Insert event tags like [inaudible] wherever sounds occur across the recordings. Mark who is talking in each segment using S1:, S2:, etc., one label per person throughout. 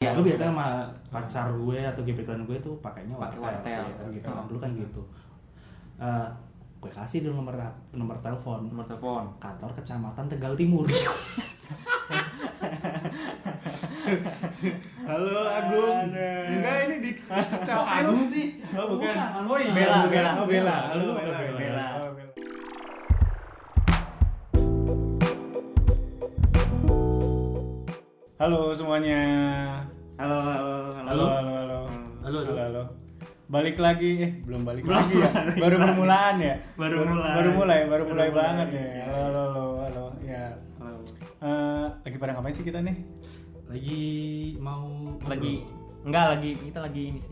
S1: Ya, gue biasanya sama pacar gue atau gebetan gue tuh pakainya
S2: Pakai
S1: ya,
S2: wartel,
S1: kan gitu.
S2: wartel.
S1: Kan dulu kan gitu. Eh, gue kasih dulu nomor nomor telepon
S2: nomor telepon
S1: kantor kecamatan Tegal Timur.
S3: Halo Agung.
S1: Ada.
S3: Enggak ini di
S1: Kok
S3: Cawil.
S1: Agung sih?
S3: Oh, bukan.
S1: Oh, iya.
S2: Bella, Bella.
S3: Oh Bella. Halo
S1: Lu
S3: Bella.
S1: bukan Bella.
S3: Bella. Halo semuanya.
S2: halo halo
S3: Halo halo halo.
S1: Halo, halo.
S3: Balik lagi eh belum balik lagi ya. Baru permulaan ya.
S2: Baru mulai.
S3: Baru mulai,
S2: Baru
S3: baru mulai
S2: mulai.
S3: banget ya. Halo halo halo. halo. Ya.
S2: halo
S3: Eh, lagi pada ngapain sih kita nih?
S1: [laughs] Lagi mau
S2: lagi enggak lagi kita lagi ini sih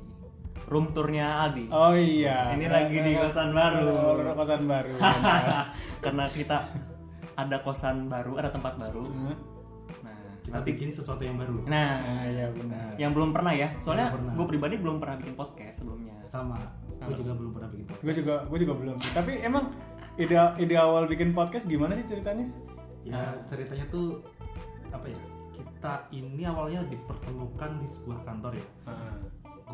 S2: room tournya Aldi
S3: Oh iya.
S2: Ini lagi di kosan baru.
S3: Oh, kosan
S2: [laughs]
S3: baru.
S2: [laughs] karena kita ada kosan baru ada tempat baru
S3: Heeh.
S2: nah
S1: kita bikin sesuatu yang baru.
S2: nah
S3: Nah, iya benar.
S2: yang belum pernah ya soalnya
S1: Belum pernah.
S2: gue pribadi belum pernah bikin podcast sebelumnya
S1: Sama. Gue juga belum pernah bikin podcast.
S3: Gue juga gue juga belum. sih. Tapi emang ide ide awal bikin podcast gimana sih ceritanya?
S1: Ya ceritanya tuh apa ya? Kita ini awalnya dipertemukan di sebuah kantor ya.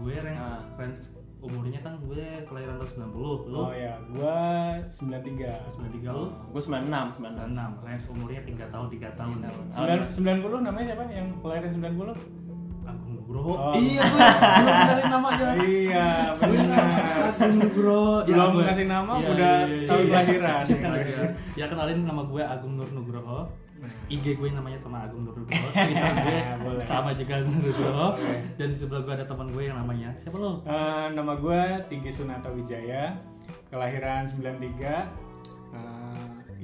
S1: Gue range,
S2: Ah.
S1: range umurnya kan gue kelahiran tahun 90, lu
S3: Oh ya, gua 93.
S1: 93 lu
S2: gue 96 96
S1: 96, range umurnya 3 tahun 3 tahun.
S2: tahun.
S3: Sembilan- 90 namanya siapa? Yang kelahiran 90?
S1: Agung Nugroho.
S3: Oh.
S1: Iya, [laughs] gue belum kenalin namanya.
S2: [laughs]
S3: iya, benar.
S1: Agung Nugroho. Ya,
S3: Belum
S1: gue-
S3: ngasih nama, udah tahun kelahiran.
S1: [laughs] Iya, iya. ya kenalin nama gue Agung Nur Nugroho. IG gue namanya sama Agung Nur
S3: [laughs]
S1: Nugroho. Twitter gue
S3: Iya, Boleh.
S1: sama juga Agung Nur Nugroho.
S3: Boleh.
S1: Dan di sebelah gue ada teman gue yang namanya siapa lo?
S3: Eh, nama gua Tinggi Sunata Wijaya, kelahiran 93. Eh,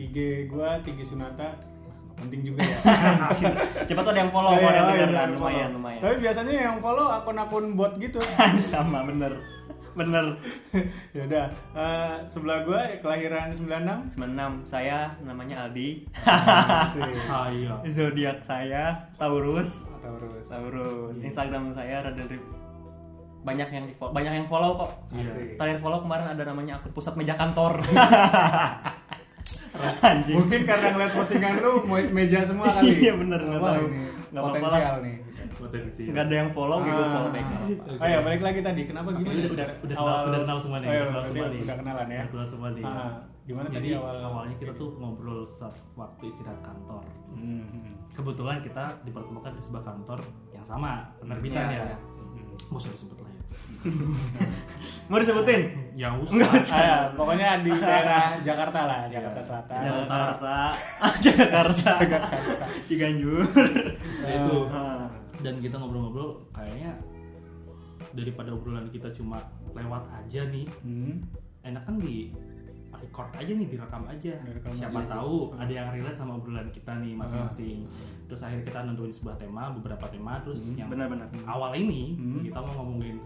S3: IG gua Tinggi Sunata. Wah, penting juga
S2: [laughs]
S3: ya.
S2: siapa tuh ada yang follow
S3: Oh, iya,
S2: ada yang
S3: oh,
S2: denger
S3: iya,
S2: kan
S3: yang
S2: lumayan
S3: follow.
S2: lumayan
S3: Tapi biasanya yang follow akun-akun bot gitu. [laughs]
S2: [laughs] sama bener bener [laughs]
S3: ya udah, eh, sebelah gua kelahiran
S2: [laughs]
S3: 96.
S2: 96 saya namanya Aldi
S1: Saya.
S2: zodiak saya Taurus
S3: Taurus.
S2: Taurus
S3: Iya.
S2: Instagram saya Raden Rip banyak yang di follow, banyak yang follow kok
S3: Asik.
S2: terakhir follow kemarin ada namanya akun pusat meja
S3: [laughs]
S2: kantor [laughs] anjing
S3: Mungkin karena ngeliat postingan lu me- meja semua kali.
S2: Iya, bener, nggak
S3: Wah,
S2: tahu.
S3: ini
S2: Nggak apa-apa lah.
S3: potensial nih.
S1: Potensi.
S2: nggak ada yang follow gitu
S3: Ah.
S2: follow back nggak apa-apa.
S3: Oh ya, balik lagi tadi. Kenapa
S1: Oke,
S3: gimana?
S1: udah, udah,
S3: cara-
S1: udah, kenal,
S3: awal-
S1: udah kenal semua nih,
S3: Oh, iya,
S1: udah kenal
S3: berarti
S1: semua nih.
S3: Udah kenalan ya.
S1: Udah kenal semua nih.
S3: Ah, gimana
S1: Jadi
S3: tadi awal
S1: awalnya kita tuh ngobrol saat waktu istirahat kantor.
S3: Hmm, hmm.
S1: Kebetulan kita dipertemukan di sebuah kantor yang sama, penerbitan
S2: Iya,
S1: ya.
S2: iya.
S3: hmm.
S1: Mau saya sebut lah ya.
S2: mau disebutin
S1: Ya usah.
S2: Nggak usah.
S3: Ah, ya, pokoknya di daerah Jakarta lah, Jakarta Selatan.
S2: Jakarta [laughs] Jakarta
S3: Jakarta.
S2: Ciganjur
S1: Nah, itu.
S2: Ah.
S1: Dan kita ngobrol-ngobrol kayaknya daripada obrolan kita cuma lewat aja nih,
S3: Hmm.
S1: enak kan di record aja nih direkam aja
S3: Direkam
S1: siapa
S3: aja sih. Hmm.
S1: tahu ada yang relate sama obrolan kita nih masing-masing terus akhirnya kita nentuin sebuah tema beberapa tema terus
S3: Iya.
S1: yang
S2: benar-benar
S1: awal ini
S3: Hmm.
S1: kita mau ngomongin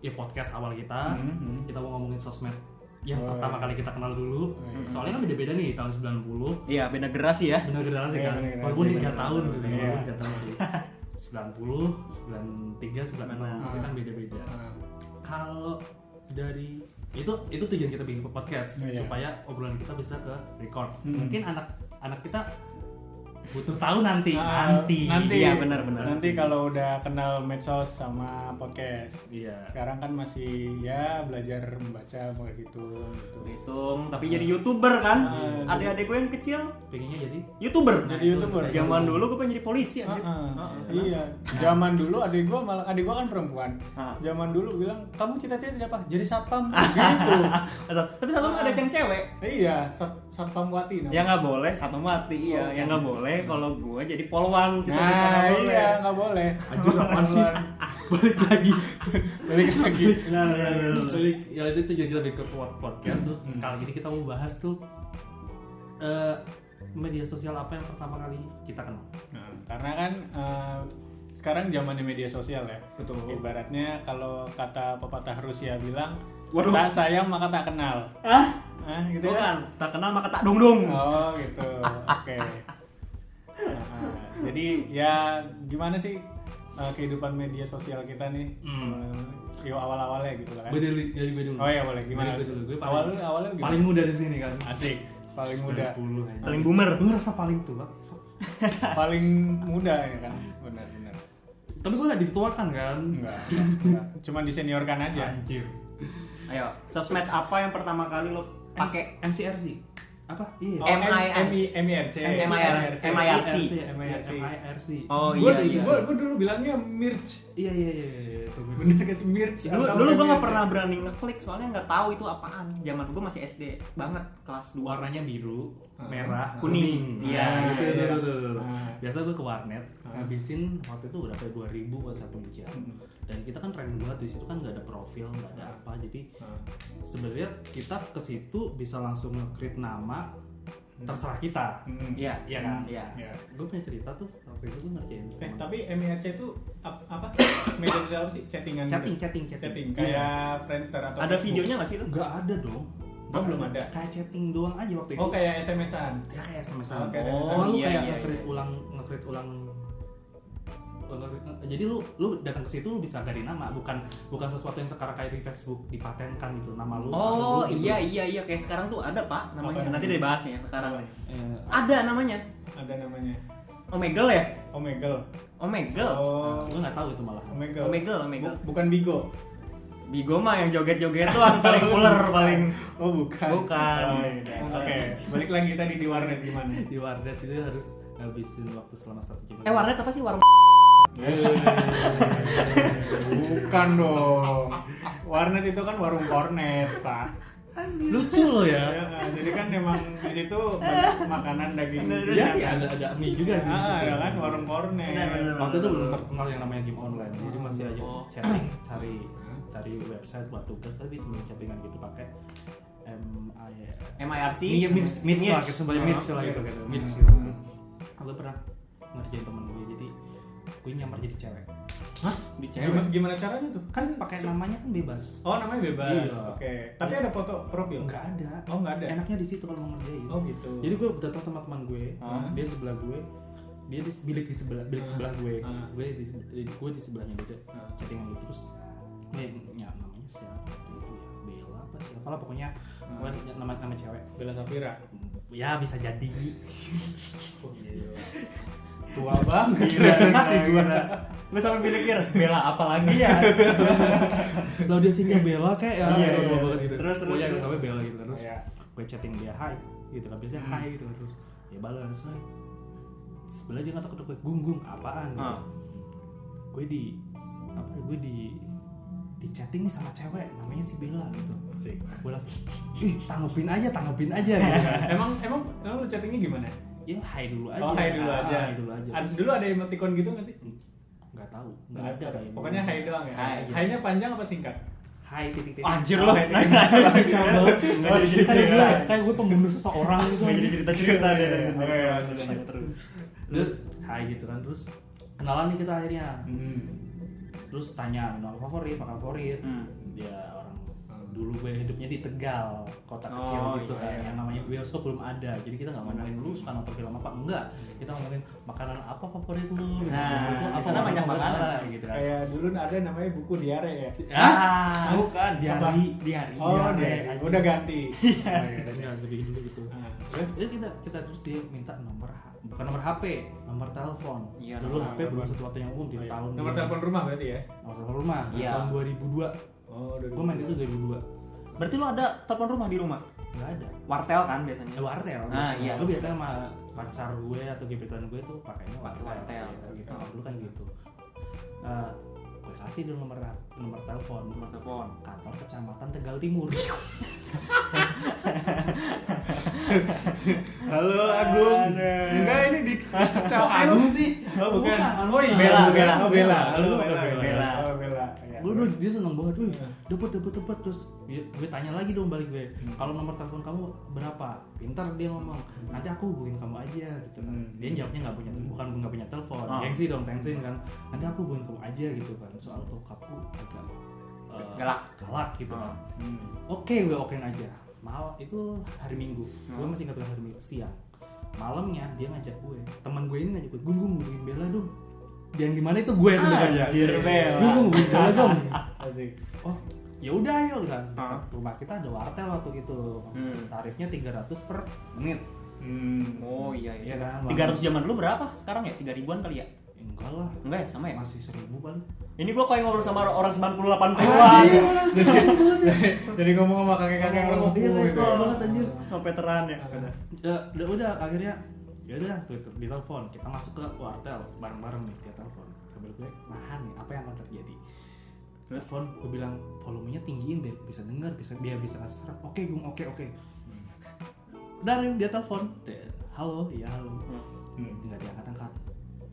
S1: ya podcast awal kita
S3: Hmm, hmm.
S1: kita mau ngomongin sosmed yang
S3: Oh,
S1: pertama
S3: iya.
S1: kali kita kenal dulu
S3: Oh, iya.
S1: soalnya kan beda-beda nih tahun 90
S2: iya beda generasi ya
S1: benar generasi
S3: Iya,
S1: kan
S3: bener generasi,
S1: walaupun tiga
S3: bener.
S1: tahun gitu
S3: Iya.
S1: walaupun tiga tahun
S3: [laughs]
S1: sih 90 93 96 pasti kan beda-beda
S3: Ah.
S1: kalau dari itu itu tujuan kita bikin podcast
S3: Iya.
S1: supaya obrolan kita bisa ke record
S3: Hmm.
S1: mungkin anak anak kita butuh tahu nanti
S3: Ah,
S1: nanti
S3: nanti
S2: Iya, benar, benar.
S3: nanti kalau udah kenal medsos sama podcast
S1: iya
S3: sekarang kan masih ya belajar membaca menghitung gitu
S2: hitung tapi jadi
S3: Iya.
S2: youtuber kan
S3: Ah,
S2: adik-adik gue yang kecil
S1: pengennya
S3: [laughs]
S1: jadi
S2: youtuber
S3: jadi
S1: itu
S3: youtuber
S2: zaman dulu gue pengen jadi polisi
S3: Ah,
S2: anjir
S3: ah.
S2: Ah, ah.
S3: iya zaman dulu adik gua malah adik gua kan perempuan
S2: Ah.
S3: zaman dulu bilang kamu cita-cita jadi apa jadi
S2: [laughs]
S3: satpam gitu
S2: Asal- tapi satu ada yang cewek
S3: iya sat- satpam wati namanya.
S2: Ya nggak boleh, satu mati iya.
S3: Oh.
S2: Yang nggak boleh kalau gue jadi polwan cita-cita
S3: nah
S2: nggak boleh.
S3: iya nggak boleh
S1: Anjir, apaan sih? balik lagi
S3: balik lagi
S2: Nah, nah, nah, nah.
S1: balik ya itu tujuan kita bikin pod- podcast terus
S3: Hmm.
S1: kali ini kita mau bahas tuh eh, media sosial apa yang pertama kali kita kenal
S3: Nah, karena kan eh, sekarang zamannya media sosial ya.
S1: Betul.
S3: Ibaratnya kalau kata pepatah Rusia bilang,
S2: Waduh.
S3: tak sayang maka tak kenal.
S2: Hah?
S3: Ah, gitu
S2: Bukan,
S3: kan?
S2: tak kenal maka tak dong-dong.
S3: Oh, gitu.
S1: [laughs]
S3: Oke. Nah, ah, jadi ya gimana sih eh, kehidupan media sosial kita nih?
S1: Hmm.
S3: Eh, Yo awal-awalnya gitu kan.
S1: gue dari dari gue dulu
S3: Oh iya boleh
S1: Dari
S3: gimana?
S1: gue dulu gue paling,
S3: awalnya awalnya gimana?
S1: paling muda di sini kan
S3: asik, paling muda,
S1: 90 aja.
S2: Paling boomer.
S1: gue rasa paling tua
S3: paling muda ya kan. Benar-benar.
S1: Tapi gue gak dituakan kan?
S3: Enggak, enggak. Cuman diseniorkan aja.
S1: Anjir.
S2: Ayo, sosmed apa yang pertama kali lo pakai?
S1: M- MCRC. Apa? Iya.
S3: Oh, M-
S2: MIRC.
S3: M- MIRC.
S2: MIRC. MIRC.
S1: MIRC. MIRC.
S2: Oh
S3: Gue
S2: iya iya.
S3: dulu bilangnya Mirch.
S1: Iya iya iya iya, iya. itu gue. [laughs]
S3: Bener gak sih Mirch?
S2: Dulu,
S3: atau
S2: dulu gue
S3: MIRC?
S2: gak pernah berani ngeklik soalnya nggak tahu itu apaan. Zaman gue masih SD banget kelas 2
S1: Warnanya biru,
S3: Hmm.
S1: merah,
S2: Kuning. Iya,
S1: Nah,
S3: iya,
S1: itu, itu,
S3: iya.
S1: itu, itu.
S3: Ah.
S1: Biasa gue ke warnet,
S3: Ah.
S1: ngabisin waktu itu berapa ya, dua ribu buat satu jam.
S3: Hmm.
S1: Dan kita kan random banget di situ kan nggak ada profil, nggak ada apa, jadi
S3: Ah.
S1: sebenarnya kita ke situ bisa langsung nge-create nama terserah kita.
S3: Mm-mm.
S2: Iya,
S1: Iya kan?
S2: Iya.
S3: Iya.
S1: Gue punya cerita tuh waktu itu gue ngerjain
S3: Eh,
S1: teman.
S3: tapi MIRC itu ap- apa? Media sosial apa sih? Chattingan gitu?
S1: chatting, chatting, chatting,
S3: Chatting, kayak Friendster
S2: Iya.
S3: atau
S2: Ada
S3: Facebook.
S2: videonya nggak sih lo?
S1: Nggak ada dong.
S3: Oh, belum ada.
S1: Kayak chatting doang aja waktu itu.
S2: gitu.
S3: Oh, kayak SMS-an.
S1: Ya kayak SMS.
S3: Oh, kayak SMS-an.
S1: Cuma lu
S2: Iya,
S1: kayak
S2: iya,
S1: nge-create
S2: iya.
S1: ulang, nge-create ulang nge-create- jadi lu lu datang ke situ lu bisa ganti nama bukan bukan sesuatu yang sekarang kayak di Facebook dipatenkan gitu nama lu nama
S2: Oh
S1: lu gitu.
S2: iya iya iya kayak sekarang tuh ada pak namanya.
S3: Apa
S2: Nanti
S3: namanya?
S2: deh bahas ya sekarang.
S3: iya.
S1: Eh,
S2: Ada namanya.
S3: Ada namanya.
S2: Omegle ya?
S3: Omegle.
S2: Omegle.
S3: Oh,
S1: gue nggak tahu itu malah
S3: Omegle.
S2: Omegle, Omegle.
S3: Bu- bukan Bigo.
S2: Bigo mah yang joget-joget tuh yang paling ular paling
S3: Oh, bukan.
S2: Bukan.
S3: Oh, iya. Oke, balik lagi tadi di warnet gimana?
S1: di warnet itu harus ngabisin waktu selama satu jam
S2: Eh warnet apa sih warung? Iya.
S3: bukan dong. Warnet itu kan warung kornet, Pak.
S1: [laughs] lucu lo ya
S3: [laughs] Ya, jadi kan memang di situ banyak makanan daging. kan?
S1: Iya sih ada ada mie juga sih di
S3: Ah,
S1: situ.
S3: ada kan warung kornet.
S2: Benar, benar, benar.
S1: waktu itu belum terkenal yang namanya game online jadi masih aja
S2: Oh.
S1: chatting cari cari website buat tugas tapi cuma chattingan gitu pakai M I
S2: MIRC.
S1: Iya, Mirch, Mirch lah, gitu, sebagai Mirch lah gitu, gitu, Mirch gitu. Gue pernah ngerjain temen gue, jadi gue nyamar jadi cewek.
S2: Hah? Di
S3: Gimana,
S2: cewek.
S3: gimana caranya tuh?
S1: Kan pakai namanya kan bebas.
S3: Oh, namanya bebas.
S1: Iya.
S3: Oke. Tapi ada foto profil?
S1: Enggak ada.
S3: Oh, nggak ada.
S1: Enaknya di situ kalau mau ngerjain.
S3: Oh, gitu.
S1: Jadi gue datang sama teman gue,
S3: Ah.
S1: dia sebelah gue, dia di bilik di sebelah bilik
S3: Ah.
S1: sebelah gue,
S3: Ah.
S1: gue di se- di- gue di sebelahnya dia
S3: Ah.
S1: chattingan gitu terus gue ya namanya siapa waktu itu ya Bella apa siapa lah pokoknya pokoknya nama nama cewek
S3: Bella Sapira.
S1: ya bisa jadi
S3: Oh, iya.
S1: [laughs]
S3: Tua banget.
S2: Gila, gila, gila. Gue sampai mikir, Bella apa lagi [laughs] ya?
S1: lo dia singgah Bella kayak ya
S2: Iya,
S1: goblok
S2: iya.
S1: banget gitu
S2: Terus, terus,
S1: pokoknya
S2: terus.
S1: namanya Bella gitu terus
S3: Iya.
S1: gue chatting dia hai gitu kan biasanya hai
S3: Hmm.
S1: gitu terus ya balas hai sebelah dia ngetok-ngetok gue gunggung apaan gitu.
S2: Ah.
S1: gue di apa ya, gue di di chatting nih sama cewek namanya si Bella gitu gue langsung ih tanggepin aja tanggepin aja gitu
S3: Emang emang emang lu chattingnya gimana?
S1: ya hai dulu aja
S3: Oh, hai dulu
S1: Ah,
S3: aja.
S1: hai dulu aja
S3: Ad- dulu ada emoticon gitu nggak sih?
S1: nggak tahu nggak ada kayaknya
S3: Pokoknya hai doang ya.
S2: Hai.
S3: Hai-nya panjang apa singkat?
S1: hai titik titik
S2: Anjir loh.
S3: Oke. [laughs]
S1: Kacau banget
S3: Iya,
S1: sih.
S2: Nggak jadi cerita
S1: kayak gue
S2: ya.
S1: kayak gue pembunuh seseorang gitu
S2: Nggak jadi cerita-cerita deh.
S3: Oke,
S2: terus.
S1: terus hai gitu kan terus kenalan nih kita akhirnya
S3: Hmm.
S1: terus tanya minuman favorit makan favorit
S2: Hmm.
S1: dia orang dulu gue hidupnya di Tegal kota kecil
S2: Oh,
S1: gitu
S2: iya,
S1: kan
S2: iya.
S1: yang namanya bioskop belum ada jadi kita nggak ngomongin lu suka nonton film apa enggak kita ngomongin makanan apa favorit lu
S2: Nah,
S1: Favorit lu
S2: di
S1: apa,
S2: sana
S1: orang
S2: banyak
S1: favorit
S2: makanan.
S1: apa, gitu kan
S3: Kayak dulu ada namanya buku diare ya.
S1: Hah?
S2: Ah,
S1: Oh,
S2: bukan
S1: Diari.
S2: diari.
S3: Oh,
S1: Diare.
S3: diare. Udah ganti.
S2: [laughs]
S1: Oh, iya, tadi nggak bikin dulu gitu
S3: Nah,
S1: terus dia kita kita terus dia minta nomor H- bukan nomor HP nomor telepon
S2: Iya,
S1: dulu
S2: nomor
S1: HP
S3: telepon.
S1: belum sesuatu yang umum di
S3: Oh, iya.
S1: tahun
S3: Nomor telepon rumah berarti ya?
S1: nomor telepon rumah Nah,
S2: Iya.
S1: tahun 2002
S3: Oh,
S1: gue main itu 2002
S2: Berarti lu ada telepon rumah di rumah?
S1: nggak ada
S2: Wartel kan biasanya?
S1: ya wartel
S2: Ah,
S1: biasanya.
S2: iya.
S1: Gue biasanya sama pacar gue atau gebetan gue tuh pakainya wartel,
S2: Wartel.
S1: Ya, gitu
S2: Oh.
S1: dulu kan gitu Eh, gue kasih dulu nomor nomor telepon
S2: Nomor telepon.
S1: kantor kecamatan Tegal Timur
S3: Halo Agung. Enggak ini
S1: [laughs]
S3: di Cawang
S1: Agung sih
S3: Oh bukan.
S1: Agung.
S3: Oh iya.
S2: Bella,
S3: bukan.
S2: Bella.
S3: Oh Bella.
S1: Bella.
S3: Halo
S1: Bukan
S3: Bella.
S1: Bella.
S3: Bella. Oh Bella. Iya.
S1: gue udah dia seneng banget, wih
S3: Iya.
S1: dapet dapet dapet terus dia- gue tanya lagi dong balik gue,
S3: Hmm.
S1: kalau nomor telepon kamu berapa? Pintar dia ngomong, nanti aku hubungin kamu aja gitu kan.
S3: Hmm.
S1: Dia jawabnya nggak punya, bukan nggak punya telepon,
S2: Ah.
S1: gengsi dong tensin kan. Nanti aku hubungin kamu aja gitu kan. Soal bokapku agak eh,
S2: Galak.
S1: galak gitu kan.
S3: Hmm.
S1: Oke gue okein aja. Mal itu hari Minggu, gue
S2: Hmm.
S1: masih ingat banget hari Minggu siang. Malamnya dia ngajak gue, teman gue ini ngajak gue, gue hubungin Bella dong. Yang di mana itu
S2: Ah.
S1: gue sebenarnya.
S2: Anjir, Bella.
S1: Gue hubungin Bella
S2: [laughs]
S1: dong
S3: Asik.
S1: oh ya udah ayo kan
S2: Hah?
S1: rumah kita ada wartel waktu gitu
S2: Hmm.
S1: tarifnya 300 per menit
S3: Hmm.
S2: Oh iya
S1: Iya
S2: iya.
S1: kan,
S2: Tiga ratus zaman dulu berapa? Sekarang ya tiga ribuan kali ya?
S1: enggak lah
S2: Enggak ya, sama ya?
S1: masih seribu paling
S2: Ini gua kayak ngobrol sama orang 90 80-an.
S1: Iya, seribu banget ya.
S3: Jadi ngomong sama
S2: [laughs]
S3: kakek-kakek orang
S1: Iya,
S3: sepuh
S1: kayak
S3: gitu
S1: tua
S3: ya.
S1: banget anjir.
S2: Sampai teran ya.
S1: ya udah, udah akhirnya ya udah Twitter ditelepon kita masuk ke wartel bareng-bareng nih dia telepon sambil gue nahan nih apa yang akan terjadi
S2: Terus?
S1: telepon gue bilang volumenya tinggiin biar bisa denger bisa biar bisa ngasih saran oke gung oke oke
S2: Hmm.
S1: udah Rim, dia telepon halo iya halo
S3: Hmm.
S1: nggak diangkat angkat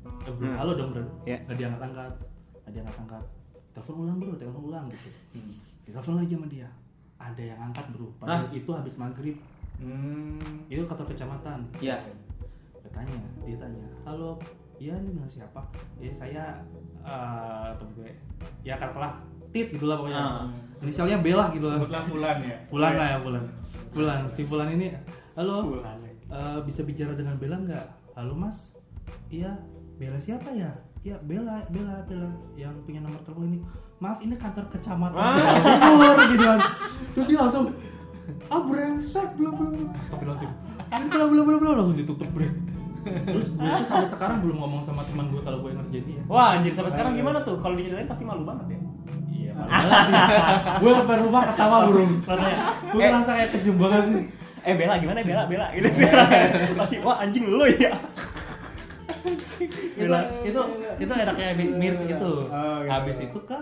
S1: eh, belum
S2: Hmm.
S1: halo dong bro
S2: Iya.
S1: nggak diangkat angkat nggak diangkat angkat telepon ulang bro telepon ulang gitu ditelepon lagi sama dia ada yang angkat bro padahal itu habis maghrib
S3: Hmm.
S1: itu kantor kecamatan
S2: Iya.
S1: Dia tanya dia tanya halo iya ini dengan siapa ya saya eh temen gue ya katakanlah tit gitu lah pokoknya
S2: Ah.
S1: inisialnya Bella gitu lah
S3: Hmm. Sebutlah bulan ya.
S1: Bulan lah ya Bulan Bulan si Bulan ini halo
S2: Bulan.
S1: eh, bisa bicara dengan Bella nggak halo Mas iya Bella siapa ya Iya Bella Bella Bella yang punya nomor telepon ini maaf ini kantor kecamatan Jawa Timur gitu kan terus dia langsung ah brengsek belum belum belum." Astagfirullahaladzim ini kalau belum belum belum langsung ditutup break terus gue tuh sampai sekarang belum ngomong sama teman gue kalau gue ngerjain dia
S2: Wah, anjir sampai sekarang gimana tuh? Kalau diceritain pasti malu banget ya.
S1: Iya, gue ke rumah ketawa burung. Gue
S2: Eh.
S1: ngerasa kayak kejam banget sih.
S2: Eh Bella gimana Bella Bella gitu sekarang pasti wah anjing lu ya.
S1: itu itu itu enaknya Mi- Mirs itu.
S3: Oh, gitu.
S1: Habis itu ke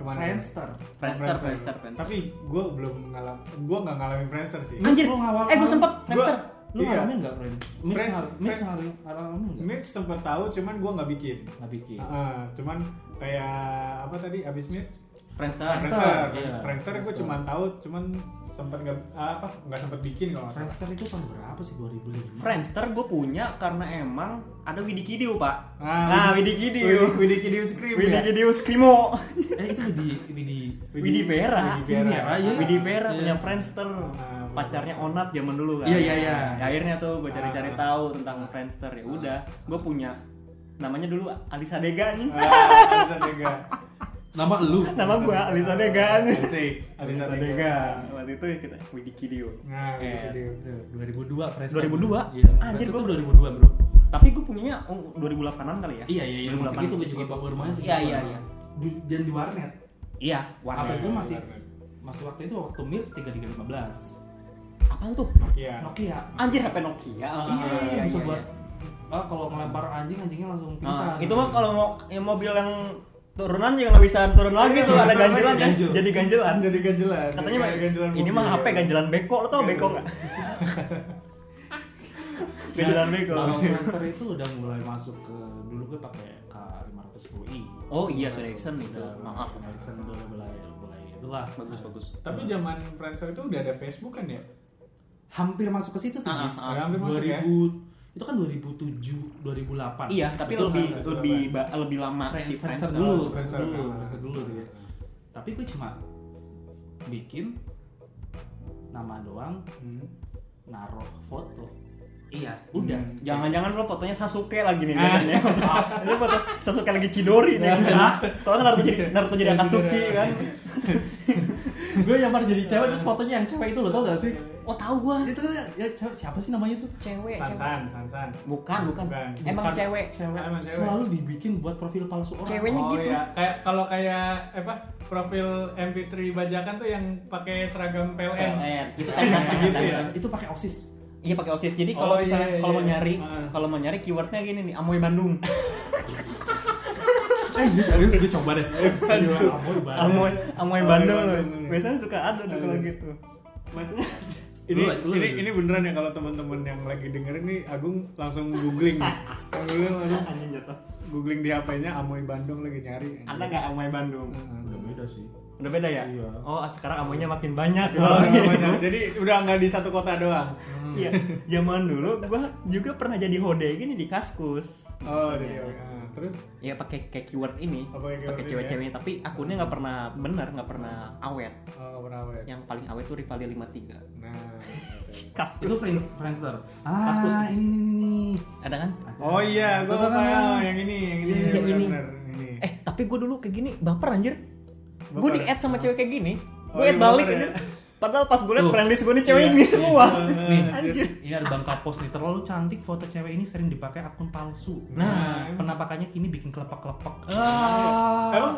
S3: Kemana?
S1: Friendster.
S2: Friendster, Friendster, Friendster.
S3: Tapi gue belum ngalam, gue nggak ngalamin Friendster sih.
S1: Anjir, lu ngawal-
S2: eh gue
S1: ngawal.
S2: sempet
S3: Gua-
S2: Friendster.
S1: Lu
S3: Iya.
S1: ngalamin enggak Friend? Mirs
S3: Friend-
S1: har- Mirs
S3: Friend-
S1: har- ngalamin enggak?
S3: Mix sempet tahu, cuman gue nggak bikin.
S1: Enggak bikin.
S3: Ah, cuman kayak apa tadi abis mix?
S2: Friendster.
S1: Friendster.
S3: Friendster,
S1: iya.
S3: Friendster gue
S1: Friendster.
S3: cuman tahu, cuman sempet nggak ah, apa nggak sempet bikin kalau nggak salah.
S1: Friendster itu tahun berapa sih? 2005.
S2: Friendster gue punya karena emang ada Widi Kidiu pak. Ah,
S3: Ah,
S2: Widi Kidiu.
S3: Widi Kidiu Scream
S2: Widi
S3: ya.
S2: Kidiu Skrimo.
S1: Eh itu di di di
S2: Widi Vera. ya,
S3: Widi Vera.
S1: iya.
S2: Widi Vera
S1: Iya.
S2: punya Friendster.
S3: bener.
S2: Pacarnya Onat zaman dulu kan.
S1: Iya, iya, iya.
S2: Ya, akhirnya tuh gue cari-cari
S3: Ah.
S2: tahu tentang Friendster ya udah. Gue punya namanya dulu Alisa Dega nih.
S3: Ah, Alisa Dega.
S1: nama lu.
S2: Nama gue Alisa Dega nih.
S3: Asik, Alisa Dega.
S2: Waktu itu kita Widi Kidiu.
S3: Nah, Widi
S2: Eh,
S3: Kidiu.
S1: 2002 Friendster.
S2: 2002?
S1: Iya.
S2: Ah, Anjir,
S1: Anjir
S2: gua-
S1: gua 2002, Bro.
S2: Tapi gue punyanya oh, 2008-an kali ya.
S1: Iya iya iya. Masih
S2: 2008.
S1: gitu gue juga bawa rumahnya sih.
S2: Iya iya iya.
S1: Di- Dan di warnet.
S2: Iya,
S1: Apa
S2: warna.
S1: itu masih masih waktu itu waktu Mirs 3315.
S2: Apaan tuh?
S3: Nokia.
S1: Nokia.
S2: Anjir HP Nokia. Ah,
S1: Iya, iya,
S2: iya,
S1: bisa
S2: iya.
S1: buat ah, kalau ngelempar anjing anjingnya langsung
S2: Ah,
S1: pingsan.
S2: itu mah kalau mau yang mobil yang turunan juga nggak bisa turun
S1: Iya,
S2: lagi tuh ada ganjelan ya.
S1: Ganjel.
S2: Jadi ganjelan.
S3: Jadi ganjelan.
S2: Katanya
S3: Jadi
S2: mah
S3: kayak ganjelan
S2: ini
S3: mobil
S2: mah
S3: ya.
S2: HP ganjelan beko lo
S1: Iya,
S2: tau beko
S1: [laughs]
S2: nggak? ganjelan beko.
S1: Kalau Friendster itu udah mulai masuk ke dulu gue pakai K510i.
S2: Oh iya Sony Ericsson itu.
S1: Udah,
S2: Maaf.
S1: Sony Ericsson udah mulai mulai itulah.
S2: Bagus bagus.
S3: Tapi zaman Friendster itu udah ada Facebook kan ya?
S1: Hampir masuk ke situ sih.
S2: Ah,
S1: Gis.
S2: ah, ah.
S3: Hampir masuk ya.
S1: 2000 itu kan 2007 2008.
S2: Iya tapi
S1: Itu
S2: lebih
S1: kan
S3: betul,
S2: lebih
S3: Bang.
S2: ba- lebih lama
S1: Friend-
S2: si
S1: Friendster
S2: Friendster. Hmm.
S1: dulu,
S3: Friendster.
S1: Friendster dulu,
S3: Ah.
S1: Friendster dulu gitu. Tapi gue cuma bikin nama doang,
S3: Hmm.
S1: naruh foto.
S2: Iya.
S1: Udah.
S3: Hmm.
S2: Jangan-jangan lo fotonya Sasuke lagi nih,
S3: [laughs] Ah.
S2: kan, ya. Ini foto Sasuke lagi Chidori nih. Ah, Soalnya Naruto jadi Naruto jadi Akatsuki kan.
S1: [laughs] gue nyamar jadi cewek terus fotonya yang cewek itu lo tau gak [laughs] sih
S2: Oh tahu gua.
S1: itu kan ya cewek, siapa sih namanya tuh
S2: Cewek, cewek.
S3: Sansan, Sansan.
S2: Bukan, bukan.
S3: Bukan.
S2: Emang
S1: Bukan.
S2: cewek.
S1: cewek
S3: Emang cewek.
S1: selalu dibikin buat profil palsu orang
S2: Cewek. Kayaknya
S3: oh,
S2: gitu.
S3: Iya. Kayak kalau kayak apa profil MP3 bajakan tuh yang pakai seragam PLN.
S2: PLN. Itu kan
S3: Kayak
S2: tanda-
S3: gitu
S2: tanda- [laughs]
S3: ya.
S1: itu pakai osis
S2: Iya pakai OSIS. Jadi
S3: Oh,
S2: kalau misalnya
S3: iya, iya,
S2: kalau mau
S3: iya.
S2: nyari
S3: Ah.
S2: kalau mau nyari keywordnya gini nih, Amoy Bandung.
S1: [laughs] eh iya serius gue coba deh Iya, amoy banget.
S2: Amoy Amoy
S3: Amoy
S2: Bandung.
S3: Bandung.
S2: Biasanya suka ada tuh kalau
S3: Iya.
S2: gitu. Biasanya [laughs]
S3: Ini,
S1: Lu- lu-
S3: ini ini beneran ya kalau teman-teman yang lagi dengerin nih Agung langsung googling. Langsung googling langsung
S2: anjing jatuh.
S3: googling di HP-nya Amoy Bandung lagi nyari.
S2: Ada nggak Amoy Bandung?
S3: Heeh.
S1: udah beda sih
S2: Udah beda ya?
S1: Iya.
S2: Oh, sekarang amoynya makin banyak.
S3: Oh, namanya. Jadi udah nggak di satu kota doang.
S2: [laughs] Iya, zaman dulu gua juga pernah jadi hode gini di Kaskus.
S3: Oh,
S2: Misalnya.
S3: jadi ah, terus
S2: Ya pakai kayak keyword ini,
S3: Oh, pakai keyword
S2: pakai
S3: ini
S2: cewek-ceweknya, tapi akunnya nggak pernah bener, nggak pernah awet.
S3: oh, nggak pernah awet.
S2: Yang paling awet tuh Rivali 53.
S3: Nah.
S1: itu
S2: Kaskus.
S1: Friends- Friendster
S2: Kaskus.
S1: ah ini ini ini
S2: Ada kan?
S3: Oh iya, gue
S1: Betul kan,
S3: tahu
S1: Bang?
S3: yang ini, yang ini,
S1: Iya,
S2: yang ini.
S3: benar, ini.
S2: Eh, tapi gua dulu kayak gini, baper anjir. Gua
S3: Baper.
S2: di-add sama cewek kayak gini. Gua
S3: Oh,
S2: add
S3: iya,
S2: balik
S3: baper ya.
S2: anjir. Padahal pas gue liat
S1: Tuh.
S2: friendly gue nih cewek
S3: Iya,
S2: ini
S3: iya.
S2: semua.
S1: Nih,
S2: [laughs] Anjir.
S1: ini ada bang kapos nih terlalu cantik foto cewek ini sering dipakai akun palsu.
S3: Nah,
S1: Nah, penampakannya kini bikin kelepek-kelepek. Ah.
S3: Emang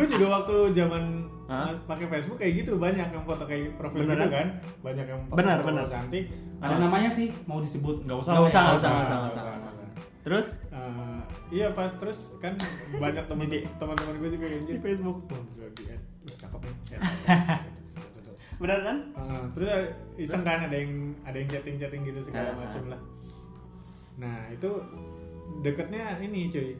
S3: gue juga waktu zaman
S2: Hah?
S3: pakai Facebook kayak gitu banyak yang foto kayak profil
S2: Beneran?
S3: gitu kan, banyak yang foto
S2: Benar,
S3: profil
S2: benar.
S3: cantik.
S1: Ada namanya sih mau disebut
S2: Nggak usah,
S1: Nggak usah,
S2: nggak
S3: ya.
S1: nggak usah,
S2: usah,
S1: nggak usah,
S2: nggak
S1: nggak usah, nggak usah.
S2: Terus
S3: Eh, iya pas terus kan banyak teman
S2: Dede.
S3: teman-teman gue juga yang gitu.
S2: di Facebook.
S3: Wah, gila, di add. Wah, cakep nih. Ya,
S2: [laughs] Benar kan?
S3: Eh, terus ada- iseng kan ada yang ada yang chatting chatting gitu
S2: Ah,
S3: segala macem
S2: ah.
S3: lah. Nah itu deketnya ini cuy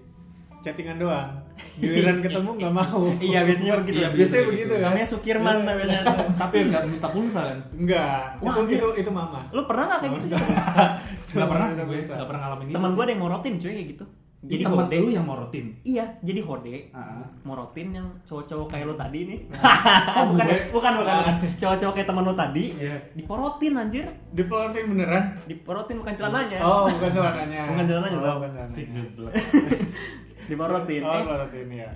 S3: chattingan doang.
S2: [laughs]
S3: Giliran ketemu nggak mau.
S2: Iya, biasanya begitu.
S3: Iya, biasanya begitu kan.
S2: Namanya Sukirman namanya tuh.
S1: [laughs] Tapi nggak minta pulsa [laughs] kan?
S3: Enggak.
S2: Wah,
S3: itu, itu itu mama.
S2: Lu pernah nggak kayak gitu?
S1: Nggak pernah sih gue,
S3: Bisa.
S1: nggak pernah ngalamin gitu.
S2: Teman
S1: sih.
S2: gue ada yang morotin cuy kayak gitu. Jadi
S1: teman
S2: hode.
S1: lu yang morotin.
S2: Iya, jadi hode.
S1: Ah.
S2: Morotin yang cowok-cowok kayak lo tadi nih.
S1: Oh,
S2: [laughs] bukan, ya?
S1: gue.
S2: bukan, bukan.
S3: Ah.
S2: Cowok-cowok kayak teman lo tadi.
S3: Iya.
S2: Diporotin anjir.
S3: Dipelontin beneran?
S2: Diporotin bukan celananya.
S3: Oh, bukan celananya.
S2: Iya. [laughs] Bukan celananya,
S3: oh,
S2: Sob.
S3: bukan celananya.
S1: Si geblek.
S2: Diporotin.
S3: Oh,
S2: Eh,
S3: pelorotin ya.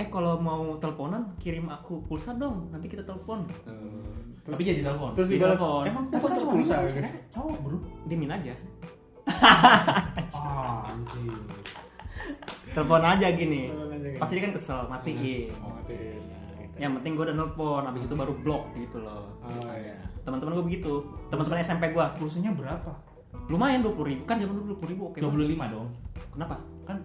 S2: eh kalau mau teleponan kirim aku pulsa dong. Nanti kita telepon.
S1: Tapi jadi telepon.
S3: Terus
S2: Di
S3: dibalas,
S2: telepon.
S3: emang
S1: Tapi
S3: aku
S1: kan
S3: kan
S1: cuma
S3: pulsa
S1: cewek, cowok bro.
S2: Diemin aja.
S1: Ah, anjing.
S2: Telepon aja gini.
S3: Telepon aja gini.
S2: Pasti dia kan kesel, matiin.
S3: Oh, matiin. Nah, gitu.
S2: Yang penting gue udah nelpon, abis itu baru blok gitu loh.
S3: Oh, iya.
S2: Teman-teman gue begitu. Teman-teman SMP gue
S1: Pulsanya berapa?
S2: lumayan dua puluh ribu kan zaman dulu dua puluh ribu oke
S1: Dua puluh lima dong.
S2: kenapa
S1: Kan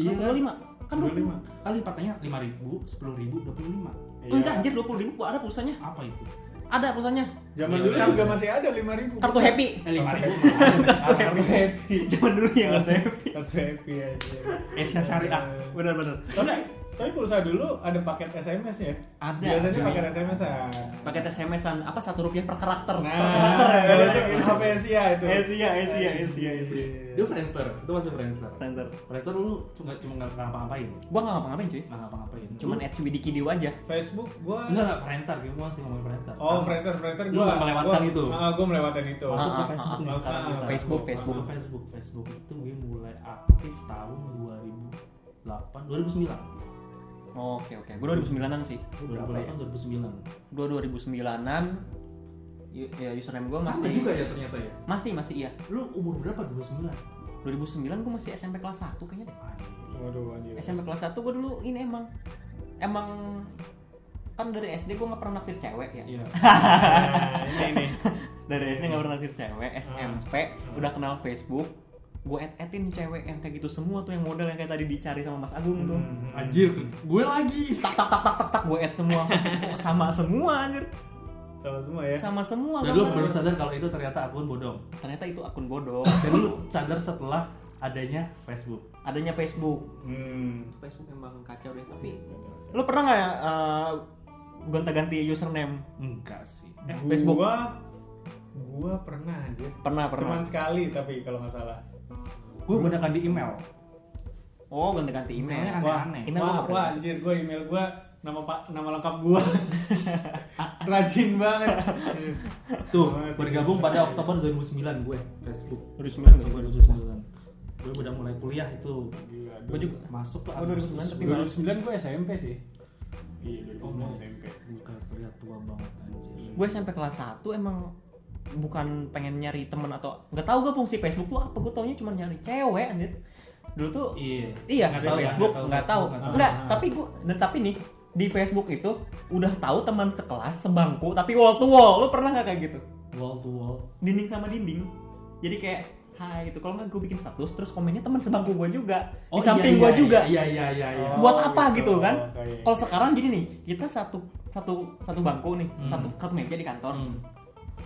S2: iya dua lima kan dua puluh
S3: 25.
S1: kali patahnya lima ribu, sepuluh ribu, dua puluh lima.
S3: Iya.
S2: Kan enggak anjir dua puluh ribu ada pulsanya
S1: Apa itu?
S2: ada pulsanya
S3: Zaman dulu
S1: Kartu-
S3: juga masih ada 5000.
S2: Iya, kartu happy [laughs]
S1: Eh, lima ribu.
S3: Kartu
S1: mahal.
S3: happy.
S2: zaman dulu ya kartu
S3: Iya.
S2: happy
S3: Kartu happy aja.
S1: Asia Syariah.
S2: benar benar
S3: Tapi tapi pulsa dulu ada paket SMS ya?
S2: Ada,
S3: Biasanya
S2: cuy.
S3: paket SMS -an.
S2: paket SMS-an apa satu rupiah per karakter
S3: Nah,
S2: per karakter ya
S3: ada
S2: bener.
S3: tuh, HP Asia itu.
S2: Asia Asia Asia Asia
S1: Dia Friendster, itu masih Friendster.
S2: Friendster.
S1: Friendster lu cuma cuma nggak ngapa-ngapain,
S2: gua nggak ngapa-ngapain cuy
S1: nggak ngapa-ngapain.
S2: cuman
S1: Lu-
S2: ads widiki di aja
S3: Facebook gua
S1: enggak enggak Friendster, gue masih ngomongin Friendster.
S3: Oh,
S1: Sama.
S3: Friendster, Friendster
S1: Lu nggak melewatkan
S3: gua-
S1: itu.
S3: Ah, gua melewatkan itu.
S1: Masuk ke
S2: Ah, ah,
S1: Facebook
S2: ah,
S1: nih
S3: ah,
S1: sekarang
S3: ah,
S1: kita.
S2: Facebook,
S1: Masuk
S2: Facebook.
S1: ke Facebook, Facebook itu gue mulai aktif tahun 2008, 2009.
S2: oke oke gua 2009an sih
S1: 2008, 2009.
S2: gua 2009an y- ya username gua
S1: Sama
S2: masih
S1: juga ya ternyata ya.
S2: masih masih iya
S1: Lu umur berapa 29?
S2: 2009 gua masih SMP kelas 1 kayaknya deh
S3: Waduh, anjir.
S2: SMP kelas 1 gue dulu ini emang emang kan dari SD gue nggak pernah naksir cewek ya
S1: [laughs] Iya.
S3: Nah, ini ini.
S2: dari SD nggak pernah naksir cewek SMP udah kenal Facebook gue add addin cewek yang kayak gitu semua tuh yang model yang kayak tadi dicari sama Mas Agung tuh
S1: Anjir, gue lagi.
S2: tak tak tak tak tak tak gue add semua Terus gitu, kok sama semua anjir
S3: Sama semua ya.
S2: sama semua
S1: Dan lu
S2: gambarnya.
S1: baru sadar kalau itu ternyata akun bodong.
S2: ternyata itu akun bodoh
S1: Dan lu sadar setelah adanya Facebook.
S2: adanya Facebook
S3: Hmm.
S2: Facebook emang kacau deh tapi lu pernah nggak eh, gonta-ganti username
S1: Enggak sih. Eh,
S2: Facebook.
S3: Gua gua pernah anjir.
S2: pernah pernah
S3: Cuman sekali tapi kalau nggak salah.
S1: gue gunakan di email.
S2: oh ganti-ganti email
S1: Emailnya Aneh-aneh.
S2: Email gua
S3: wah,
S2: nggak
S3: wah,
S2: pernah.
S3: anjir gua email gua nama pak nama lengkap
S2: [laughs]
S3: gua. Rajin banget.
S1: Tuh, bergabung pada Oktober 2009 gue ya, Facebook.
S2: 2009 nggak?
S1: 2009. Gue udah mulai kuliah itu.
S3: Gila.
S1: Gue juga masuk lah.
S2: Oh, 2009 tapi baru.
S3: 2009 gua SMP sih. Iya, 2009
S1: Oh,
S3: SMP.
S1: Bukan terlihat tua banget anjir.
S2: gue sampai kelas 1 emang bukan pengen nyari temen atau nggak tahu gue fungsi Facebook tuh apa gue taunya cuma nyari cewek anjir dulu tuh
S1: Iya.
S2: iya
S1: Nggak tahu
S2: nggak tahu
S1: ya,
S2: Facebook
S1: nggak tahu
S2: nggak tahu
S1: Facebook, nggak
S3: tahu.
S2: nggak
S3: Ah.
S2: tapi gue dan tapi nih di Facebook itu udah tahu teman sekelas sebangku tapi wall to wall lo pernah nggak kayak gitu
S1: Wall to wall.
S2: dinding sama dinding jadi kayak hai gitu kalau nggak gue bikin status terus komennya teman sebangku gue juga di samping
S1: iya,
S2: gue juga
S1: Iya iya iya iya.
S3: Oh,
S2: buat apa
S3: gitu.
S2: gitu, kan?
S3: Oke.
S2: Kalau sekarang gini nih, kita satu satu satu bangku nih,
S1: Hmm.
S2: satu satu meja di kantor.
S1: Hmm.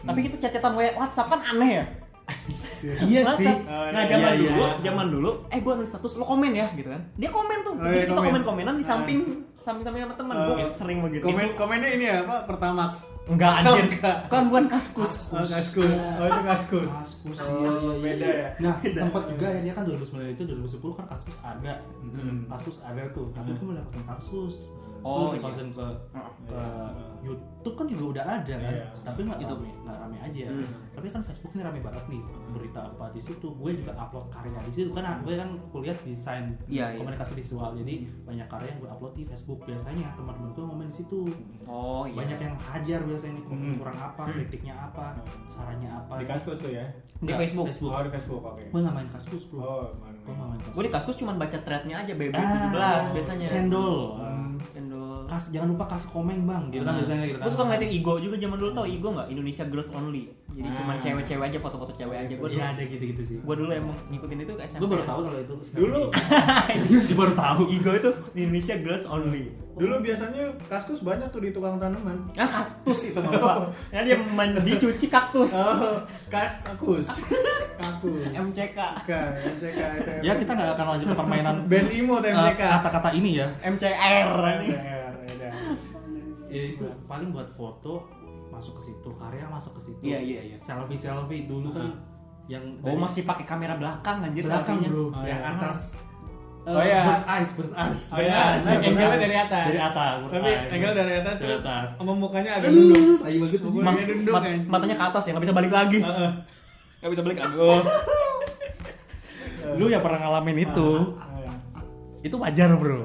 S2: Tapi kita cecetan wa- WhatsApp kan aneh ya.
S1: Iya sih.
S2: WhatsApp.
S3: Oh,
S2: Nah,
S3: iya,
S2: zaman
S1: iya,
S2: dulu,
S1: iya.
S2: zaman dulu, eh gua nulis status lo komen ya gitu kan. Dia komen tuh.
S3: Oh,
S2: Jadi
S3: iya,
S2: kita
S3: komen.
S2: komen-komenan di
S3: Ah.
S2: samping samping-samping sama teman.
S3: Oh,
S2: Gua
S3: iya.
S2: sering begitu.
S3: Komen komennya ini ya, Pak, Pertamax.
S2: Enggak anjir.
S3: Enggak.
S2: Kan bukan kaskus.
S3: Oh, kaskus. Oh, itu kaskus.
S1: Kaskus
S3: Oh,
S1: iya, iya, iya.
S3: beda ya?
S1: Nah, sempat juga akhirnya kan 2009 itu 2010 kan kasus ada.
S3: Hmm.
S1: Kasus ada tuh, Mm-hmm. Nah, tapi gue mendapatkan kasus.
S2: Oh,
S1: Lu
S2: iya.
S1: konsen ke ke
S3: Iya.
S1: YouTube kan juga udah ada kan,
S3: Iya.
S1: tapi nggak
S2: YouTube.
S1: rame, nggak rame aja.
S2: Hmm.
S1: Tapi kan Facebook ini rame banget nih berita apa di situ. Gue juga upload karya di situ kan, gue kan kuliah desain
S2: Iya, Hmm. iya.
S1: komunikasi visual, jadi banyak karya yang gue upload di Facebook. Facebook biasanya teman-teman gue ngomen di situ
S2: oh iya
S3: ya.
S1: banyak yang hajar biasanya ini komen
S3: Hmm.
S1: kurang apa kritiknya apa
S3: Hmm.
S1: sarannya apa
S3: Di kaskus tuh ya?
S2: di
S1: Nggak,
S2: Facebook
S1: Facebook
S3: Oh, di Facebook, oke.
S1: gue nggak main kaskus bro
S3: Oh,
S1: gue nggak
S3: mana
S1: main kaskus
S2: gue di kaskus cuma baca threadnya aja BB
S1: Ah,
S2: 17 biasanya Hmm.
S1: cendol Eh,
S2: cendol
S1: Kas- jangan lupa kasih komen bang gitu kan
S2: Nah,
S1: biasanya gitu kan
S2: Gue suka ngeliatin Igo juga zaman dulu tau Igo nggak Indonesia Girls Only. Jadi
S3: Ah.
S2: cuman cewek-cewek aja foto-foto cewek aja. Gue dulu,
S1: Iya, ada gitu-gitu sih
S2: gua dulu emang ngikutin itu ke SMP.
S1: gue baru
S2: [laughs]
S1: tahu kalau itu sekarang.
S3: Dulu.
S1: serius gue baru tahu
S2: Igo itu di Indonesia Girls Only.
S3: Dulu biasanya kaskus banyak tuh di tukang tanaman.
S2: Nah kaktus itu bapak. Nah dia mandi cuci kaktus.
S3: Oh, ka-
S2: [laughs]
S3: kakus. Kakus.
S2: MCK.
S3: MCK, MCK.
S1: ya kita nggak akan lanjut ke permainan
S3: [laughs] Band Imo atau
S1: eh,
S3: MCK?
S1: kata-kata ini ya
S2: MCR nih.
S3: LDR, LDR.
S2: Iya,
S1: ya itu paling buat foto masuk ke situ karya masuk ke situ
S2: Iya iya iya.
S1: selfie selfie dulu kan yang
S2: Oh
S1: dari
S2: masih pakai kamera belakang anjir
S1: belakang
S2: selfie-nya.
S1: bro
S3: Oh,
S1: yang
S3: iya.
S1: atas Eh,
S3: Oh, iya.
S1: bird eyes bird eyes
S3: Oh, iya. Angle-nya
S1: eyes.
S3: dari atas.
S1: dari atas bird
S3: Tapi
S1: eyes.
S3: angle dari atas
S1: dari
S3: tuh
S1: atas
S3: sama mukanya agak duduk.
S1: aduh tai banget
S3: Umur-
S2: Ma-
S3: Dia duduk,
S2: mat-
S3: anjing. Ah,
S2: matanya ke atas ya nggak bisa balik lagi.
S3: Heeh.
S2: Nggak bisa balik aduh.
S1: lu yang pernah ngalamin itu
S3: Ah,
S1: itu wajar bro
S2: Iya.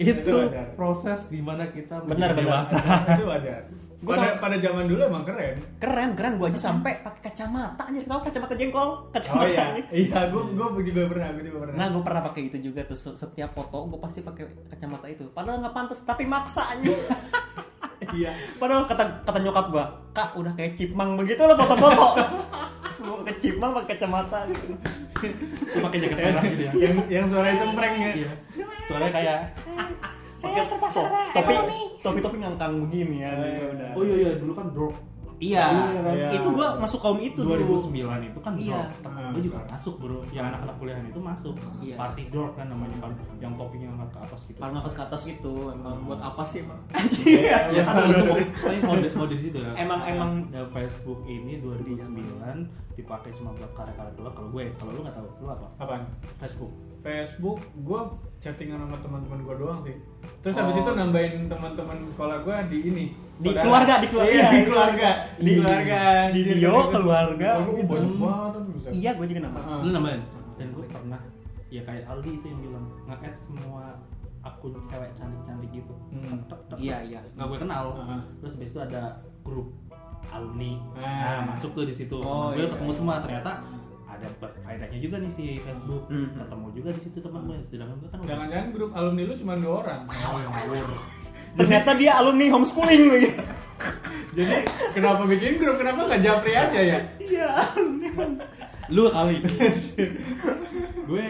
S3: Itu ada.
S1: itu proses dimana kita
S2: Benar,
S1: menjadi
S2: benar.
S1: dewasa
S3: Itu ada.
S2: Gua
S3: Pada,
S2: sama-
S3: pada zaman dulu emang keren.
S2: Keren keren gua aja sampai pakai kacamata anjir tahu kacamata jengkol kacamata.
S3: Oh iya,
S2: ini.
S3: [laughs] iya, gue gue juga pernah, gue juga pernah.
S2: Nah, gue pernah pakai itu juga tuh. Se- Setiap foto gue pasti pakai kacamata itu. Padahal nggak pantas, tapi maksanya.
S3: iya,
S2: [laughs] Padahal kata kata nyokap gue, kak udah kayak cipmang begitu lo foto-foto. [laughs] Mau ke cipmang pakai kacamata.
S1: Lu pakai
S2: Nah,
S1: jaket
S3: yang,
S1: merah gitu ya
S3: yang, yang suaranya cempreng ya.
S1: Iya. suaranya kayak
S2: Eh, Saya terpaksa topi, topi topi ngangkang begini ya.
S3: Oh, iya,
S2: Iya,
S3: udah.
S1: oh iya iya dulu kan drop
S2: Iya.
S1: Iya, kan?
S2: Itu gue masuk kaum itu dulu.
S1: 2009 itu kan
S2: Iya.
S1: dork. Gue juga masuk bro, yang anak-anak kuliahan itu masuk.
S2: Iya.
S1: Party dork kan namanya kan, yang topinya angkat ke atas gitu.
S2: Kalau ngangkat ke atas gitu, emang buat apa sih emang?
S3: Iya,
S1: Ya
S3: iya.
S1: kan untuk paling mode mode di situ ya.
S2: Emang- emang-
S1: Ya, Facebook ini 2009 dipakai cuma buat karya-karya doang. Kalau gue, kalau lu nggak tahu, lu apa?
S3: Apaan?
S1: Facebook.
S3: Facebook, gue chattingan sama teman-teman gue doang sih.
S2: Oh.
S3: Terus habis itu nambahin teman-teman sekolah gue di ini.
S2: Di
S3: saudara.
S2: keluarga, di keluarga.
S3: Iya, di keluarga. Di
S2: Di-
S3: keluarga.
S2: di
S3: anjir.
S2: bio, keluarga,
S3: Oh,
S2: gitu.
S3: banyak banget tuh bisa.
S2: Iya, gue juga nambah.
S3: Heeh.
S1: Lu nambahin. Dan gue pernah ya kayak Aldi itu yang bilang nge-add semua akun cewek cantik-cantik gitu.
S3: Hmm.
S1: Tek, tek,
S2: Iya, iya.
S1: nggak gue kenal
S3: Heeh.
S1: terus habis itu ada grup alumni
S3: Ah.
S1: nah, masuk tuh di situ
S2: Eh.
S1: Nah,
S2: Oh,
S1: gue
S2: iya,
S1: ketemu
S2: iya.
S1: semua ternyata ada be- faedahnya juga nih si Facebook
S2: Hmm.
S1: ketemu juga di situ teman gue sedangkan gue kan udah
S3: Jangan-jangan grup alumni lu cuma dua orang.
S2: Ternyata dia alumni homeschooling gitu. lagi.
S3: Jadi kenapa bikin grup? Kenapa nggak Japri aja ya?
S2: Iya, alumni homeschooling.
S1: lu kali [laughs] gue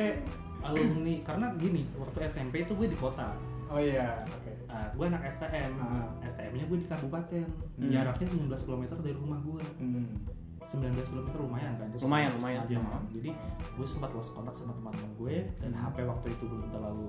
S1: alumni karena gini waktu SMP itu gue di kota
S3: Oh iya, oke.
S1: Ah, gue anak STM
S3: Ah.
S1: STM nya gue di kabupaten
S3: Hmm.
S1: jaraknya 19 km dari rumah gue
S3: Hmm.
S1: 19 km lumayan kan Terus
S2: Lumayan,
S1: terus
S2: lumayan.
S1: aja kan. jadi gue sempat lost contact sama teman-teman gue dan
S3: Hmm.
S1: HP waktu itu belum terlalu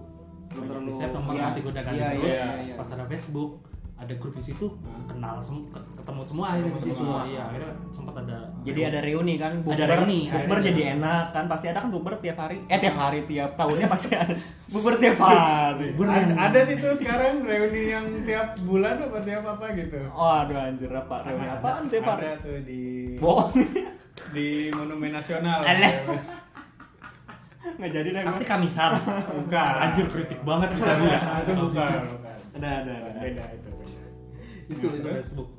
S2: Belum
S1: banyak
S2: terlalu-
S1: di save nomor
S2: iya.
S1: masih gue udah ganti
S2: Iya,
S1: terus
S3: iya,
S2: iya.
S1: pas ada Facebook ada grup di situ
S3: Hmm.
S1: kenal sem- ke- ketemu semua akhirnya di
S3: Ketemu
S1: situ
S3: semua.
S1: iya akhirnya sempat ada
S2: Jadi ada reuni kan, bukber,
S1: Ada reuni, Iya.
S2: bukber
S1: akhirnya.
S2: jadi enak kan, pasti ada kan bukber tiap hari, eh tiap hari tiap tahunnya pasti ada bukber tiap hari.
S1: Bukber.
S3: Ada, ada sih tuh sekarang reuni yang tiap bulan apa tiap apa gitu.
S2: Oh aduh anjir apa reuni
S3: Ada-
S2: apaan tiap hari?
S3: Ada tuh di
S2: Bohong, [laughs]
S3: di Monumen Nasional.
S2: Alah. nggak jadi deh.
S1: kasih
S2: gua. [laughs]
S1: kamisan
S3: Bukan.
S1: Nah. anjir kritik banget kita
S3: Bukan,
S1: nih
S3: itu bukan. bukan.
S2: Ada ada ada.
S3: Beda itu. beda.
S1: itu
S3: Nah,
S1: itu
S3: terus?
S1: Facebook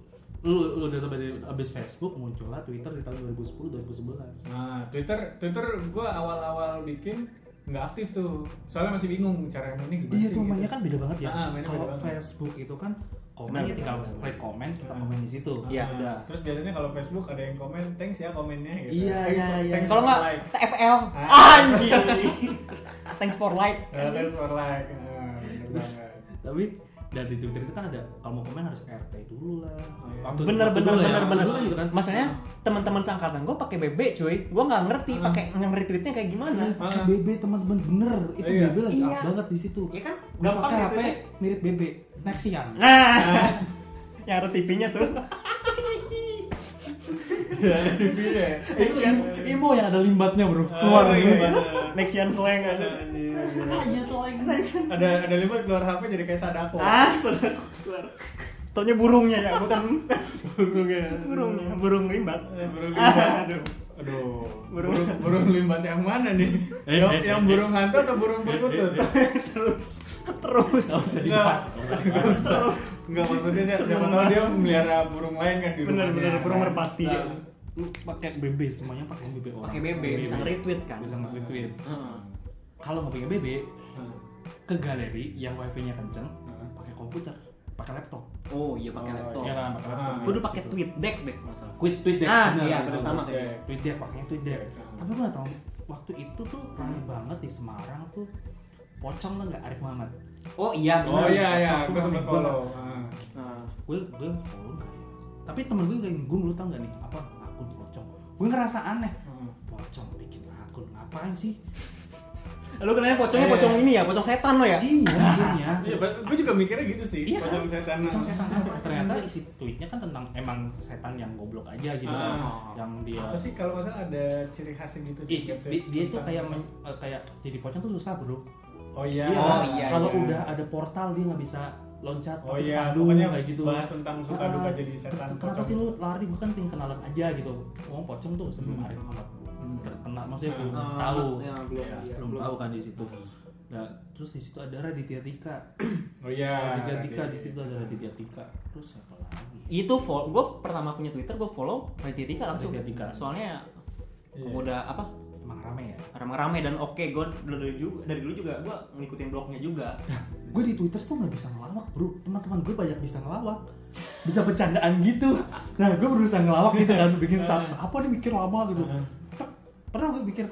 S1: lu lu udah sampai di- abis Facebook muncullah Twitter di tahun 2010 2011
S3: Nah, Twitter Twitter gua awal-awal bikin nggak aktif tuh. Soalnya masih bingung cara mainnya gimana
S1: Iya
S3: sih
S1: tuh mainnya
S3: gitu.
S1: kan beda banget ya.
S3: Ah, mainnya beda
S1: kalau
S3: banget.
S1: Facebook itu kan komen
S2: Benar,
S1: ya tinggal
S2: benar, benar.
S1: klik komen kita
S3: Ah.
S1: komen di situ.
S3: Ah,
S2: Iya,
S1: Nah, udah.
S3: Terus biasanya kalau Facebook ada yang komen, thanks ya komennya gitu.
S1: Iya,
S3: Thanks
S1: iya,
S3: for-
S1: iya.
S3: thanks
S2: Kalau
S3: for
S2: nggak
S3: like.
S2: TFL,
S3: Ah.
S2: anjir.
S3: [laughs]
S2: Thanks for like.
S3: Eh, thanks for like. Ah, bener banget.
S1: Tapi dari Twitter itu kan ada kalau mau komen harus RT dulu lah.
S3: Oh, iya. Ah.
S1: Waktu
S2: Bener
S1: waktu
S2: bener
S1: dulu ya,
S2: bener
S1: waktu
S2: bener.
S1: dulu kan gitu kan.
S2: Masalahnya teman-teman seangkatan gue pakai BB cuy, gue nggak ngerti
S1: Nah.
S3: Ah.
S2: pakai nge-retweetnya kayak gimana.
S1: Iya, pakai BB teman-teman bener itu
S3: Iya.
S1: BB lagi up
S2: Iya.
S1: banget di situ.
S2: Iya kan,
S1: Gak
S2: gampang
S1: pakai
S2: gitu.
S1: HP mirip BB Nexian.
S2: Nah, [laughs] yang ada TV-nya tuh.
S3: Ya, ada TV-nya ya.
S1: [laughs]
S3: Eh, iya,
S1: Itu Imo- Imo yang ada limbatnya bro
S3: Ah,
S1: keluar.
S3: Keluar
S1: gitu.
S2: Nexian slang ada.
S1: Ah, iya, tuh, like, Nexian.
S3: Ada ada libat keluar HP jadi kayak sadako.
S2: Ah, sudah keluar. Taunya burungnya ya, bukan
S3: burungnya.
S2: burungnya, burung limbat.
S3: Eh, ya. Burung limbat. Aduh. Aduh.
S2: Burung-
S3: Burung, burung limbat yang mana nih?
S1: Eh,
S3: yang,
S1: eh,
S3: yang
S1: eh,
S3: burung hantu atau burung perkutut?
S2: Terus terus nggak usah dibahas terus
S3: Enggak maksudnya dia siapa tahu dia melihara burung lain kan di rumahnya.
S4: Bener-bener burung
S3: kan?
S4: merpati.
S1: Nah, lu pakai BB semuanya pakai BB orang.
S2: pakai BB bisa nge-retweet kan
S3: Bisa nge-retweet.
S1: Ah.
S2: Heeh. kalau nggak pakai BB
S3: Hmm.
S1: ke galeri yang wifi-nya kenceng,
S3: Hmm.
S1: pakai komputer, pakai laptop.
S2: oh iya pakai
S3: Oh,
S2: laptop
S1: Iya kan, pakai laptop.
S3: Ah.
S2: Kudu pakai tweet deck deh masalah
S1: Quit tweet deck.
S2: Ah,
S1: bener,
S2: iya,
S1: bener.
S2: bener sama kayak gitu.
S1: Tweet deck, pakainya tweet deck.
S3: Hmm.
S1: Tapi gua nggak tahu waktu itu tuh ramai banget di Semarang tuh pocong lah nggak Arif Muhammad.
S2: oh iya benar
S3: Oh iya iya,
S1: Satu
S3: gue sempet
S1: sama gitu. dua.
S3: follow. Ah.
S2: Nah,
S1: Gue gue follow nggak ya? Tapi temen gue kayak gue lu tau nggak nih apa akun pocong? Gue ngerasa aneh.
S3: Hmm.
S1: Pocong bikin akun ngapain sih?
S2: lu kenanya pocongnya
S3: Iya.
S2: pocong ini ya pocong setan lo ya
S1: Iya, akhirnya.
S3: [laughs] Iya, gue juga mikirnya gitu sih.
S1: Iya kan?
S3: Pocong setan.
S1: Pocong setan apa? Ternyata isi tweetnya kan tentang emang setan yang goblok aja gitu kan.
S3: Ah.
S1: Yang dia
S3: Apa sih kalau masalah ada ciri khasnya gitu?
S1: Iya,
S3: di-
S1: dia, dia tuh kayak men- eh, kayak jadi pocong tuh susah, Bro.
S3: Oh iya.
S2: Oh, iya,
S1: kan? Kalau
S3: iya.
S1: udah ada portal dia nggak bisa loncat,
S3: Oh
S1: pasti
S3: iya,
S1: kesandung
S3: pokoknya
S1: kayak gitu.
S3: bahas tentang suka
S1: Ah,
S3: duka jadi setan,
S1: ken- Kenapa
S3: pocong.
S1: sih lu lari? Gue kan pengen kenalan aja gitu. Ngomong pocong tuh sebelum Arif Muhammad Hmm, terkenal maksudnya belum
S3: Hmm. Ah, Hmm.
S1: tahu.
S2: ya, belum
S3: Iya,
S2: iya,
S1: belum tahu kan di situ. Nah, terus di situ ada Raditya Dika.
S3: Oh iya.
S1: Raditya Dika
S3: Raditya.
S1: di situ ada Raditya Dika. Terus siapa lagi?
S2: itu follow gue pertama punya twitter gue follow Raditya Dika langsung
S1: Raditya Dika.
S2: soalnya
S3: Iya.
S2: udah apa
S1: Emang rame ya?
S2: rame-rame dan oke gue dari dulu juga dari dulu juga gue ngikutin blognya
S1: [laughs]
S2: juga
S1: gue di Twitter tuh nggak bisa ngelawak bro teman-teman gue banyak bisa ngelawak bisa bercandaan gitu nah gue berusaha ngelawak gitu kan
S3: [laughs]
S1: bikin status apa nih mikir lama gitu Tek, pernah gue mikir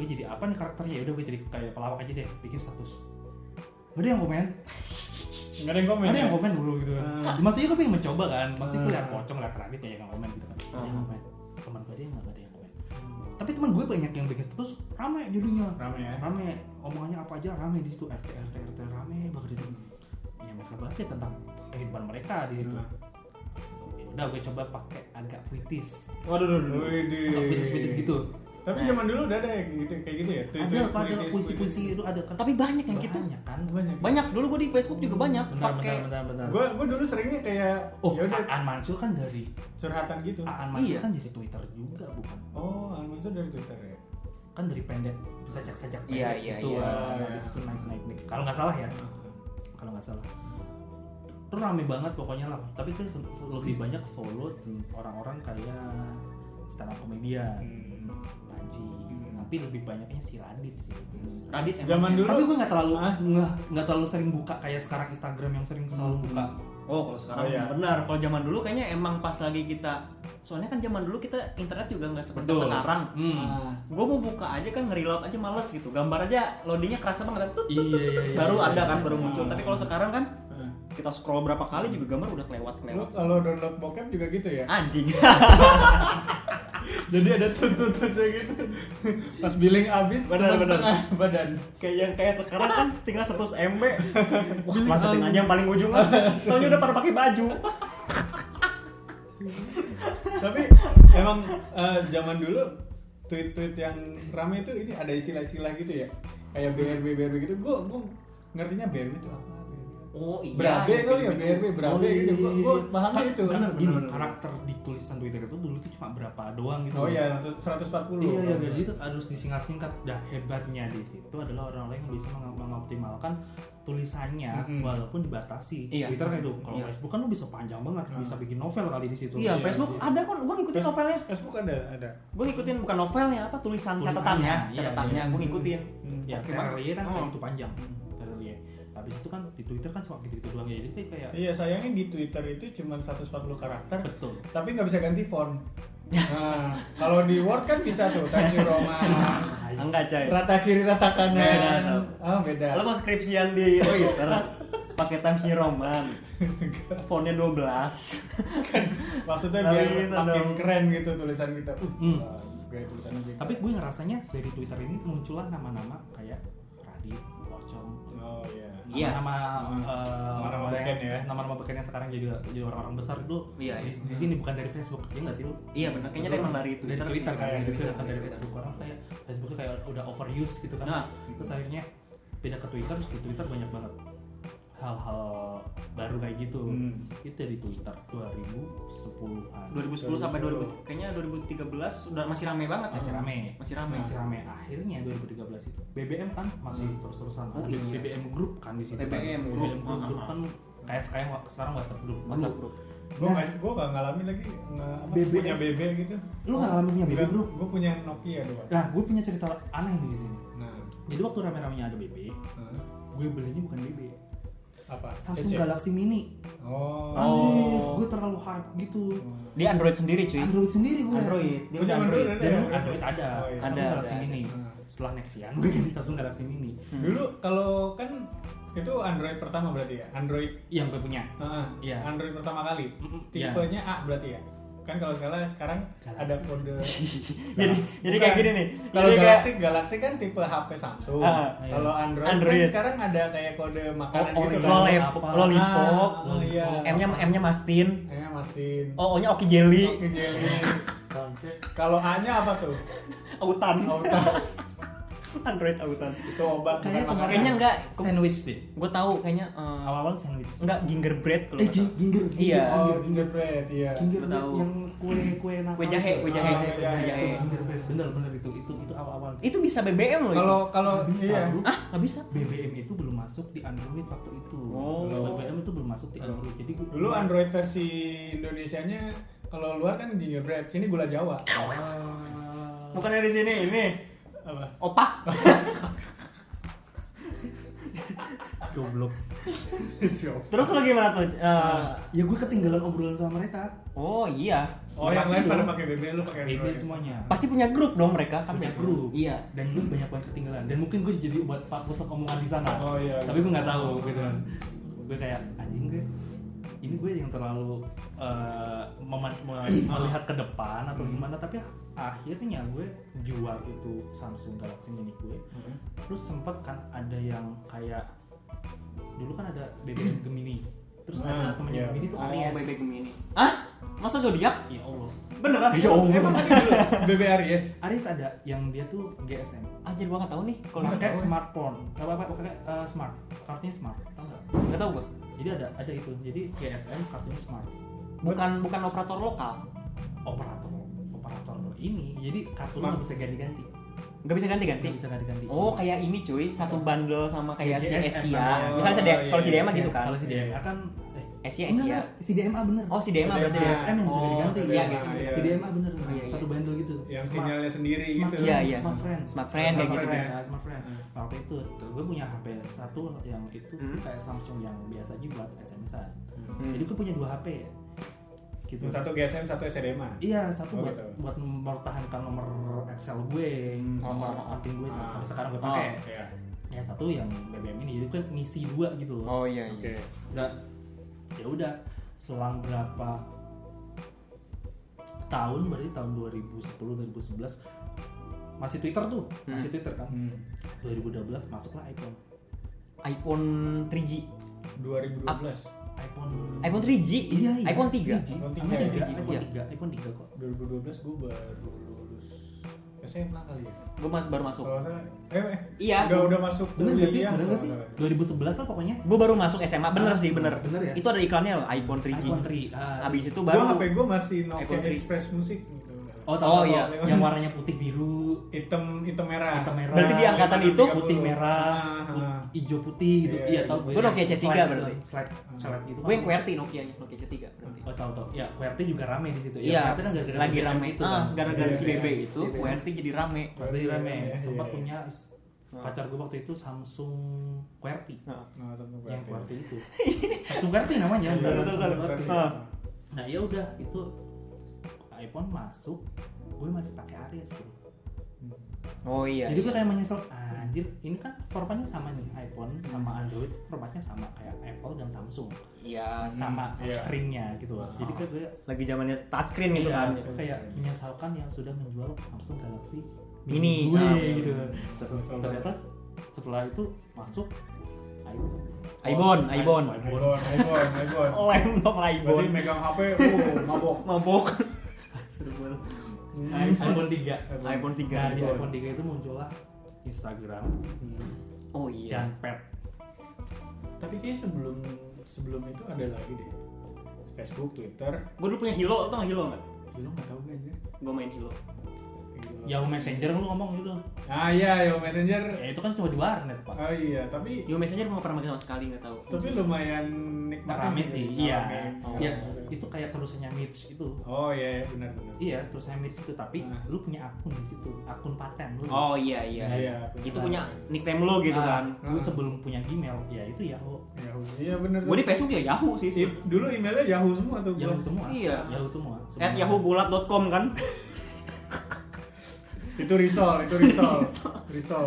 S1: gue jadi apa nih karakternya ya udah gue jadi kayak pelawak aja deh bikin status gak ada yang komen
S3: Nggak ada yang komen.
S1: gak ada
S3: ya?
S1: yang komen bro gitu kan
S3: Hmm.
S1: maksudnya gue pengen mencoba kan maksudnya gue liat
S3: Hmm.
S1: pocong liat radit kayak yang komen gitu kan Nggak ada yang
S2: Hmm.
S3: Ah.
S1: komen teman gue dia nggak ada yang komen tapi teman gue banyak yang bikin status rame jadinya
S3: Rame ya.
S1: rame omongannya apa aja rame di situ RT RT RT rame banget di situ ya mereka bahas ya tentang kehidupan mereka di
S2: Iya.
S1: situ ya udah gue coba pakai agak puitis
S2: waduh
S3: Widih.
S1: atau puitis puitis gitu
S3: Tapi zaman dulu udah ada yang gitu kayak gitu ya.
S1: ada
S3: Tweet- tweet-
S1: apa ada
S3: tweet-
S1: puisi
S3: tweet-
S1: puisi itu ada kan
S2: tapi banyak yang gitu
S1: banyak kan
S3: Banyak.
S2: banyak dulu gue di Facebook juga banyak
S1: bentar bentar
S2: pakai
S1: bentar bentar
S3: Gue gue dulu seringnya kayak
S1: oh
S3: ya udah
S1: Aan Mansur kan dari
S3: curhatan gitu.
S1: Aan Mansur
S2: Iya.
S1: kan jadi Twitter juga bukan
S3: Oh, Almanzo dari Twitter ya.
S1: kan dari pendek sajak-sajak pendek
S2: Iya, iya,
S1: gitu
S2: iya.
S1: kan. habis itu naik naik naik kalau nggak salah ya kalau nggak salah itu rame banget pokoknya lah tapi gue se- se- lebih
S3: Hmm.
S1: banyak follow di orang-orang kayak stand up komedian
S3: Hmm.
S1: Panji tapi lebih banyaknya si Radit sih
S2: Radit emang
S3: Zaman
S2: sih.
S3: dulu-
S1: tapi gue nggak terlalu
S3: Hmm. Hah?
S1: nggak nggak terlalu sering buka kayak sekarang Instagram yang sering selalu buka
S2: oh kalau sekarang
S3: Oh, iya.
S2: benar kalau zaman dulu kayaknya emang pas lagi kita soalnya kan zaman dulu kita internet juga nggak seperti sekarang
S1: Hmm.
S3: Ah.
S2: gue mau buka aja kan nge-reload aja males gitu gambar aja loadingnya kerasa banget Tut,
S1: Iya,
S2: tut, tut,
S1: iya,
S2: tut.
S1: iya,
S2: baru
S1: iya,
S2: ada
S1: iya.
S2: kan baru muncul
S3: Ah.
S2: tapi kalau sekarang kan
S3: Ah.
S2: kita scroll berapa kali juga gambar udah kelewat
S3: Lu
S2: kelewat
S3: kalau download bokep juga gitu ya?
S2: anjing [laughs]
S3: Jadi ada tuntutannya
S1: [laughs]
S3: gitu. Pas billing habis
S2: Benar,
S3: cuma
S2: benar.
S3: setengah badan.
S2: kayak yang kayak sekarang kan tinggal 100 [laughs] MB wah lancetin aja yang paling ujung [laughs] lah soalnya udah pada pakai baju
S1: [laughs]
S3: Tapi emang eh, zaman dulu tweet-tweet yang rame itu ini ada istilah-istilah gitu ya. Kayak BRB BRB gitu. Gua gua ngertinya BRB itu apa?
S2: oh iya
S3: Berabe
S2: yang
S3: kali ya
S2: gitu-gitu.
S3: BRB, berabe
S1: iya,
S3: gitu. Gua
S1: iya,
S3: gua
S1: iya.
S3: pahamnya
S1: Kan-
S3: itu.
S1: Karena gini,
S2: Bener-bener.
S1: karakter di tulisan Twitter itu dulu tuh cuma berapa doang gitu.
S3: Oh iya, 140.
S1: Iya, iya, jadi itu harus disingkat-singkat. Nah, hebatnya di situ adalah orang-orang yang bisa meng- mengoptimalkan tulisannya
S3: Mhm.
S1: walaupun dibatasi.
S2: Iya.
S1: Twitter kayak itu. Kalau
S2: Iya. Ah.
S1: Facebook kan lu bisa panjang banget, bisa bikin novel kali di situ.
S2: iya Facebook
S3: iya.
S2: ada kan gue ngikutin novelnya
S3: Facebook ada ada.
S2: gue ngikutin bukan novelnya apa tulisan
S1: Tulisannya,
S2: catatannya
S1: iya,
S2: catatannya
S1: iya.
S2: gue ngikutin
S3: Hmm.
S1: Ya,
S2: Oke banget.
S1: TRLY kan kayak
S2: Oh.
S1: gitu panjang. TRLY. Habis itu kan di Twitter kan cuma gitu-gitu doang ya. Jadi kayak
S3: Iya, sayangnya di Twitter itu cuma 140 karakter.
S1: Betul.
S3: Tapi nggak bisa ganti font. Nah, kalau di Word kan bisa tuh, Times New Roman.
S2: enggak cai
S3: rata kiri rata
S2: Beda,
S3: kanan
S2: Sob.
S3: ah beda
S2: lo mau skripsian [laughs] di Twitter pakai Times New Roman fontnya 12
S3: maksudnya
S2: Tapi
S3: biar
S2: bisa
S3: makin
S2: dong.
S3: keren gitu tulisan kita uh
S1: Hmm.
S3: gaya tulisannya gitu. beda
S1: Tapi gue ngerasanya dari Twitter ini kemunculan nama-nama kayak Radit, Pocong,
S3: oh iya
S2: Iya.
S1: nama
S3: Hmm. Nama-nama beken ya.
S1: nama-nama beken yang sekarang jadi jadi orang-orang besar itu
S2: Iya,
S1: di,
S2: iya.
S1: di sini bukan dari Facebook ya nggak sih lu
S2: Iya, benar. Kayaknya
S1: Betul
S2: emang
S1: kan?
S2: dari Twitter
S1: dari Twitter
S2: sih.
S1: kan
S3: Iya,
S1: dari Twitter
S2: Twitter,
S1: bukan dari
S2: Twitter.
S1: Facebook orang kayak Facebook tuh kayak udah overuse gitu kan
S2: Nah.
S1: terus akhirnya pindah ke Twitter terus di Twitter banyak banget hal-hal baru baru kayak gitu
S3: Hmm.
S1: itu dari Twitter 2010-an
S2: 2010 sampai 2000 kayaknya 2013 udah masih rame banget
S1: masih
S2: ya?
S1: rame
S2: masih rame
S1: masih rame akhirnya 2013 itu BBM kan masih terus-terusan
S2: Oh,
S1: Ada
S2: iya.
S1: BBM grup kan di situ kan.
S2: BBM grup.
S1: BBM grup, grup
S2: Ah, ah,
S1: kan kayak sekarang sekarang WhatsApp grup Dulu
S2: WhatsApp grup
S3: Gue gak, gua gak ngalamin lagi nge- apa,
S1: BB.
S3: punya BB gitu.
S1: Lu nggak ngalamin punya BB, bro?
S3: Gue punya Nokia doang.
S1: Nah, gue punya cerita aneh nih di sini.
S3: Nah,
S1: Jadi waktu rame-ramenya ada BB,
S3: nah,
S1: gue belinya bukan BB,
S3: apa?
S1: Samsung
S3: Cece?
S1: Galaxy Mini.
S3: Oh.
S2: Ah.
S1: Android, gue terlalu hype gitu.
S2: di Android sendiri cuy
S1: Android sendiri gue.
S2: Android dia
S3: Gua
S2: udah
S3: zaman dulu
S2: Android
S3: ada
S1: Dan
S3: ya?
S1: memang Android ada, Hmm.
S3: Oh, iya.
S1: Samsung
S2: Ada,
S1: Galaxy
S2: ada,
S1: Mini.
S3: ada.
S1: Setelah Nexian, gue ganti Samsung Galaxy Mini.
S3: Dulu kalau kan itu Android pertama berarti ya? Android
S1: Yang gue punya.
S3: Heeh,
S1: Iya.
S3: Android pertama kali.
S1: Mm-mm, iya.
S3: Tipenya A berarti ya. Kan kalau sekarang sekarang
S1: Galaxy.
S3: ada kode.
S2: jadi jadi kayak
S3: Nah. Bukan.
S2: gini nih jadi
S3: Kalau
S2: kayak
S3: Galaxy Galaxy kan tipe HP Samsung.
S2: Ah,
S1: iya.
S3: Kalau Android, kan
S2: Android. iya.
S3: sekarang ada kayak kode
S1: Oh,
S3: makanan gitu
S1: Oreo.
S3: kan.
S2: lolep
S1: apa?
S2: lollipop
S3: Ah, oh, iya.
S2: M nya M nya Mastin
S3: Ya, Mastin.
S2: O nya Oki Jelly
S3: Oke, Jelly. Kalau A-nya apa tuh?
S2: Autan
S3: [laughs] Autan.
S2: Android Autan
S3: Itu obat bukan
S1: Kayaknya
S3: makanan.
S1: kemarin-
S2: kayaknya enggak
S1: Sandwich deh.
S2: gue tahu kayaknya eh,
S1: Awal-awal sandwich.
S2: enggak gingerbread kalau
S1: Eh,
S2: nggak
S1: gi-
S2: salah.
S1: ginger. ginger,
S2: Iya.
S1: ginger,
S3: Oh,
S1: ginger.
S3: gingerbread, iya.
S1: Ginger
S2: Gua tahu. Hmm.
S1: yang kue kue nakal.
S2: Kue jahe, kue jahe,
S1: Ah,
S3: kue jahe.
S1: itu gingerbread. Bener bener itu itu itu awal-awal.
S2: itu bisa BBM loh
S3: Kalau kalau
S1: Nggak bisa,
S3: iya.
S1: Bro.
S2: itu. ah nggak bisa
S1: BBM itu belum masuk di Android waktu itu.
S2: Oh.
S1: BBM itu belum masuk di Android. Jadi gua-
S3: Dulu Android versi Indonesianya kalau luar kan gingerbread, sini gula Jawa.
S1: Ah.
S2: bukannya di sini ini
S3: Apa?
S2: opak
S1: Ah,
S3: [laughs]
S1: Goblok.
S2: terus lo gimana tuh Eh,
S1: Ya gue ketinggalan obrolan sama mereka.
S2: oh iya
S3: Oh,
S1: Ya,
S3: yang
S1: pasti
S3: lain pada
S1: dong.
S3: pakai BB lu pakai
S1: BB
S3: Android.
S1: semuanya.
S2: pasti punya grup dong mereka kan
S1: punya grup.
S2: iya
S1: Dan gue banyak banget ketinggalan. Dan mungkin gue jadi buat pak pusat omongan di sana.
S3: Oh, iya.
S1: Tapi gue nggak tahu gitu. Gue kayak anjing gue. Ini gue yang terlalu eh, mema- me- melihat ke depan atau
S3: Hmm.
S1: gimana. Tapi akhirnya gue jual itu Samsung Galaxy Mini gue.
S3: Hmm.
S1: Terus sempet kan ada yang kayak dulu kan ada
S3: [clears throat]
S1: BBM Gemini. Terus ada
S3: Ah,
S1: temennya
S3: iya.
S1: Gemini tuh Aries.
S2: Oh, Gemini ah masa zodiak
S1: Ya Allah.
S2: beneran
S3: Iya.
S1: Ya Allah.
S3: Emang ada [laughs] dulu BB Aries.
S1: Aries ada yang dia tuh GSM.
S2: anjir gua nggak tahu nih kalau
S1: Kalau pakai
S2: nggak
S1: smart phone, apa apa pakai eh, smart, kartunya smart, tau nggak?
S2: nggak tahu gua
S1: Jadi ada ada itu. Jadi GSM kartunya smart.
S2: bukan bukan operator lokal
S1: Operator operator ini. Jadi kartu
S3: Smart.
S1: nggak bisa ganti-ganti.
S2: nggak bisa ganti-ganti
S1: Nggak bisa ganti-ganti.
S2: oh kayak ini cuy satu bundle sama kayak si
S1: GSM.
S2: Asia
S3: Oh,
S2: misalnya si DM
S3: iya,
S2: kalau si
S3: iya.
S2: DM mah gitu kan
S1: Kalau si DMA kan eh
S2: Asia
S1: enggak,
S2: Asia
S1: enggak, si DMA bener.
S2: ya? oh si DM mah berarti
S3: DMA.
S1: GSM yang bisa
S2: Oh,
S1: diganti.
S2: iya,
S3: DMA,
S2: GSM.
S3: iya.
S1: Si DMA bener.
S2: Oh, iya, iya.
S1: Satu bundle gitu.
S3: Yang
S1: smart.
S3: sinyalnya sendiri
S1: Smart
S3: gitu.
S1: phone.
S2: Iya, iya,
S1: smart
S2: smart-
S1: friend.
S2: smart friend,
S3: kayak gitu.
S1: friend, ya, smart friend.
S3: Hmm.
S1: Nah, Waktu itu gue punya HP satu yang itu
S2: Hmm.
S1: kayak Samsung yang biasa aja buat SMS-an.
S2: Hmm.
S1: Jadi gue punya dua HP ya. Gitu.
S3: Yang Satu GSM, satu SDMA.
S1: Iya, satu
S3: Oh,
S1: buat
S3: gitu.
S1: buat mempertahankan nomor Excel gue,
S3: Hmm.
S1: nomor
S2: Oh.
S1: accounting gue
S3: Ah.
S1: sampai sekarang gue
S2: Oh.
S1: pakai.
S3: Iya.
S1: Ya satu yang BBM ini, jadi gue ngisi dua gitu loh.
S2: oh iya
S3: Oke.
S2: iya
S3: Nah,
S1: Dan ya udah selang berapa tahun berarti tahun 2010 2011 masih Twitter tuh, masih Twitter kan.
S3: Hmm.
S1: 2012 masuklah iPhone.
S2: iPhone 3G
S3: 2012.
S1: iPhone
S2: iPhone 3G
S1: Iya, iya.
S2: iPhone 3
S1: iPhone
S3: iPhone ya? Iya.
S1: 3, iPhone 3,
S3: 3,
S2: iya.
S1: iPhone 3, iPhone 3 kok.
S3: 2012 gue baru lulus SMA kali ya.
S2: gue mas baru masuk
S3: Kalau nggak salah, eh, eh,
S2: Iya.
S3: Udah udah masuk
S1: Bener gak sih?
S3: kuliah,
S1: Bener gak sih?
S3: kalau ya? nggak salah.
S1: 2011 lah pokoknya.
S2: gue baru masuk SMA bener
S1: Ah,
S2: sih bener
S1: bener ya?
S2: itu ada iklannya loh iPhone 3G
S1: iPhone 3. ah.
S2: abis itu
S3: Gua
S2: baru
S3: HP gue masih Nokia
S2: iPhone 3.
S3: Express Music. gitu.
S1: Oh, tahu,
S2: Oh,
S1: tahu,
S2: iya.
S1: tahu. yang warnanya putih biru,
S3: Hitam hitam merah.
S1: hitam merah.
S2: Berarti di angkatan itu
S1: putih
S3: 30.
S1: merah,
S3: Iya, Ah,
S1: put-
S3: ah.
S1: hijau putih gitu.
S3: Iya,
S1: Iya,
S3: iya.
S1: tahu gue.
S2: Gua Nokia C3
S1: Slide
S2: berarti.
S1: gitu, Slide, slide gitu.
S2: gue yang QWERTY Nokia nya Nokia C3 berarti
S1: Oh, tahu tahu. Ya, QWERTY juga rame di situ.
S2: Iya,
S1: QWERTY kan gara-gara
S2: lagi
S1: BBM
S2: rame
S1: itu
S2: Ah,
S1: kan.
S2: gara-gara si
S3: Iya,
S2: BB
S1: iya.
S2: itu,
S1: Iya, iya.
S2: QWERTY jadi rame.
S1: QWERTY rame.
S3: Iya, iya,
S1: Sempat
S3: iya.
S1: punya is- pacar gue waktu itu Samsung QWERTY.
S2: Nah,
S3: Nah, satu
S1: Yang
S3: berarti.
S1: QWERTY itu. Samsung QWERTY namanya.
S3: Iya,
S1: beneran
S2: betul,
S1: Samsung
S2: betul.
S1: QWERTY.
S2: Ah.
S1: Nah, ya udah itu iPhone masuk, gue masih pakai Aries bro.
S2: Oh iya.
S1: Jadi gue kayak menyesal, anjir ini kan formatnya sama nih iPhone sama Android formatnya sama kayak Apple dan Samsung
S2: Iya.
S1: sama
S3: iya.
S1: screennya gitu loh. Jadi kayak gue
S2: Lagi zamannya touchscreen gitu
S1: iya,
S2: kan.
S1: gue kayak menyesalkan yang sudah menjual Samsung Galaxy
S2: Mini,
S1: gue
S2: ah.
S1: gitu. Terus
S3: Betul.
S1: ternyata setelah itu masuk iPhone.
S2: iPhone, iPhone.
S3: iPhone, iPhone, iPhone.
S1: Oh,
S2: Oleh dong
S3: Berarti
S2: iPhone.
S3: megang HP, uh, mabok.
S2: Mabok. [laughs] Seru banget.
S1: iPhone 3.
S2: Iya, iPhone
S1: Nah, di
S2: 3.
S1: iPhone 3 itu muncullah Instagram
S3: Hmm.
S2: Oh
S1: dan
S2: iya.
S1: Pad.
S3: Tapi kayaknya sebelum sebelum itu ada lagi deh Facebook Twitter
S2: Gue dulu punya Hilo, tau gak Hilo gak?
S3: ya lo nggak tahu gue aja
S2: Gue main Hilo
S1: Yahoo Messenger lu ngomong gitu.
S3: ah iya yo messenger
S1: Ya itu kan cuma di warnet, Pak.
S3: oh iya tapi
S2: Yo Messenger gue gak pernah pakai sama sekali, gak tau
S3: tapi lumayan nikmat
S1: Rame sih, iya.
S2: Oh.
S1: Iya, itu kayak terusannya Mirch itu.
S3: oh iya iya, benar benar
S1: Iya, terusannya Mirch itu, tapi
S3: Ah.
S1: lu punya akun di situ, akun paten lu.
S2: Oh iya iya
S3: Iya,
S2: Itu
S3: benar.
S2: punya nickname lo gitu
S1: Ah,
S2: kan
S1: Lu
S3: Ah.
S1: sebelum punya Gmail, ya itu Yahoo.
S3: Yahoo iya benar
S2: Gue di Facebook ya Yahoo sih
S3: I- dulu emailnya Yahoo semua tuh gua
S1: Yahoo semua.
S2: Iya.
S1: Yahoo semua.
S2: At
S1: sebenarnya.
S2: yahoobulat.com [laughs] kan
S3: itu risol itu
S1: [laughs]
S3: risol risol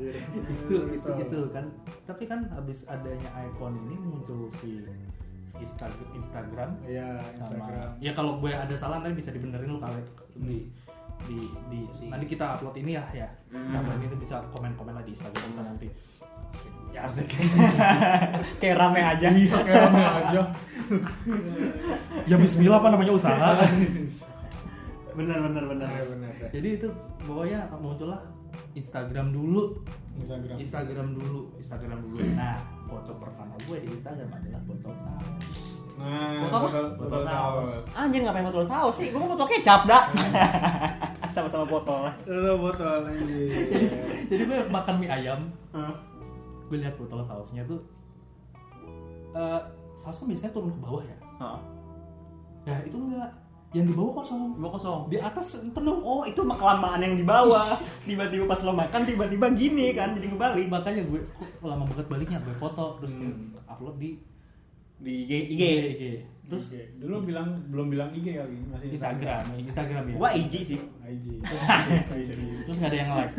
S1: [laughs] itu itu itu kan tapi kan habis adanya iPhone ini muncul si Instagram Instagram
S3: iya Instagram
S1: sama ya kalau gue ada salah nanti bisa dibenerin lu kali di di, di
S2: Si-
S1: nanti kita upload ini ya ya
S2: Hmm.
S1: Nah, nanti lu bisa komen komen lah di Instagram kita
S2: Hmm.
S1: nanti ya asik
S2: Kayak rame aja
S1: [laughs] Iya.
S3: Kayak Iya, rame aja
S1: ya Bismillah apa namanya usaha
S2: Bener bener Iya, bener
S3: benar Iya, benar
S1: [laughs] jadi itu pokoknya muncullah Instagram dulu
S3: Instagram
S1: Instagram dulu Instagram dulu nah foto pertama gue di Instagram adalah foto sama
S3: nah
S2: Botol apa?
S3: botol-
S1: Botol
S3: botol
S1: saus.
S3: saus
S2: Anjir ngapain botol saus sih? Gue mau botol kecap [laughs] dah Sama-sama botol
S3: Itu botol anjir
S1: jadi gue makan mie ayam
S2: Hah?
S1: gue lihat botol sausnya tuh eh sausnya biasanya turun ke bawah ya
S2: Heeh.
S1: nah itu enggak yang di bawah kosong
S2: Gua kosong
S1: di atas penuh
S2: Oh itu mah kelamaan yang di bawah Tiba-tiba pas lo makan tiba-tiba gini kan Jadi kebalik
S1: makanya gue kok lama banget baliknya gue foto terus gue
S3: Hmm.
S1: upload di
S2: Di IG, IG.
S1: IG. terus
S3: Oke, dulu bilang belum bilang IG kali masih
S1: Instagram Instagram ya
S2: Gua IG sih
S1: [laughs]
S3: IG IG
S1: terus nggak ada yang like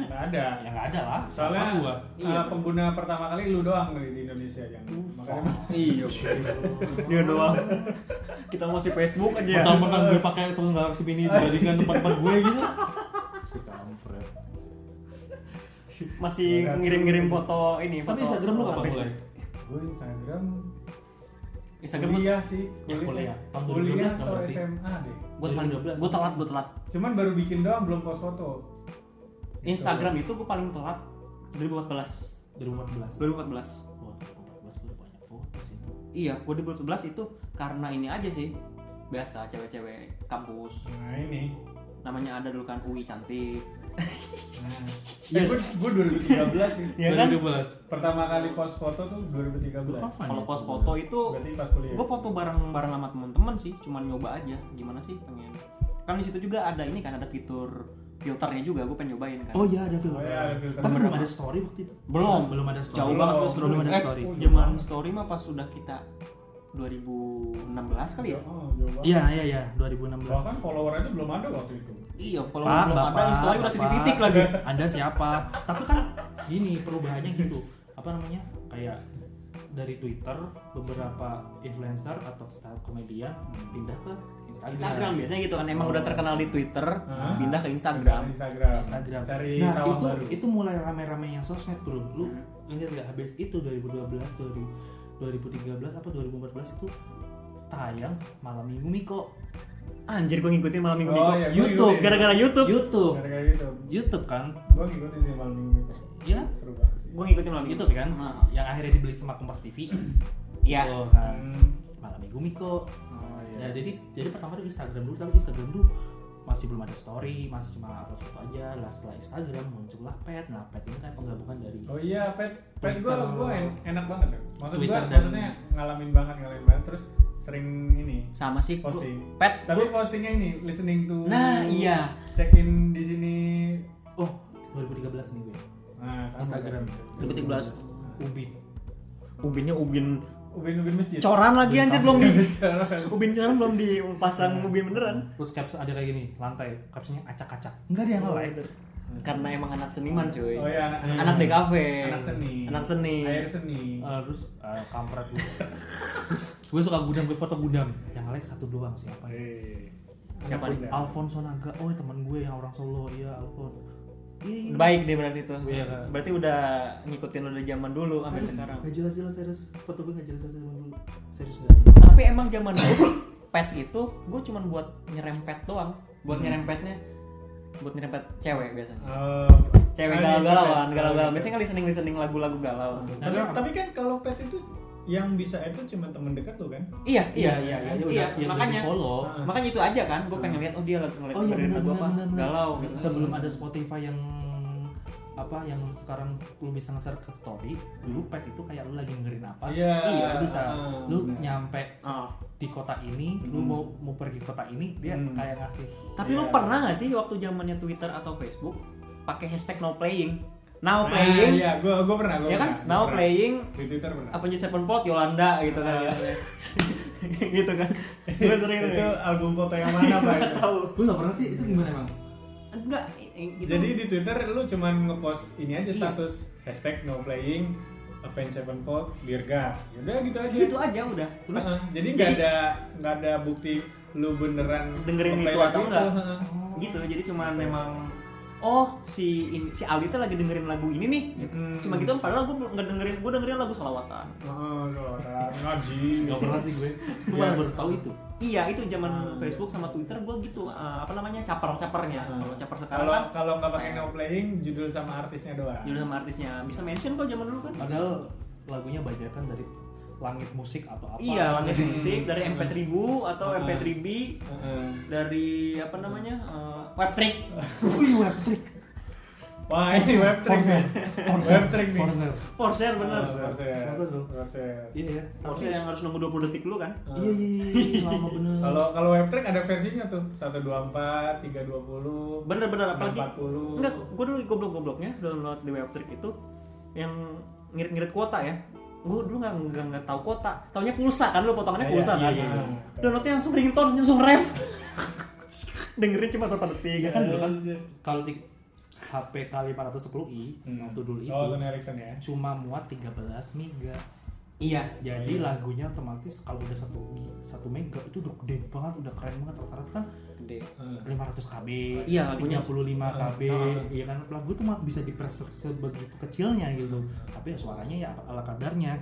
S3: nggak ada
S1: ya nggak ada lah
S3: soalnya
S1: Siapa gua
S3: eh,
S2: Iya.
S3: pengguna pertama kali lu doang kali di Indonesia yang makanya
S2: Iya Dia doang Kita masih Facebook aja
S1: mentang-mentang gue pakai Samsung Galaxy Mini dibandingkan tempat-tempat gue gitu si kampret
S2: Masih ngirim-ngirim foto ini
S1: tapi
S2: foto-
S1: Instagram lu
S2: foto
S1: kapan
S2: Facebook.
S1: mulai
S3: gue Instagram
S2: Instagram gua,
S3: kuliah sih
S1: Ya, kuliah. Tahun
S3: kuliah
S1: 2012 dong
S3: atau
S1: berarti.
S3: SMA deh
S2: gua paling
S1: 2012.
S2: Gua telat, gua telat
S1: Iya.
S3: cuman baru bikin doang belum post foto Gitu.
S2: Instagram itu gua paling telat 2014
S1: 2014
S2: 2014
S1: Wah, 2014 gue banyak foto sih itu.
S2: Iya, gua 2014 itu karena ini aja sih Biasa cewek-cewek kampus
S3: nah ini
S2: Namanya ada dulu kan UI cantik
S3: nah.
S1: Iya.
S3: Eh, gue gue 2013 sih
S2: Iya kan?
S1: 2012.
S3: pertama kali post foto tuh 2013
S1: Kapan
S2: Kalau
S1: ya?
S2: post foto itu
S3: berarti iya. pas kuliah
S2: gue foto bareng bareng sama teman-teman sih cuman nyoba aja gimana sih pengen kan di situ juga ada ini kan ada fitur filternya juga gue pengen nyobain kan
S1: Oh iya ada film.
S3: Oh iya, ada filter.
S1: Tapi belum
S2: Berapa?
S1: ada story waktu itu.
S2: belum
S1: belum ada story.
S2: jauh
S3: Belum.
S2: banget terus
S1: Belum ada
S2: eh,
S1: story.
S3: Oh,
S2: zaman
S3: jauh banget.
S2: story mah pas sudah kita 2016 kali ya
S3: Oh, jauh banget.
S1: Iya iya iya 2016.
S3: bahkan followernya belum ada waktu itu
S2: iya kalau
S1: Pak,
S2: belum ada
S1: Bapak,
S2: yang story udah
S1: Bapak.
S2: titik-titik lagi
S1: Anda siapa? Tapi kan gini perubahannya gitu. Apa namanya? Kayak dari Twitter beberapa influencer atau star komedian pindah ke Instagram.
S2: Instagram biasanya gitu kan emang udah terkenal di Twitter
S3: Hah?
S2: pindah ke Instagram
S3: Instagram.
S1: Instagram.
S3: Cari
S1: nah,
S3: sawah
S1: itu
S3: baru.
S1: itu mulai rame-rame yang sosmed, Bro. Lu
S2: Hmm.
S1: lihat nggak habis itu 2012 2000, 2013 apa 2014 itu tayang malam Minggu Miko.
S2: anjir gue ngikutin malam minggu
S3: Oh,
S2: minggu
S3: iya, gua
S2: YouTube
S3: ngikutin.
S2: gara-gara YouTube
S1: YouTube.
S3: Gara-gara itu.
S1: YouTube kan?
S3: Gua ngikutin sih malam minggu itu.
S1: Iya.
S3: Seru banget sih.
S2: gue ngikutin malam
S1: YouTube kan?
S2: Ah.
S1: Yang akhirnya dibeli sama Kompas TV.
S2: iya
S1: Tuh kan.
S3: Hmm.
S1: Malam Minggu Miko.
S3: Oh iya.
S1: Ya, jadi jadi pertama tuh Instagram dulu, tapi Instagram dulu masih belum ada story, masih cuma upload foto aja. Lah setelah Instagram muncullah Pet. Nah, Pet ini kayak penggabungan dari
S3: Oh iya, pet pet gua
S1: Twitter.
S3: gua en- enak banget ya. Maksud
S1: Twitter
S3: gua
S1: dan-
S3: maksudnya ngalamin banget ngalamin banget terus sering ini
S2: sama sih gua-
S3: posting.
S2: pet
S3: Tapi
S2: gua-
S3: postingnya ini listening to
S2: Nah, iya.
S3: Check in di sini.
S1: oh 2013 nih gue.
S3: Nah, sama
S1: Instagram.
S3: kan.
S2: 2013.
S1: Ubin.
S2: ubinnya ubin
S3: Ubin-ubin masjid.
S2: coran lagi
S1: Ubin
S2: anjir
S1: tahu.
S2: belum di ubin coran belum dipasang ubin beneran Ya,
S1: Terus caps ada kayak gini, lantai captionnya acak-acak. Enggak ada yang like.
S2: karena emang anak seniman cuy
S3: Oh iya, anak,
S2: anak DKV
S3: Anak seni.
S2: anak seni
S3: Air seni.
S1: Eh, terus eh, kampret [laughs] gue. gue suka gudam, gue foto gudam. Yang like satu doang siapa ya?
S3: Eh,
S2: Siapa
S3: anak
S1: Iya.
S2: nih?
S3: muda.
S1: Alfonso Naga, oh teman gue yang orang Solo, iya Alfon. Iya, iya.
S2: Udah baik deh berarti tuh
S1: Iya, kan.
S2: berarti udah ngikutin lo dari zaman dulu sampai
S1: Serius,
S2: sekarang
S1: Gak jelas-jelas serius, foto gue gak jelas-jelas sama dulu. Serius gak ada.
S2: tapi emang zaman dulu pet itu gue cuman buat nyerempet doang buat
S3: Hmm.
S2: nyerempetnya buat nyerempet cewek biasanya
S3: Eh,
S2: cewek
S3: ah, iya,
S2: galau galauan
S3: pet.
S2: galau galau
S3: Ah, iya.
S2: biasanya kan listening listening lagu-lagu galau tuh.
S1: Nah,
S3: Tapi,
S1: kan-
S3: tapi kan kalau pet itu yang bisa add tuh cuma temen dekat lo kan
S2: Iya, iya, iya, iya,
S1: udah-
S2: iya,
S1: ya udah
S2: makanya,
S1: di-follow.
S3: Ah.
S2: makanya itu aja kan, gue pengen lihat oh dia lagi ngeliat
S1: Oh iya
S2: dengerin
S1: benar
S2: lagu apa,
S1: benar benar.
S2: galau gitu.
S1: Sebelum ada Spotify yang apa yang sekarang lu bisa nge-share ke story, dulu pet itu kayak lu lagi dengerin apa?
S3: Iya,
S1: Iya, bisa.
S3: ah,
S1: lu
S3: benar.
S1: nyampe
S2: Ah.
S1: di kota ini, lu
S3: Hmm.
S1: mau mau pergi kota ini, dia
S3: Hmm.
S1: kayak ngasih
S2: Tapi lu
S3: Iya.
S2: pernah gak sih waktu zamannya Twitter atau Facebook pakai hashtag no playing? Now
S3: Nah,
S2: playing,
S3: iya gue gue pernah gue
S2: ya kan?
S3: pernah, gua
S2: Now
S3: pernah.
S2: playing
S3: di twitter pernah
S2: apa Avenged Sevenfold Yolanda gitu kan
S3: Ah.
S2: gitu, [laughs] gitu kan gue sering itu
S3: iya. [laughs] itu album foto yang mana pak itu?
S2: [laughs] tahu
S1: Lu gak pernah sih itu gimana emang?
S2: enggak i- gitu. itu
S3: jadi di twitter lu cuman ngepost ini aja
S2: Iya.
S3: status hashtag no playing Avenged Sevenfold Dirga udah gitu aja
S2: gitu aja udah terus
S3: Heeh, jadi nggak ada nggak ada bukti lu beneran
S2: Dengerin
S3: nge-play
S2: itu
S3: lagu
S2: atau enggak?
S3: heeh.
S2: gitu jadi cuman memang oh si in- si Aldi tuh lagi dengerin lagu ini nih gitu.
S3: Mm.
S2: cuma gitu padahal gue nggak dengerin gue dengerin lagu selawatan
S3: [laughs] Heeh, saudara, ngaji
S1: Gak pernah sih [laughs] gue. Gue
S3: Iya.
S1: malah baru tahu itu.
S2: iya itu
S3: Ah,
S2: zaman
S3: iya.
S2: Facebook sama Twitter gue gitu eh, apa namanya caper capernya
S3: Ah.
S2: kalau caper sekarang
S3: kalau
S2: kan
S3: kalau nggak pakai no playing judul sama artisnya doang
S2: judul sama artisnya bisa mention kok zaman dulu kan
S1: Padahal lagunya bajakan dari langit musik atau apa? Hmm.
S2: iya langit musik dari MP3 atau
S3: Ah.
S2: MP3 b
S3: Heeh.
S2: dari apa namanya eh, webtrick
S1: [laughs] Wih, web trick.
S3: wah ini web trick nih. web trick nih
S1: For sale.
S2: for share bener
S3: Oh, for sale.
S1: For sale.
S3: For sale.
S1: Iya ya.
S3: Ah.
S2: for share yang harus nunggu 20 detik dulu kan
S1: Iya iya iya, lama bener.
S3: kalau kalau web trick ada versinya tuh 124 320
S2: bener-bener apalagi
S3: 40.
S2: enggak gue dulu goblok-gobloknya download di webtrick itu yang ngirit-ngirit kuota ya gue dulu nggak nggak nggak tahu kuota taunya pulsa kan lo potongannya
S3: Iya,
S2: pulsa
S3: iya,
S2: kan
S3: iya, iya.
S2: downloadnya langsung ringtone langsung ref [laughs] dengerin cuma berapa detik
S1: Iya
S2: kan
S1: kan dulu kan kalau di HP kali 410i waktu dulu itu
S3: oh Sony Ericsson ya
S1: cuma muat 13 mega.
S2: iya
S1: Jadi
S3: Oh, iya.
S1: lagunya otomatis kalau udah satu satu mega itu udah gede banget, udah keren banget rata-rata kan
S2: gede
S1: 500 KB,
S2: Iya, lagunya.
S1: 35 KB,
S3: Heeh.
S1: iya kan lagu tuh mah bisa dipreser sebegitu kecilnya gitu. Tapi ya suaranya ya ala kadarnya.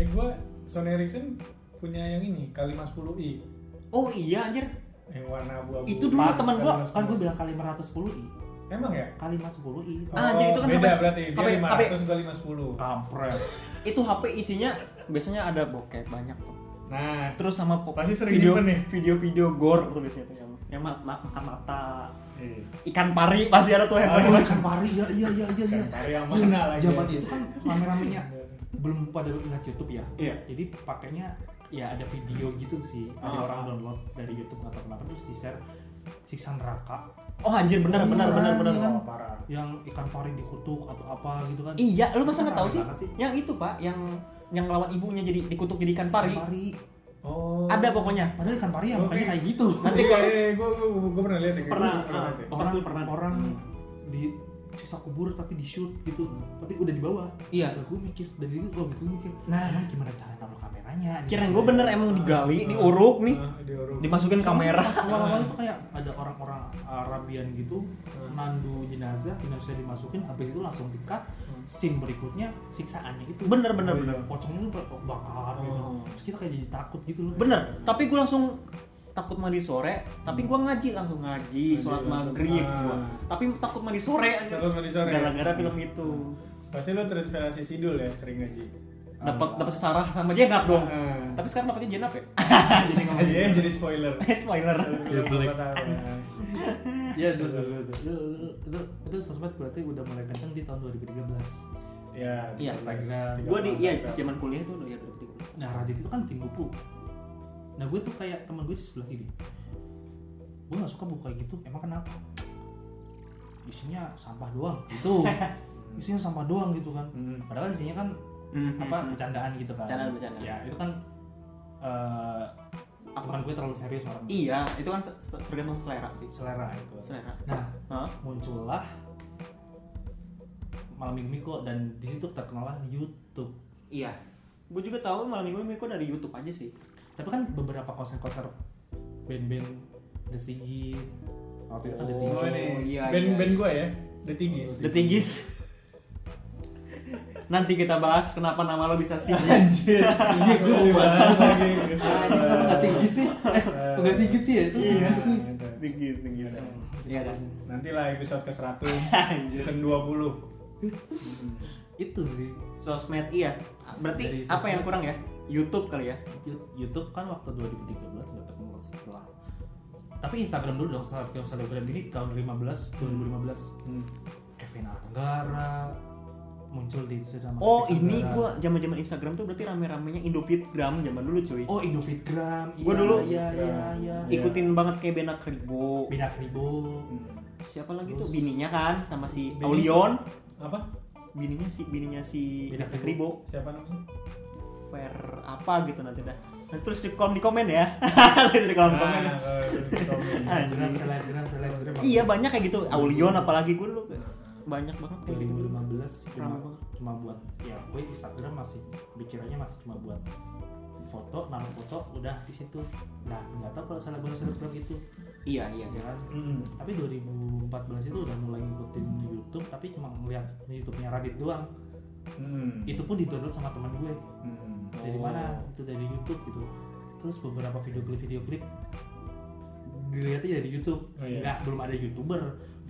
S3: eh gue Sony Ericsson punya yang ini kali 10i
S2: oh iya anjir
S3: yang warna abu-abu
S2: Itu dulu
S3: Pak,
S2: teman
S3: kali
S2: gua,
S3: 510.
S1: Kan gue bilang kali 510i,
S3: emang ya Oh,
S1: kali 510i
S2: Ah, jadi itu kan
S3: beda
S2: HP-
S3: berarti dia
S2: HP
S3: 500 gua
S2: Ah.
S3: 510
S1: kampret.
S2: itu HP isinya biasanya ada bokep banyak tuh
S3: nah
S2: terus sama pop
S3: Pasti sering
S2: video
S3: nyimpen nih.
S2: video video gore tuh biasanya tuh yang yang ma- ma- makan mata
S3: iya.
S2: ikan pari pasti ada tuh yang gitu.
S3: Oh,
S1: Oh,
S2: pakai-
S1: ikan pari ya, iya iya iya iya.
S3: Ikan pari yang mana lagi?
S1: Zaman itu kan rame-ramenya belum pada lihat YouTube ya.
S2: Iya.
S1: Jadi pakainya ya ada video gitu sih. Ada
S2: Ah.
S1: orang download dari YouTube nggak tahu kenapa terus di-share siksa neraka.
S2: oh anjir benar benar
S1: Iya,
S2: benar benar
S1: iya kan?
S2: Oh, parah
S1: Yang ikan pari dikutuk atau apa gitu kan.
S2: iya lu masa nggak tahu
S1: Rame
S2: sih
S1: banget
S2: yang itu pak yang yang lawan ibunya jadi dikutuk jadi ikan pari
S1: Ikan pari.
S3: oh
S2: ada pokoknya
S1: Padahal ikan pari ya
S3: Oke.
S1: makanya kayak gitu. [laughs]
S3: nanti eh, gue gue gue pernah lihat ya kayak
S2: Pernah,
S3: gitu,
S2: ah.
S3: lihat ya.
S2: Oh,
S1: Orang
S2: pasti pernah. Hmm.
S1: orang di siksa kubur tapi di shoot gitu tapi udah dibawa
S2: Iya.
S1: gue mikir dari dulu logika gue mikir nah emang gimana cara naruh kameranya
S2: kirain gue bener emang digali diuruk nih
S3: Ah, diuruk
S2: dimasukin kamera
S1: Pas awal-awal itu kayak ada orang-orang Arabian gitu nandu jenazah jenazah dimasukin habis itu langsung dikat
S3: Hmm.
S1: scene berikutnya siksaannya itu
S2: bener bener
S1: iya.
S2: bener
S1: pocongnya tuh bak- bakar gitu
S3: Oh.
S1: terus kita kayak jadi takut gitu loh
S2: bener tapi gue langsung takut mandi sore tapi gue ngaji langsung Hmm. ngaji
S3: Ngaji
S2: sholat
S3: langsung.
S2: maghrib
S3: Ah.
S2: gua. tapi takut mandi sore ya. anjir.
S3: Takut mandi sore.
S2: gara-gara film itu
S3: pasti lo terinspirasi sidul ya sering ngaji
S2: dapat dapat sesarah sama jenap dong
S3: Ah.
S2: tapi sekarang dapatnya jenap ya [laughs]
S1: jadi ngomong
S3: Iya, jadi spoiler
S2: spoiler
S1: Iya, black.
S3: Gua tahu, ya.
S1: ya dulu dulu dulu itu itu sosmed berarti udah mulai kenceng di tahun 2013
S3: Iya,
S2: Iya,
S1: Instagram.
S2: gue di iya pas zaman kuliah itu udah ya 2013
S1: nah Radit itu kan tim buku nah gue tuh kayak teman gue di sebelah kiri gue nggak suka buku kayak gitu emang kenapa isinya sampah doang gitu isinya sampah doang gitu kan
S3: Hmm.
S1: padahal kan isinya kan
S2: Hmm,
S1: apa bercandaan gitu kan
S2: Bercandaan, bercandaan.
S1: ya itu kan eh
S2: Apa?
S1: teman gue terlalu serius orang
S2: iya itu kan se- se- tergantung selera sih
S1: selera itu
S2: selera
S1: nah
S2: Hah?
S1: muncullah malam minggu Miko dan di situ terkenalah YouTube
S2: iya gue juga tahu malam minggu minggu dari YouTube aja sih
S1: tapi kan beberapa konser-konser band-band The Sigit waktu itu kan The Sigit
S3: Oh, ini
S2: iya,
S3: band
S2: iya. Oh,
S3: band gue ya, The Tigis.
S2: The Tigis [laughs] nanti kita bahas kenapa nama lo [laughs] bisa sih
S3: Anjir, [laughs] iya gue mau bahas
S2: [laughs]
S1: Ah,
S3: lagi.
S1: ini kenapa nggak tinggi sih? Eh, nggak Sigit sih ya? Itu
S2: Iya.
S1: tinggi sih.
S2: Tigis Tigis iya dah
S3: Nanti lah episode ke
S2: [laughs]
S3: 100
S2: Anjir.
S3: season 20
S1: Itu sih.
S2: sosmed iya Berarti
S1: Dari
S2: apa
S1: sosmed.
S2: yang kurang ya? YouTube kali ya?
S1: YouTube kan waktu 2013 dapat mulus setelah tapi Instagram dulu dong saat Instagram ini tahun 15 2015
S3: Hmm.
S1: Kevin Anggara muncul di Instagram
S2: Oh
S1: Kevin
S2: ini
S1: Anggara.
S2: gua zaman zaman Instagram tuh berarti rame-ramenya Indofitgram zaman dulu cuy.
S1: oh Indofitgram
S2: Gua dulu.
S1: ya ya ya
S3: Iya.
S2: Ikutin banget kayak Bena Kribo.
S1: Beda Kribo
S3: Hmm.
S2: Siapa lagi tuh
S1: Terus-
S2: bininya kan sama si
S3: Bini-
S2: Aulion.
S3: Apa?
S2: Bininya si bininya si
S1: Bena
S2: Bena Kribo.
S3: Siapa namanya?
S2: Fair apa gitu nanti dah. Nah, terus di kolom di komen ya. [laughs] terus di kolom komen. ya.
S3: Ah, eh, komen.
S2: [laughs]
S1: selebgram
S2: Anjing.
S1: selebgram selebgram
S2: Iya banyak kayak gitu. Aulion apalagi gue dulu
S3: Nah,
S2: banyak banget kayak gitu.
S1: 2015 cuma,
S2: Ramai banget.
S1: cuma buat ya gue Instagram masih pikirannya masih cuma buat foto nama foto udah di situ nah nggak tahu kalau selebgram selebgram gitu
S2: Iya iya.
S1: ya kan
S3: hmm.
S1: tapi 2014 itu udah mulai ngikutin YouTube tapi cuma ngeliat YouTube-nya Radit doang
S3: Hmm.
S1: itu pun didownload sama teman gue
S3: Hmm.
S1: dari
S2: Oh.
S1: mana itu dari YouTube gitu terus beberapa video klip video klip dilihatnya dari YouTube
S3: Oh, iya.
S1: nggak belum ada youtuber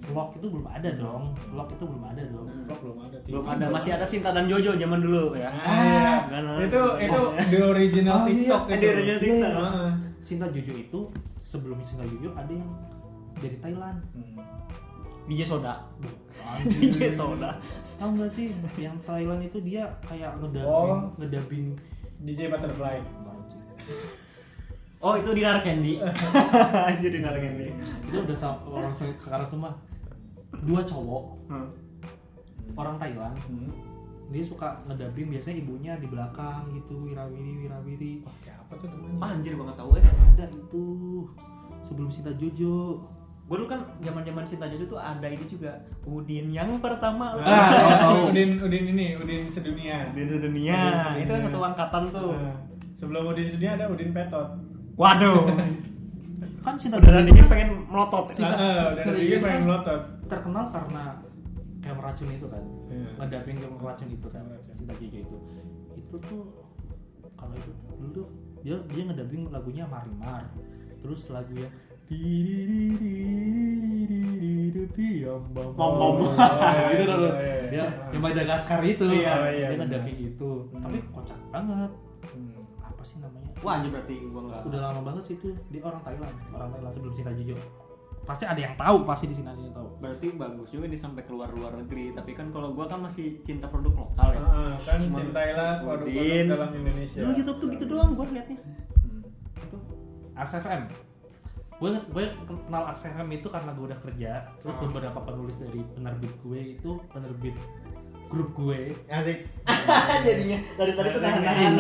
S1: vlog itu belum ada dong vlog itu belum ada dong
S3: Vlog belum ada.
S2: Belum ada masih ada Sinta dan Jojo zaman dulu ya.
S3: Ah,
S2: Kan,
S3: itu
S2: [laughs]
S3: itu
S2: Oh,
S3: the original
S1: Oh, iya.
S3: TikTok
S2: Eh,
S3: itu.
S2: the original TikTok.
S3: Ah.
S1: Cinta Jojo itu sebelum Cinta Jojo ada yang dari Thailand
S3: Hmm.
S2: DJ
S3: [laughs]
S2: Soda.
S1: Bukan.
S2: DJ Soda.
S1: tahu nggak sih yang Thailand itu dia kayak ngedabing
S3: Oh.
S1: ngedabing
S3: DJ Butterfly.
S2: Oh itu Dinar
S3: [laughs]
S2: Candy. Anjir Dinar Candy.
S1: itu udah sa- orang se- sekarang semua dua cowok
S2: Hmm.
S1: orang Thailand
S3: Hmm.
S1: dia suka ngedabing biasanya ibunya di belakang gitu wirawiri wirawiri
S3: Oh, siapa tuh namanya?
S2: Anjir banget tau eh.
S1: ada itu sebelum Sinta Jojo
S2: Gue dulu kan zaman zaman Sinta Jojo tuh ada itu juga Udin yang pertama.
S3: Ah,
S2: Ah.
S1: Ah, tahu.
S3: Udin Udin ini, Udin sedunia.
S2: Udin sedunia.
S3: Udin
S2: Itu
S3: sedunia.
S2: satu angkatan tuh.
S3: Ah, sebelum Udin sedunia ada Udin
S2: [laughs]
S3: Petot. [laughs]
S2: Waduh.
S1: kan Sinta
S2: Udah
S1: Jojo
S2: dikit pengen melotot.
S1: Sinta-
S3: Ah, ah, udah ada
S1: Sinta
S3: juga
S1: Jojo
S3: pengen
S1: kan
S3: melotot.
S1: terkenal karena kayak meracun itu kan
S3: Iya.
S1: ngedabing kayak meracun itu kan
S3: Meracun.
S1: Sinta Jojo itu itu tuh kalau itu dulu tuh dia dia ngedabing lagunya Marimar terus lagu yang
S2: Bom, bom.
S1: Bom, bom. gitu tuh
S3: Iya, iya.
S1: dia yang Madagaskar itu
S2: Iya,
S1: kan.
S3: iya,
S1: dia
S3: benar.
S1: ngedabing itu
S3: Hmm.
S1: tapi kocak banget
S3: Hmm.
S1: apa sih namanya
S2: Wah anjir berarti gue nggak.
S1: udah lama banget sih itu dia orang Thailand orang Thailand sebelum Sinta Jojo pasti ada yang tahu pasti di sini ada yang tahu
S2: Berarti bagus juga nih sampai keluar luar negeri. Tapi kan kalau gue kan masih cinta produk lokal ya.
S3: Ah, kan
S2: Cuman
S3: cintailah
S2: si
S3: produk-produk
S2: Udin.
S3: dalam Indonesia.
S2: Dulu YouTube tuh gitu doang gue liatnya.
S3: Hmm.
S2: Itu
S1: ASFM gue gue kenal ASFM itu karena gue udah kerja terus
S2: Ah.
S1: beberapa penulis dari penerbit gue itu penerbit grup gue
S2: Asik. [laughs] Jadinya dari tadi kan? tuh tahan-tahan.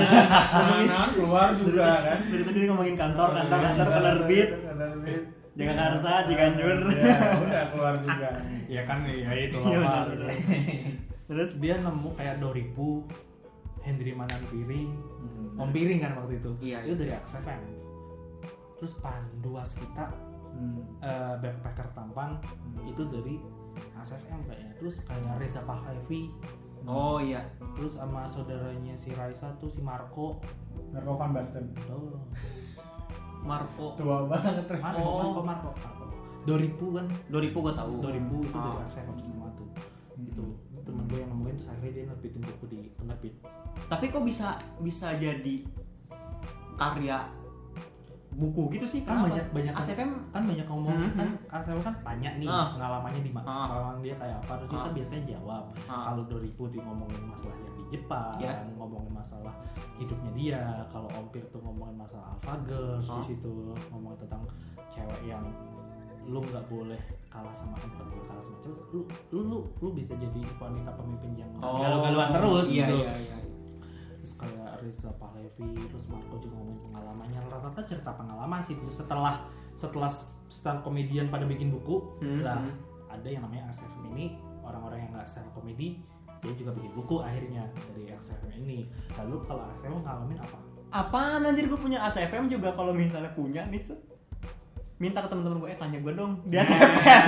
S3: Nah, keluar juga kan.
S2: Dari tadi ngomongin kantor, kantor, Iya, kantor, penerbit.
S3: Penerbit.
S2: Jaga Karsa, Ciganjur.
S3: Ya, udah keluar juga.
S1: ya kan ya [laughs] itu
S2: Iya, benar, benar.
S1: terus dia nemu kayak Doripu Hendri Manan Piring
S2: Ah.
S1: Om Piring kan waktu itu
S2: Hmm. Iya,
S1: itu
S2: iya.
S1: dari ASFM terus Pandu Asmita
S3: Hmm.
S1: eh, backpacker tampan itu dari ASFM kayaknya terus kayak Reza Pahlavi
S2: Oh iya.
S1: terus sama saudaranya si Raisa tuh si Marco
S3: Marco Van Basten.
S1: Duh.
S2: Marco.
S3: Tua banget.
S1: Marco Marco
S2: Oh.
S1: Marco Marco Doripu kan
S2: 2000 gue tahu.
S1: 2000 itu dari
S2: Ah.
S1: ASFM semua tuh
S2: Gitu.
S1: itu temen gue yang nemuin terus akhirnya dia nerbitin buku di penerbit
S2: Tapi kok bisa bisa jadi karya buku gitu sih?
S1: kan
S2: Kenapa?
S1: banyak banyak
S2: ACFM
S1: kan banyak yang ngomongin
S2: Mhm.
S1: kan ASFM kan tanya nih
S2: Ah.
S1: pengalamannya di mana
S2: Ah.
S1: pengalaman dia kayak apa terus dia
S2: Ah.
S1: kan biasanya jawab
S2: Ah.
S1: kalau Doripu di ngomongin masalahnya di Jepang
S2: Iya.
S1: ngomongin masalah hidupnya dia kalau Ompir tuh ngomongin masalah Alpha Girls
S2: Hah?
S1: di situ ngomongin tentang cewek yang lu nggak boleh kalah sama eh, bukan boleh kalah sama cewek lu lu lu, lu bisa jadi wanita pemimpin yang galau-galauan terus
S2: Oh. iya,
S1: gitu
S2: Iya, iya, iya.
S1: terus kayak Reza Pahlevi terus Marco juga ngomongin pengalamannya rata-rata cerita pengalaman sih Terus setelah setelah stand komedian pada bikin buku
S2: Hmm,
S1: lah
S2: hmm.
S1: ada yang namanya ASFM ini orang-orang yang nggak stand komedi dia juga bikin buku akhirnya dari ASFM ini lalu kalau ASFM ngalamin apa
S2: Apaan anjir gue punya ACFM juga kalau misalnya punya nih. Set. Minta ke teman-teman gue, eh tanya gue dong di [laughs] ACFM.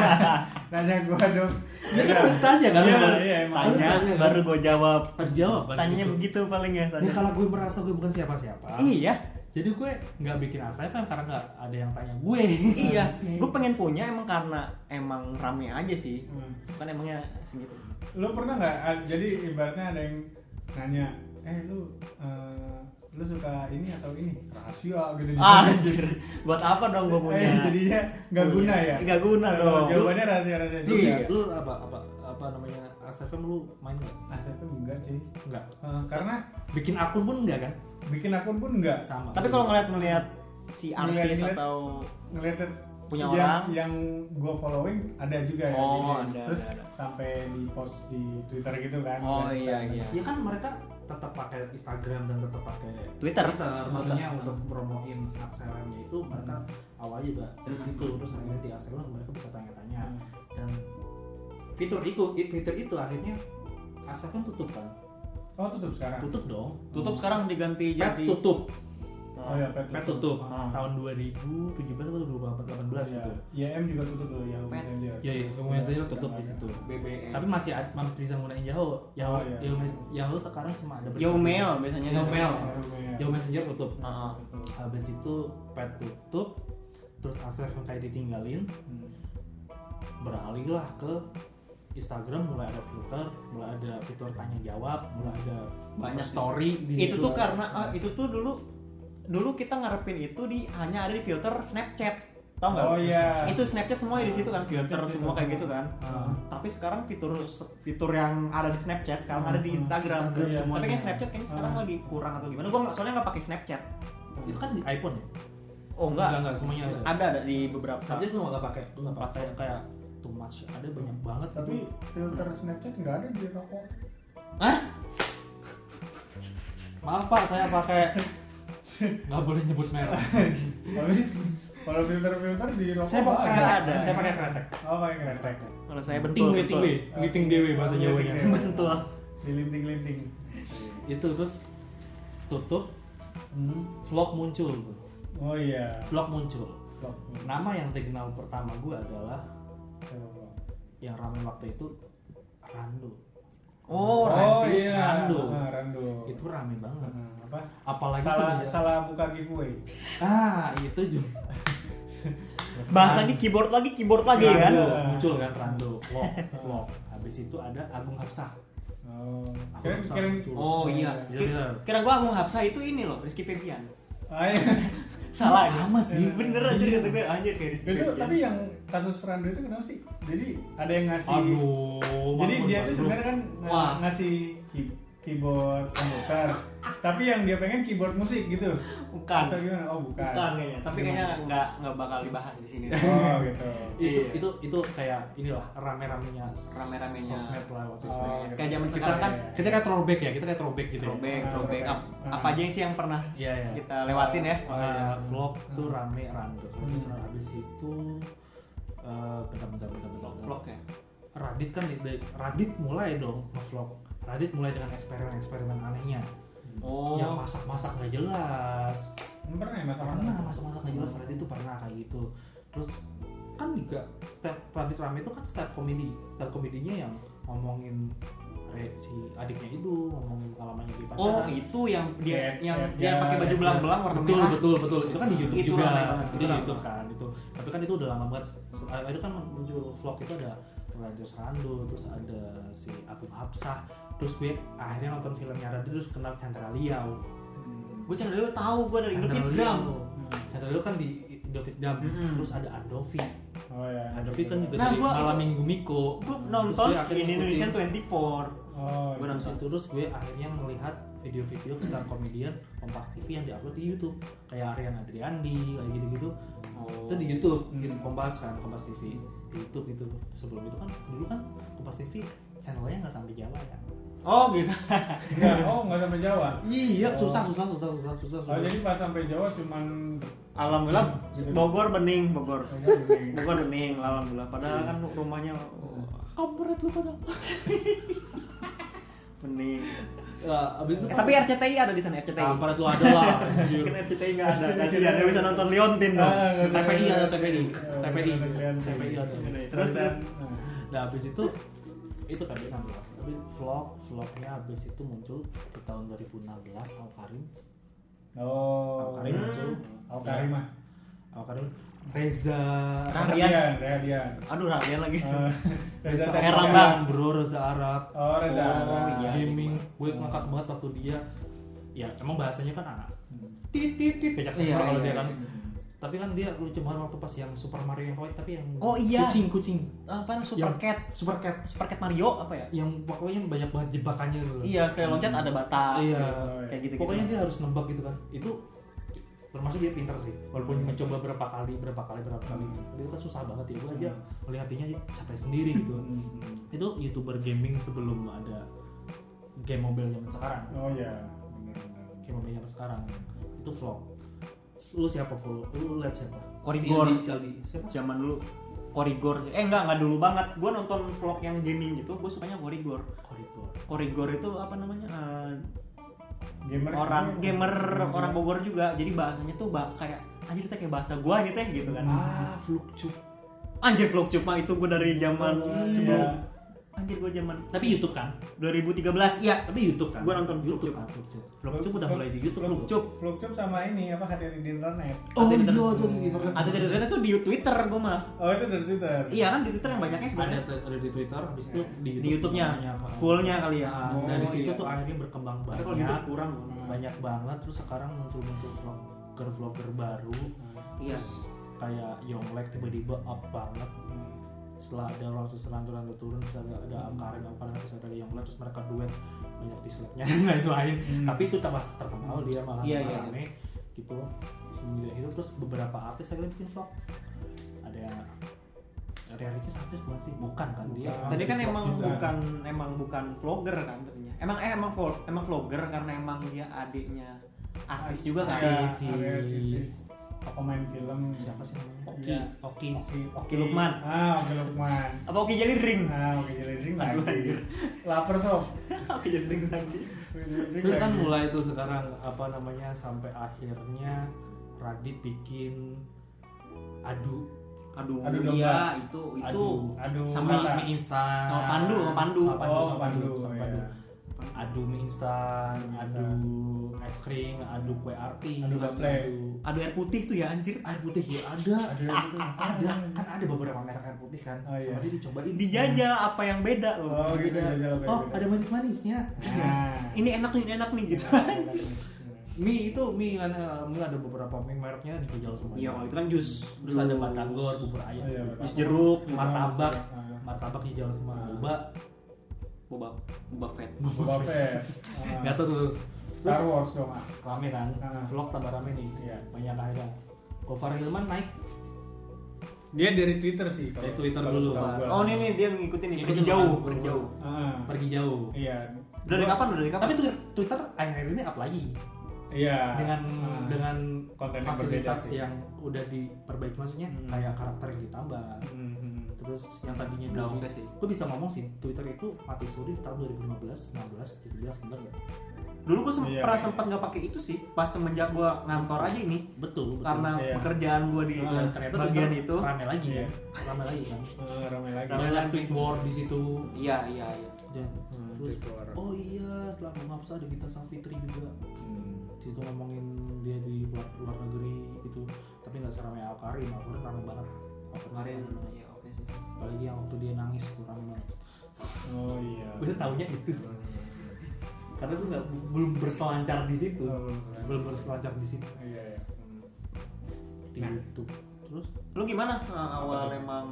S3: Nanya gua dong.
S1: dia kan harus tanya kan
S2: Iya,
S1: Bang?
S3: iya, emang.
S2: tanya
S1: Harus tanya,
S2: baru gue jawab
S1: harus jawab kan
S2: tanya
S1: gitu.
S2: begitu paling ya
S1: Nah,
S2: tanya
S1: kalau gue merasa gue bukan siapa-siapa
S2: iya
S1: jadi gue nggak bikin ASFM karena nggak ada yang tanya gue
S2: iya gue pengen punya emang karena emang rame aja sih
S3: Hmm.
S2: kan emangnya segitu
S3: Lu pernah nggak? ah, Jadi ibaratnya ada yang nanya, eh lu eh, lu suka ini atau ini rahasia gitu
S2: Ah, anjir. Buat apa dong gue punya?
S3: eh, jadinya nggak guna ya
S2: Nggak guna
S3: Nah,
S2: dong. Iya.
S3: jawabannya ya? rahasia rahasia
S1: Lu,
S3: juga
S1: lu apa apa apa namanya ASFM lu main nggak?
S3: asetnya Ah, enggak sih
S1: Enggak.
S3: Eh, karena
S1: Bikin akun pun enggak kan?
S3: bikin akun pun enggak
S1: Sama.
S2: Tapi kalau ngeliat ngeliat si artis
S3: Ngeliat-ngeliat.
S2: atau
S3: ngeliat
S2: Punya
S3: yang,
S2: orang.
S3: yang gue following ada juga ya
S2: Oh,
S3: gini.
S2: ada,
S3: terus
S2: ada, ada.
S3: sampai di post di twitter gitu kan
S2: Oh,
S3: Dan-
S2: iya,
S3: dan-
S2: iya.
S1: ya kan mereka tetap pakai Instagram dan tetap pakai
S2: Twitter.
S1: maksudnya
S2: Twitter.
S1: untuk promoin akselnya itu mereka awalnya juga dari
S2: Hmm.
S1: situ terus akhirnya di aksel mereka bisa tanya-tanya
S3: Hmm.
S1: dan fitur itu fitur itu akhirnya aksel kan tutup kan
S3: oh tutup sekarang
S1: tutup dong
S2: tutup sekarang
S1: pet
S2: diganti jadi
S1: tutup
S3: oh iya pet,
S1: pet tutup Ah,
S2: Hmm.
S1: Iya, tahun 2017 atau 2018 gitu
S3: Iya, IM juga tutup tuh Yahoo
S2: Pet.
S3: Messenger. Iya,
S1: ya ya kemudian saya tutup di
S3: Udah
S1: situ
S2: BBM.
S1: tapi masih ad- masih bisa menggunakan Yahoo Yahoo
S3: Oh, iya.
S1: Yahoo, Mes- Yahoo sekarang cuma ada
S2: Yo mail biasanya.
S1: Yo mail.
S3: nggak ada. Yahoo ya.
S1: Yahoo Messenger tutup
S2: Heeh.
S3: Tutup.
S1: habis itu pet tutup terus akses yang kayak ditinggalin
S3: Hmm.
S1: beralihlah ke Instagram mulai ada filter mulai ada fitur tanya jawab mulai ada
S2: Banyak
S1: story di
S2: itu
S1: situ.
S2: tuh karena eh, itu tuh dulu dulu kita ngarepin itu di hanya ada di filter Snapchat tau nggak?
S3: Oh, iya.
S2: Itu Snapchat semua di situ kan filter
S3: Snapchat
S2: semua
S3: itu.
S2: kayak gitu kan.
S1: Ah.
S2: Tapi sekarang fitur fitur yang ada di Snapchat sekarang ada di
S1: Hmm,
S2: Instagram.
S1: Instagram
S2: Iya.
S1: semuanya.
S2: Tapi kayak Snapchat kayaknya sekarang
S3: Ah.
S2: lagi kurang atau gimana? Gua nggak- soalnya nggak pakai Snapchat.
S1: itu kan di iPhone ya
S2: Oh enggak.
S1: enggak, enggak, semuanya ada.
S2: Ada ada di beberapa.
S1: tapi gue nggak pakai gue nggak pakai yang kayak too much ada banyak banget
S3: Tapi
S1: itu.
S3: filter Snapchat nggak ada di rokok.
S2: Hah?
S1: maaf pak saya pakai
S3: [laughs]
S1: nggak boleh nyebut merek
S3: Tapi kalau filter-filter di rokok
S1: saya pakai
S3: nggak
S1: kretek.
S2: ada.
S1: saya pakai kretek
S3: Oh, pakai kretek.
S2: Kalau saya bentuk
S1: tingwe tingwe
S3: Eh,
S1: ngiting dewe bahasa
S3: Ngiting
S1: jawanya
S3: dewe.
S1: betul
S3: Dilinting-linting.
S1: itu terus tutup
S3: Hmm.
S1: vlog muncul tuh.
S3: Oh iya.
S1: vlog muncul
S3: Blok.
S1: nama yang terkenal pertama gue adalah
S3: Coba blok.
S1: yang ramai waktu itu Rando
S2: Oh,
S1: Rando,
S3: iya.
S1: Rando.
S3: Ah, Rando.
S1: itu rame banget
S3: Ah, apa?
S1: apalagi
S3: Salah
S1: semenjak-
S3: salah buka giveaway.
S1: ah itu juga
S2: bahasanya keyboard lagi keyboard lagi kan.
S1: Rando, muncul kan Rando vlog vlog habis itu ada Agung Hapsah
S3: Oh.
S1: Aku
S3: Keren
S1: sama.
S3: keren.
S2: Oh iya.
S1: Iya,
S2: Ki-
S1: benar.
S2: Kira gua Agung Hapsa itu ini loh, Rizky Febian. [laughs]
S3: Ah, iya.
S2: Salah
S1: Iya,
S2: deh.
S1: sama sih.
S2: Bener aja kata gue anjir kayak Rizky
S3: Itu
S2: Febian.
S3: tapi ya, yang kasus Rando itu kenapa sih? Jadi ada yang ngasih
S1: aduh
S3: Jadi
S1: mampun,
S3: dia
S1: Mas
S3: tuh
S1: Bro.
S3: sebenarnya kan ng-
S1: Wah.
S3: ngasih key- keyboard komputer. tapi yang dia pengen keyboard musik gitu.
S2: bukan.
S3: Atau gimana? Oh, bukan.
S2: Bukan kayaknya, tapi kayaknya nggak nggak bakal dibahas di
S3: [laughs]
S2: sini.
S3: Oh, gitu.
S1: itu
S2: Iya.
S1: itu itu kayak inilah rame-ramenya
S2: Rame-ramenya.
S1: sosmed lah waktu itu
S3: Oh,
S2: Kayak zaman
S1: Kita-
S2: sekarang kan
S1: kita kayak throwback ya kita kayak throwback gitu ya
S2: throwback,
S3: Ah,
S2: throwback
S3: throwback.
S2: up.
S3: Ah.
S2: Apa aja yang sih yang pernah
S1: Iya, iya.
S2: kita lewatin ya?
S1: Oh,
S3: Ah.
S1: vlog
S2: Hmm.
S1: tuh rame rando gitu. terus
S3: Hmm.
S1: habis itu eh bentar bentar bentar bentar
S2: Vlog ya.
S1: Radit kan di- dari- Radit mulai dong ngevlog Radit mulai dengan eksperimen eksperimen anehnya
S3: Hmm.
S2: Oh.
S1: yang masak masak nggak jelas
S3: Emang Pernah ya masalah?
S1: pernah masak masak nggak jelas Radit tuh pernah kayak gitu terus kan juga step Radit rame itu kan step komedi step komedinya yang ngomongin re- si adiknya itu ngomongin pengalamannya di
S2: Oh
S1: pacaran
S2: itu yang dia
S3: Chat,
S2: yang
S3: chat,
S2: dia
S3: ya.
S2: pakai baju belang-belang warna
S1: iya, betul
S2: merah.
S1: betul betul itu kan di YouTube
S2: Itu
S1: juga
S2: rame
S1: itu
S2: banget, itu
S1: di
S2: rame
S1: YouTube kan itu tapi kan itu udah lama banget Se- eh, itu kan muncul vlog itu ada Radius Rando terus ada si Agung Hapsah terus gue akhirnya nonton filmnya Radit terus kenal Chandra Liau
S2: Gue cari dulu tahu gue dari
S1: Chandra
S2: Indofitgram.
S3: Hmm.
S1: Chandra Liau kan di Indofit Dam
S2: Mm-mm.
S1: terus ada Andovi
S3: Oh ya.
S1: Andovi kan juga
S2: Nah,
S1: dari
S2: gua-
S1: Malam
S2: itu-
S1: Minggu Miko
S2: Gue
S1: Terus
S2: nonton
S1: gue akhirnya
S2: Skin Indonesian
S1: ngikutin.
S2: 24.
S3: Oh.
S2: Gua
S3: iya.
S2: nonton.
S1: Terus itu terus gue akhirnya melihat video-video star komedian Kompas TV yang diupload di YouTube kayak Aryan Adriandi kayak gitu-gitu
S2: Oh.
S1: itu di YouTube
S3: Hmm.
S1: YouTube Kompas kan Kompas TV di YouTube itu sebelum itu kan dulu kan Kompas TV channelnya nggak sampai Jawa ya
S2: Oh gitu. [laughs]
S3: Enggak, oh enggak sampai Jawa.
S1: iya
S3: Oh.
S1: susah susah susah susah susah
S3: Oh,
S1: susah
S3: jadi pas sampai Jawa cuman
S2: Alhamdulillah Bogor bening, Bogor.
S3: Bening.
S2: Bogor bening, alhamdulillah. Padahal kan rumahnya
S1: kampret lu pada
S2: bening.
S1: [laughs] ya, abis itu
S2: Eh, tapi RCTI ada di sana RCTI.
S1: kampret lu ada lah [laughs] anjir.
S2: Mungkin RCTI nggak ada, kasihan dia bisa nonton Liontin dong.
S3: Ah, nggak ada.
S1: Iya, TPI ada TPI
S3: Iya,
S1: TPI
S3: nggak ada kelihatan.
S1: TPI ada
S2: Terus, terus.
S3: Nah.
S1: Nah habis itu itu tadi kan vlog. Tapi vlog vlognya habis itu muncul di tahun 2016 Al Karim.
S3: Oh.
S2: Oh, nah.
S1: Al Karim muncul.
S3: Al Karim ah. mah.
S1: Al Karim Reza
S2: Radian.
S3: Radian.
S2: Aduh Radian lagi.
S3: Eh,
S1: Reza
S3: Reza
S2: Arab.
S3: Arab.
S1: Arab bro Reza Arab
S3: Oh, Reza
S2: Oh,
S3: Arab.
S2: iya. Hmm.
S1: gaming gue ngakak banget waktu dia ya emang bahasanya kan anak titit titit pecah
S2: Iya,
S1: sensor kalau
S2: iya,
S1: dia kan
S2: iya.
S1: tapi kan dia lucu banget waktu pas yang Super Mario yang white tapi yang
S2: Oh, iya.
S1: kucing kucing
S2: Apa Super
S1: Yang-
S2: Cat?
S1: Super Cat
S2: Super Cat Mario apa ya?
S1: yang pokoknya banyak banget jebakannya gitu loh.
S2: Iya, sekali loncat ada bata.
S1: Iya.
S2: Kayak gitu-gitu.
S1: pokoknya dia harus nembak gitu kan itu termasuk dia pintar sih walaupun mencoba berapa kali berapa kali berapa kali tapi itu kan susah banget ya gue aja melihatnya aja capek sendiri gitu [laughs]
S3: Hmm.
S1: itu youtuber gaming sebelum ada game mobile zaman sekarang
S3: Oh iya. Benar-benar.
S1: game mobile zaman sekarang itu vlog lu siapa follow lu lihat siapa
S2: Korigor.
S4: Si Aldi, si
S1: siapa
S2: Zaman dulu Korigor. Eh enggak, enggak dulu banget. Gua nonton vlog yang gaming gitu, gua sukanya Korigor.
S1: Korigor
S2: Korigor itu apa namanya? Eh,
S3: Gamer.
S2: orang gamer orang Bogor juga. Jadi bahasanya tuh bah kayak anjir teh kayak bahasa gua nih teh gitu kan.
S1: ah vlog cup
S2: Anjir vlog cuma itu gua dari zaman
S3: Iya.
S2: sebelum anjir gua zaman
S1: tapi YouTube kan
S2: 2013 ya
S1: tapi YouTube kan
S2: Gua nonton
S1: YouTube
S2: Vlogcup.
S1: kan Vlogcup Vlogcup udah mulai di YouTube
S3: Vlogcup.
S1: Vlogcup
S3: Vlogcup sama ini apa hati-hati di internet.
S1: Oh
S2: Atau
S1: iya,
S2: di
S1: jadi
S2: internet.
S1: di internet.
S2: atau jadi ternyata tuh di Twitter gua mah
S3: Oh itu dari Twitter.
S2: iya kan di Twitter yang banyaknya
S1: ada
S2: sebenarnya
S1: ada di Twitter, habis itu Iya. di YouTube.
S2: di YouTube-nya
S1: namanya apa?
S2: fullnya kali ya
S1: Nah,
S3: Oh,
S1: nah, di situ
S3: iya.
S1: tuh akhirnya berkembang
S2: tapi
S1: banyak.
S2: kalau YouTube kurang loh.
S1: banyak banget terus sekarang muncul-muncul vlogger vlogger baru
S3: Nah,
S2: iya
S1: kayak Yonglek tiba-tiba up banget setelah ada orang seseran turun turun terus ada ada Karin apa terus ada Yonglek terus mereka duet banyak dislike-nya [laughs] dan lain-lain tapi itu tambah terkenal dia malah
S4: Iya,
S1: tambah
S4: iya.
S1: rame gitu Sehingga itu terus beberapa artis akhirnya bikin vlog ada yang realitas artis bukan sih bukan kan dia
S3: Bukan.
S2: tadi kan
S1: Vlog
S2: emang
S1: juga.
S2: bukan emang bukan vlogger kan tadinya emang eh emang vlog emang vlogger karena emang dia adiknya artis juga kan
S3: Ada-
S1: si-
S3: ada iya, artis, Pemain film
S1: siapa sih namanya
S2: Oki.
S3: Iya.
S1: Oki
S2: Oki Lukman.
S3: Ah, Oki Lukman.
S2: apa oke jadi ring [laughs]
S3: Ah, Oki Jelidring
S2: Aduh,
S3: lagi.
S2: anjir.
S3: Lapar sob.
S2: oke jadi ring lagi
S3: Oki Jelidring
S1: itu kan
S3: lagi.
S1: mulai tuh sekarang apa namanya sampai akhirnya Radit bikin adu
S2: aduh,
S3: Aduh,
S2: iya itu itu
S1: Aduh.
S3: Aduh,
S1: mie,
S2: Sama-
S3: mata.
S1: mie instan
S2: Sama Pandu, sama Pandu.
S1: sama Pandu,
S3: Oh,
S1: sama Pandu,
S3: Pandu,
S1: sama
S3: iya.
S1: Pandu. adu mie instan
S3: Mie
S1: adu es krim adu kue artis
S3: Adu gaplek.
S2: aduh air putih tuh ya anjir
S1: air putih ya ada
S2: Ah,
S3: Aduh,
S1: ada
S3: aduh.
S1: kan ada beberapa merek air putih kan
S3: Oh, iya.
S1: sama dia dicobain
S2: dijajah apa yang beda loh
S3: Oh, gitu.
S1: Beda.
S3: jajal apa ya,
S1: oh
S3: beda.
S1: ada manis manisnya
S3: Nah. Iya,
S2: ini enak nih ini enak nih
S3: [laughs]
S2: gitu
S1: mie itu mie kan eh, mie ada beberapa mie mereknya dijajal semua
S2: iya kalau itu kan jus
S1: terus ada batagor bubur ayam
S3: Oh, iya,
S1: bubur
S3: batagor.
S2: jus jeruk
S1: martabak
S3: Ah.
S1: martabak hijau semua boba
S2: boba boba fett
S3: Boba Fett.
S2: [laughs]
S3: Ah.
S1: nggak tahu terus
S3: Star
S1: terus
S3: Wars dong. ah.
S1: rame kan
S3: Ah.
S1: vlog tambah rame nih
S3: Iya.
S1: banyak akhirnya Gofar Hilman naik
S3: Dia dari Twitter sih. kalau-
S1: Dari Twitter
S3: kalau
S1: dulu,
S3: setahu
S1: Pak.
S3: gua.
S2: oh ini nih dia ngikutin nih pergi
S1: Ngikutin
S2: jauh
S1: orang,
S2: pergi
S1: orang.
S2: jauh
S3: Ah.
S1: pergi jauh
S3: Iya.
S2: udah dari kapan udah dari kapan
S1: tapi Twitter- Twitter akhir-akhir ini up lagi
S3: Iya.
S1: dengan
S3: Ah.
S1: dengan
S3: Konten yang
S1: fasilitas
S3: berbeda sih.
S1: yang udah diperbaiki maksudnya
S3: Hmm.
S1: kayak karakter yang ditambah
S3: Mhm.
S1: terus yang tadinya
S2: Udah
S1: dulu
S2: oke Ya sih.
S1: gue bisa ngomong sih Twitter itu mati suri di tahun 2015 16 17 bener ya
S2: dulu gua sem-
S3: Iya.
S2: pernah sempat nggak pakai itu sih pas semenjak gua ngantor aja ini
S1: betul, betul.
S2: karena
S3: Iya.
S2: pekerjaan gua di
S3: Ah,
S1: ternyata
S2: bagian
S1: Twitter
S2: itu
S1: rame lagi
S3: Iya.
S1: kan rame lagi
S3: [laughs]
S1: kan
S3: Ah, ramai lagi.
S2: Ramai
S1: banyak
S2: lagi.
S1: tweet war di situ
S2: iya iya iya
S1: dan
S3: Hmm,
S1: terus
S3: tweet war.
S1: oh iya setelah mengabsa ada Gita Savitri juga
S3: Hmm.
S1: di situ ngomongin dia di luar, luar negeri gitu tapi nggak seramai Al Karim Al Karim rame banget Al Karim
S2: kemarin
S1: rame.
S2: ya oke sih
S1: apalagi yang waktu dia nangis kurang banget
S3: Oh
S1: [laughs]
S3: iya.
S1: udah taunya itu sih karena gue nggak belum berselancar di situ
S3: Oh,
S1: belum
S3: belum berselancar.
S1: berselancar di situ
S3: Iya, iya. Hmm.
S1: di
S3: Nah.
S1: YouTube terus
S2: lu gimana eh, awal
S3: tuh?
S2: emang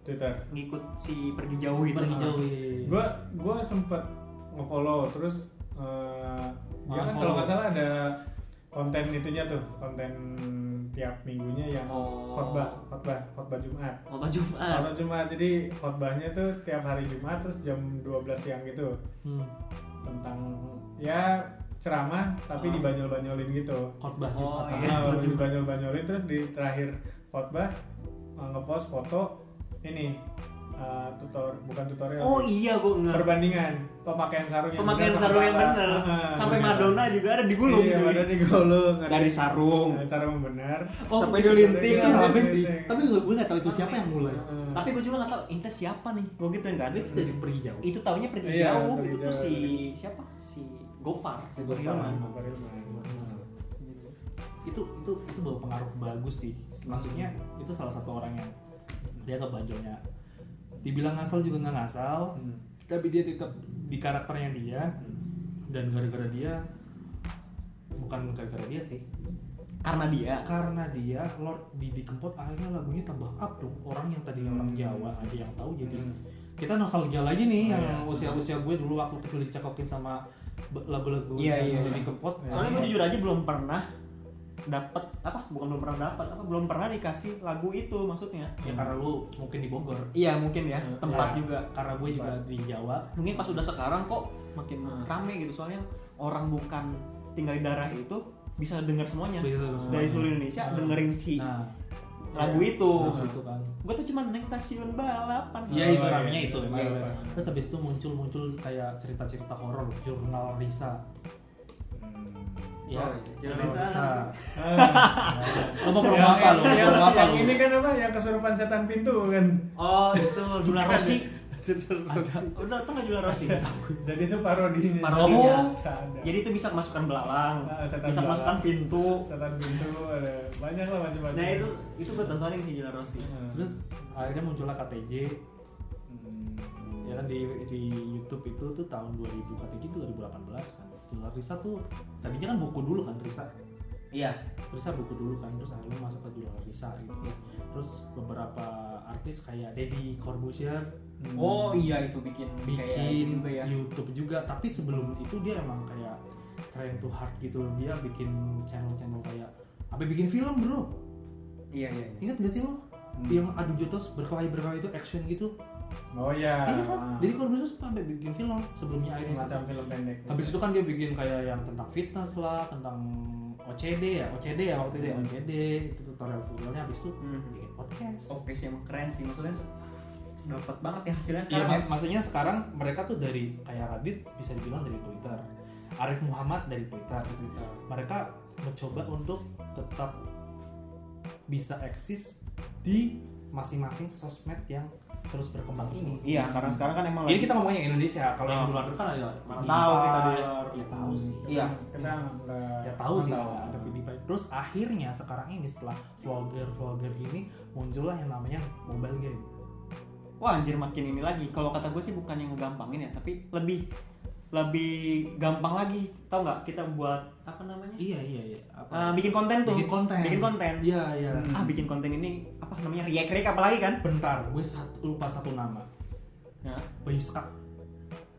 S3: Twitter.
S2: ngikut si pergi jauh itu
S1: pergi jauh ya.
S3: Gua gua sempet ngefollow terus eh, dia
S1: Malah
S3: kan kalau
S1: follow.
S3: nggak salah ada konten itunya tuh konten tiap minggunya yang
S2: Oh.
S3: khotbah khotbah khotbah Jumat
S2: mau Oh,
S1: Ah.
S2: Jumat
S3: Kalau Jumat jadi khotbahnya tuh tiap hari Jumat terus jam 12 siang gitu
S1: hmm.
S3: tentang ya ceramah
S2: Ah.
S3: tapi dibanyol-banyolin gitu.
S1: khotbah
S2: Oh,
S1: Jumatan.
S2: iya.
S3: Nah, dibanyol-banyolin terus di terakhir khotbah eh, ngepost foto ini eh, tutor bukan tutorial.
S2: oh iya gua nge
S3: perbandingan pemakaian sarung yang
S2: pemakaian
S3: benar sama
S2: sarung yang
S3: salah.
S2: benar
S3: Ah,
S2: sampai
S3: benar.
S2: Madonna juga ada digulung
S3: Iya,
S2: cuy.
S3: Madonna digulung. Ada-
S2: dari sarung
S3: ada sarung yang benar.
S1: Oh,
S2: Sampai
S1: itu-
S2: dilinting,
S1: itu
S3: apa
S1: rame
S3: gitu.
S1: sih. Tapi gue gue nggak tahu itu siapa yang mulai.
S3: Heeh.
S2: tapi gue juga nggak tahu intes siapa nih gue gituin kan
S1: Itu dari pergi jauh.
S2: itu tahunya pergi
S3: Iya,
S2: jauh
S3: pergi
S2: itu tuh
S3: jauh.
S2: si siapa si Gofar si
S1: Gofar.
S2: Hilman
S3: Kabar Ilman.
S1: itu itu itu bawa pengaruh bagus sih maksudnya
S2: Hmm.
S1: itu salah satu orang yang dia kebanjolnya dibilang ngasal juga nggak ngasal
S3: Hmm.
S1: tapi dia tetap di karakternya dia dan gara-gara dia bukan gara-gara dia sih
S2: karena dia
S1: karena dia Lord Didi Kempot akhirnya lagunya tambah up dong orang yang tadinya orang Jawa ada yang tahu jadi
S3: Hmm.
S1: kita nostalgia lagi nih
S2: Hmm. Oh,
S1: yang
S2: iya.
S1: usia-usia gue dulu waktu kecil dicekokin sama be- lagu-lagu
S2: Iya,
S1: yang
S2: iya,
S1: Didi
S2: iya.
S1: Kempot Ya,
S2: soalnya gue jujur aja belum pernah dapat apa bukan belum pernah dapat apa belum pernah dikasih lagu itu maksudnya
S1: ya karena lu mungkin di Bogor
S2: iya mungkin ya
S3: Hmm.
S2: tempat
S1: Ya,
S2: juga
S1: karena gue juga
S2: Iya.
S1: di Jawa
S2: mungkin pas udah sekarang kok makin
S3: Hmm.
S2: rame gitu soalnya orang bukan tinggal di daerah itu bisa dengar semuanya
S1: Bisa dengar
S2: dari
S1: semuanya.
S2: seluruh Indonesia
S3: Hmm.
S2: dengerin si
S1: nah
S2: lagu itu
S1: terus itu kan
S2: gue tuh cuman naik stasiun balapan
S1: Iya
S3: Oh,
S1: itu
S3: iya,
S1: ramenya
S3: iya,
S1: itu
S3: iya,
S1: emang.
S3: iya.
S1: Terus habis itu muncul-muncul kayak cerita-cerita horor, jurnal Risa. Ya,
S2: Oh, iya. Jurnal Risa.
S1: [laughs]
S3: Ah.
S1: Lo mau ke rumah apa lo? Mau ke
S3: yang,
S1: rumah apa
S3: yang
S1: lo?
S3: ini kan apa yang kesurupan setan pintu kan
S2: oh [laughs] itu jumlah Rossi
S3: Terus-
S2: udah tau [laughs] nggak Iya, jumlah Rossi
S3: jadi itu parodinya Iya,
S2: Parodi.
S3: Biasa ada.
S2: jadi itu bisa masukkan belalang
S3: Nah, setan
S2: bisa
S3: belalang.
S2: masukkan pintu
S3: setan pintu ada banyak lah macam-macam
S2: nah itu itu gue tontonin sih jumlah Rossi
S3: Hmm.
S1: Terus akhirnya muncullah KTJ
S3: Hmm.
S1: ya kan di di YouTube itu tuh tahun 2000 KTJ itu 2018 kan. Jurnal Risa tuh tadinya kan buku dulu kan Risa.
S2: iya
S1: Risa buku dulu kan terus akhirnya masuk ke jurnal Risa gitu. Terus beberapa artis kayak Deddy Corbuzier
S3: Hmm.
S2: oh iya itu bikin kayak gitu
S1: bikin
S2: juga ya
S1: YouTube juga tapi sebelum itu dia emang kayak trying to hard gitu dia bikin channel-channel kayak apa bikin film bro
S2: iya iya iya.
S1: ingat gak sih lo
S3: Hmm.
S1: yang adu jotos berkelahi berkelahi itu action gitu
S3: oh ya
S1: iya kan jadi Corbuzier sampai bikin film sebelumnya Iris
S3: macam film pendek
S1: habis itu kan dia bikin kayak yang tentang fitness lah tentang OCD ya OCD ya waktu itu ya
S3: Hmm.
S1: OCD itu tutorial tutorialnya habis itu
S2: Hmm.
S1: bikin podcast
S2: Oke sih emang keren sih maksudnya dapat banget ya hasilnya
S1: Iya,
S2: sekarang.
S1: mak- maksudnya sekarang mereka tuh dari kayak Radit bisa dibilang dari Twitter, Arif Muhammad dari Twitter. gitu. Mereka mencoba untuk tetap bisa eksis di masing-masing sosmed yang terus berkembang
S2: ya.
S1: ini.
S2: Iya, karena sekarang kan emang
S1: Jadi kita ngomongnya Indonesia, kalau yang
S2: Oh.
S1: di luar kan ada
S2: Mana
S1: PewDiePie,
S2: tahu kita di luar.
S1: ya tahu sih.
S2: Iya.
S3: kita nggak-
S1: Ya tahu sih
S3: nggak
S1: ada PewDiePie. Terus akhirnya sekarang ini setelah vlogger-vlogger ini muncullah yang namanya mobile game.
S2: wah anjir makin ini lagi. Kalau kata gue sih bukan yang ngegampangin ya, tapi lebih lebih gampang lagi. Tahu nggak kita buat apa namanya?
S1: Iya iya iya. Apa?
S2: Eh, bikin konten tuh.
S1: bikin konten.
S2: Bikin konten.
S1: Iya iya.
S3: Hmm.
S2: Ah, bikin konten ini apa namanya? React react apalagi kan?
S1: Bentar, gue sat- lupa satu nama.
S2: Nah,
S1: Bayu Skak.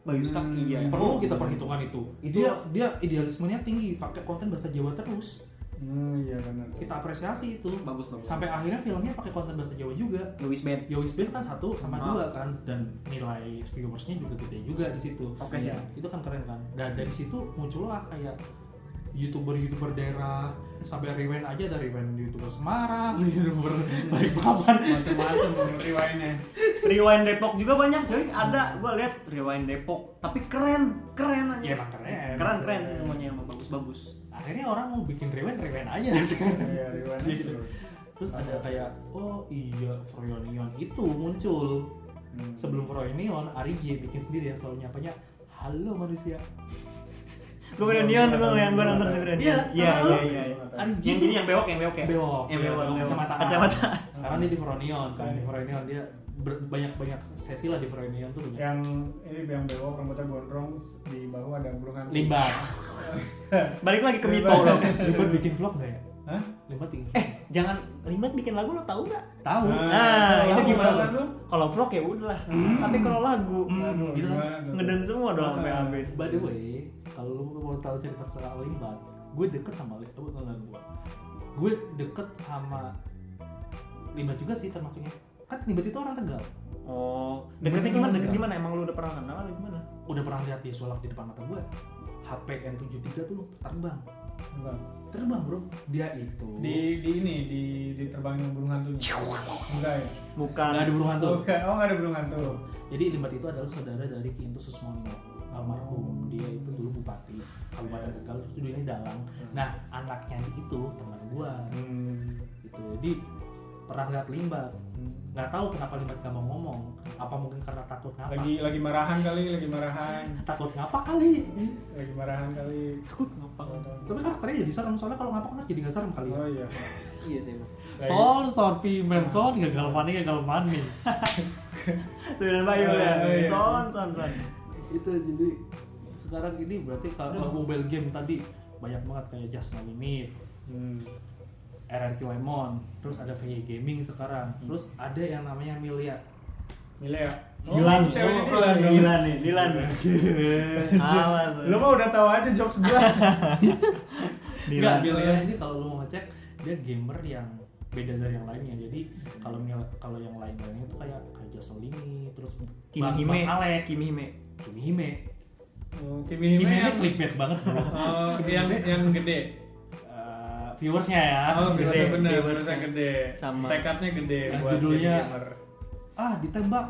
S2: Bayu Skak
S3: Hmm.
S2: iya.
S1: Perlu kita perhitungkan itu.
S2: Itu-
S1: Dia dia idealismenya tinggi, pakai konten bahasa Jawa terus.
S3: Hmm, iya benar
S1: Kita apresiasi itu.
S2: bagus bagus.
S1: Sampai akhirnya filmnya pakai konten bahasa Jawa juga.
S2: Louis Band.
S1: Yowis Band kan satu sama
S2: Ah.
S1: dua kan dan nilai viewersnya juga gede juga di situ.
S2: Oke sih.
S1: ya, itu kan keren kan. Dan dari situ muncullah kayak youtuber-youtuber daerah sampai Rewind aja dari Rewind youtuber Semarang, youtuber Balikpapan,
S3: macam-macam riwayatnya
S2: Rewind Depok juga banyak coy. Ada gua lihat Rewind Depok. Tapi keren, keren aja.
S1: Iya, emang keren.
S2: Keren keren sih semuanya emang bagus-bagus.
S1: akhirnya orang mau bikin rewind rewind aja [laughs]
S3: iya riwayatnya
S1: Gitu.
S3: terus.
S1: terus ada kayak oh iya Froyonion itu muncul
S3: Hmm.
S1: sebelum Froyonion Ari J bikin sendiri yang selalu nyapanya halo manusia
S2: Gue beneran Dion, gue yang gue nonton sebenarnya.
S1: Iya,
S2: iya,
S1: tahu.
S2: iya, iya. iya.
S1: Ari J
S2: Yang jadi yang bewok, yang bewok ya.
S1: bewok
S2: yang bewok, yang bewok.
S1: kacamata
S2: Kacamata.
S1: sekarang dia di Froyonion kan di Froyonion dia banyak banyak sesi lah di Froyonion tuh banyak
S3: yang ini yang bewok rambutnya gondrong di bahu ada bulungan
S1: limbat
S2: Balik lagi ke
S3: Bebas.
S2: Mito dong.
S1: limbat bikin vlog nggak ya
S3: Hah?
S1: limbat bikin vlog
S2: Eh, jangan Limbat bikin lagu lo tau nggak?
S1: tahu
S3: Nah,
S2: Nah,
S3: kalau
S2: itu
S3: lagu
S2: gimana?
S3: kan lu?
S2: Kalau vlog ya udahlah. Tapi kalau lagu
S3: Aduh,
S1: gitu kan.
S3: gimana tuh?
S2: ngeden semua dong sampai
S3: Ah.
S2: habis.
S1: By the way, kalau lu mau tahu cerita soal Limbat, gue deket sama oh, Limbat, bukan bukan gue. Gue deket sama Limbat juga sih termasuknya. Kan Limbat itu orang Tegal.
S2: Oh, deketnya gimana? Deket gimana? Emang lu udah pernah kenal atau gimana?
S1: Udah pernah lihat dia sulap di depan mata gue. HP N73 tuh terbang.
S3: Enggak.
S1: Terbang, Bro. Dia itu
S3: di di ini di di terbangin burung hantunya enggak ya
S2: Bukan.
S1: Nggak ada burung hantu.
S3: Oke, oh nggak ada burung hantu.
S1: Jadi Limbat itu adalah saudara dari Ki Entus Susmonio
S3: Oh.
S1: almarhum dia itu dulu bupati
S3: Iya.
S1: kabupaten Tegal terus dulunya dalang nah anaknya itu teman gua
S3: Hmm.
S1: gitu jadi pernah lihat Limbat nggak tahu kenapa Limbat nggak mau ngomong apa mungkin karena takut ngapa
S3: lagi lagi marahan kali lagi marahan
S1: takut ngapa kali
S3: lagi marahan kali
S2: Aku ngapa?
S1: tapi karakternya jadi serem soalnya kalau ngapa kan jadi nggak serem kali ya
S3: oh iya
S2: Iya sih emang.
S4: Sol, sorpi, men, sol, gagal panik, gagal panik.
S2: Tuh ya, Mbak, ya.
S3: Oh, iya.
S2: Son, son, son.
S1: itu jadi sekarang ini berarti kalau mobile game tadi banyak banget kayak Just No Limit
S3: Hmm.
S1: RRQ Lemon terus ada VG Gaming sekarang
S3: Hmm.
S1: terus ada yang namanya Milia
S3: Mila ya
S2: Dilan,
S3: Oh, ceweknya
S2: Dilan,
S3: Dilan dong.
S2: Dilan nih, Dilan. Awas.
S3: lu mah udah tahu aja jokes gua
S1: Nggak, ya?
S2: Dilan.
S1: Milia ini kalau lu mau ngecek dia gamer yang beda dari yang lainnya jadi
S3: Hmm.
S1: kalau Mil- kalau yang lain lainnya itu kayak kayak Just No Limit terus Bang-
S2: Kimihime,
S1: Bang Alek,
S2: Ale, Kimihime.
S1: Kimihime
S3: Oh, Kimi Hime
S1: Kimihime
S3: yang,
S1: clickbait banget bro [laughs]
S3: Oh, yang yang gede
S1: Eh, viewersnya ya
S3: Oh,
S2: gede,
S3: gede, bener,
S2: gede
S3: bener,
S2: banget.
S3: gede.
S2: Sama.
S3: Tekadnya gede
S1: Yang
S3: buat
S1: judulnya-
S3: jadi gamer.
S1: ah ditembak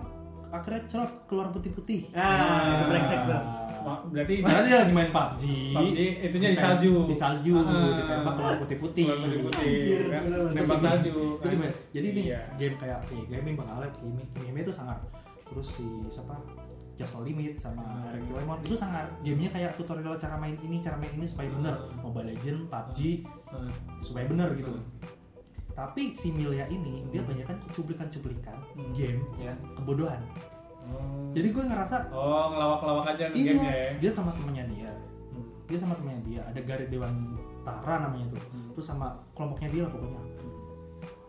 S1: akhirnya cerot keluar putih-putih
S2: Ah, itu brengsek tuh.
S3: Ma- Berarti
S1: Padahal dia lagi main PUBG.
S3: PUBG itunya di
S1: Ditem-
S3: salju.
S1: Di salju,
S3: Ah.
S1: ditembak keluar putih-putih.
S3: Keluar putih-putih,
S1: Anjir,
S3: kan?
S1: bener.
S3: Nembak
S1: Itu
S3: salju,
S1: gimana? Itu
S3: kan?
S1: gimana? Jadi nih
S3: Iya.
S1: game kayak nih, gaming Bang Alek, Kimi, Kimi itu sangar. Terus si siapa? Just No Limit sama
S3: Hmm.
S1: Eric Lemon itu sangar. Gamenya kayak tutorial cara main ini, cara main ini supaya bener. Mobile Legend, PUBG
S3: Hmm.
S1: supaya bener gitu. Tapi si Milia ini dia banyak kan cuplikan-cuplikan
S3: Hmm.
S1: game
S2: Ya.
S1: kebodohan.
S3: Oh.
S1: Jadi gue ngerasa
S3: Oh, ngelawak-lawak aja ke
S1: Iya,
S3: gamenya ya.
S1: dia sama temennya dia.
S3: Hmm.
S1: Dia sama temennya dia. Ada Garit Dewantara namanya tuh.
S2: Hmm.
S1: Terus sama kelompoknya dia lah pokoknya.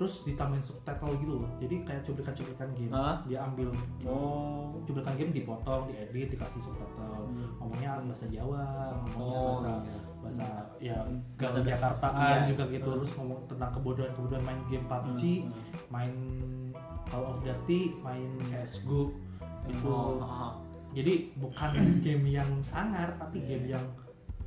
S1: Terus ditambahin subtitle gitu loh. Jadi kayak cuplikan-cuplikan game.
S2: Hah?
S1: Dia ambil
S2: Oh.
S1: cuplikan game dipotong, diedit, dikasih subtitle. Ngomongnya bahasa Jawa, ngomongnya
S2: Hmm. Oh,
S1: bahasa
S2: iya.
S1: bahasa ya
S2: Bahasa
S1: bahasa Jakartaan
S2: Iya.
S1: juga gitu. Terus ngomong tentang kebodohan-kebodohan main game PUBG,
S2: Hmm.
S1: main Call of Duty, main CS:GO itu
S2: Oh, ah.
S1: jadi
S3: [clears throat]
S1: bukan game yang sangar tapi
S3: Iya.
S1: game yang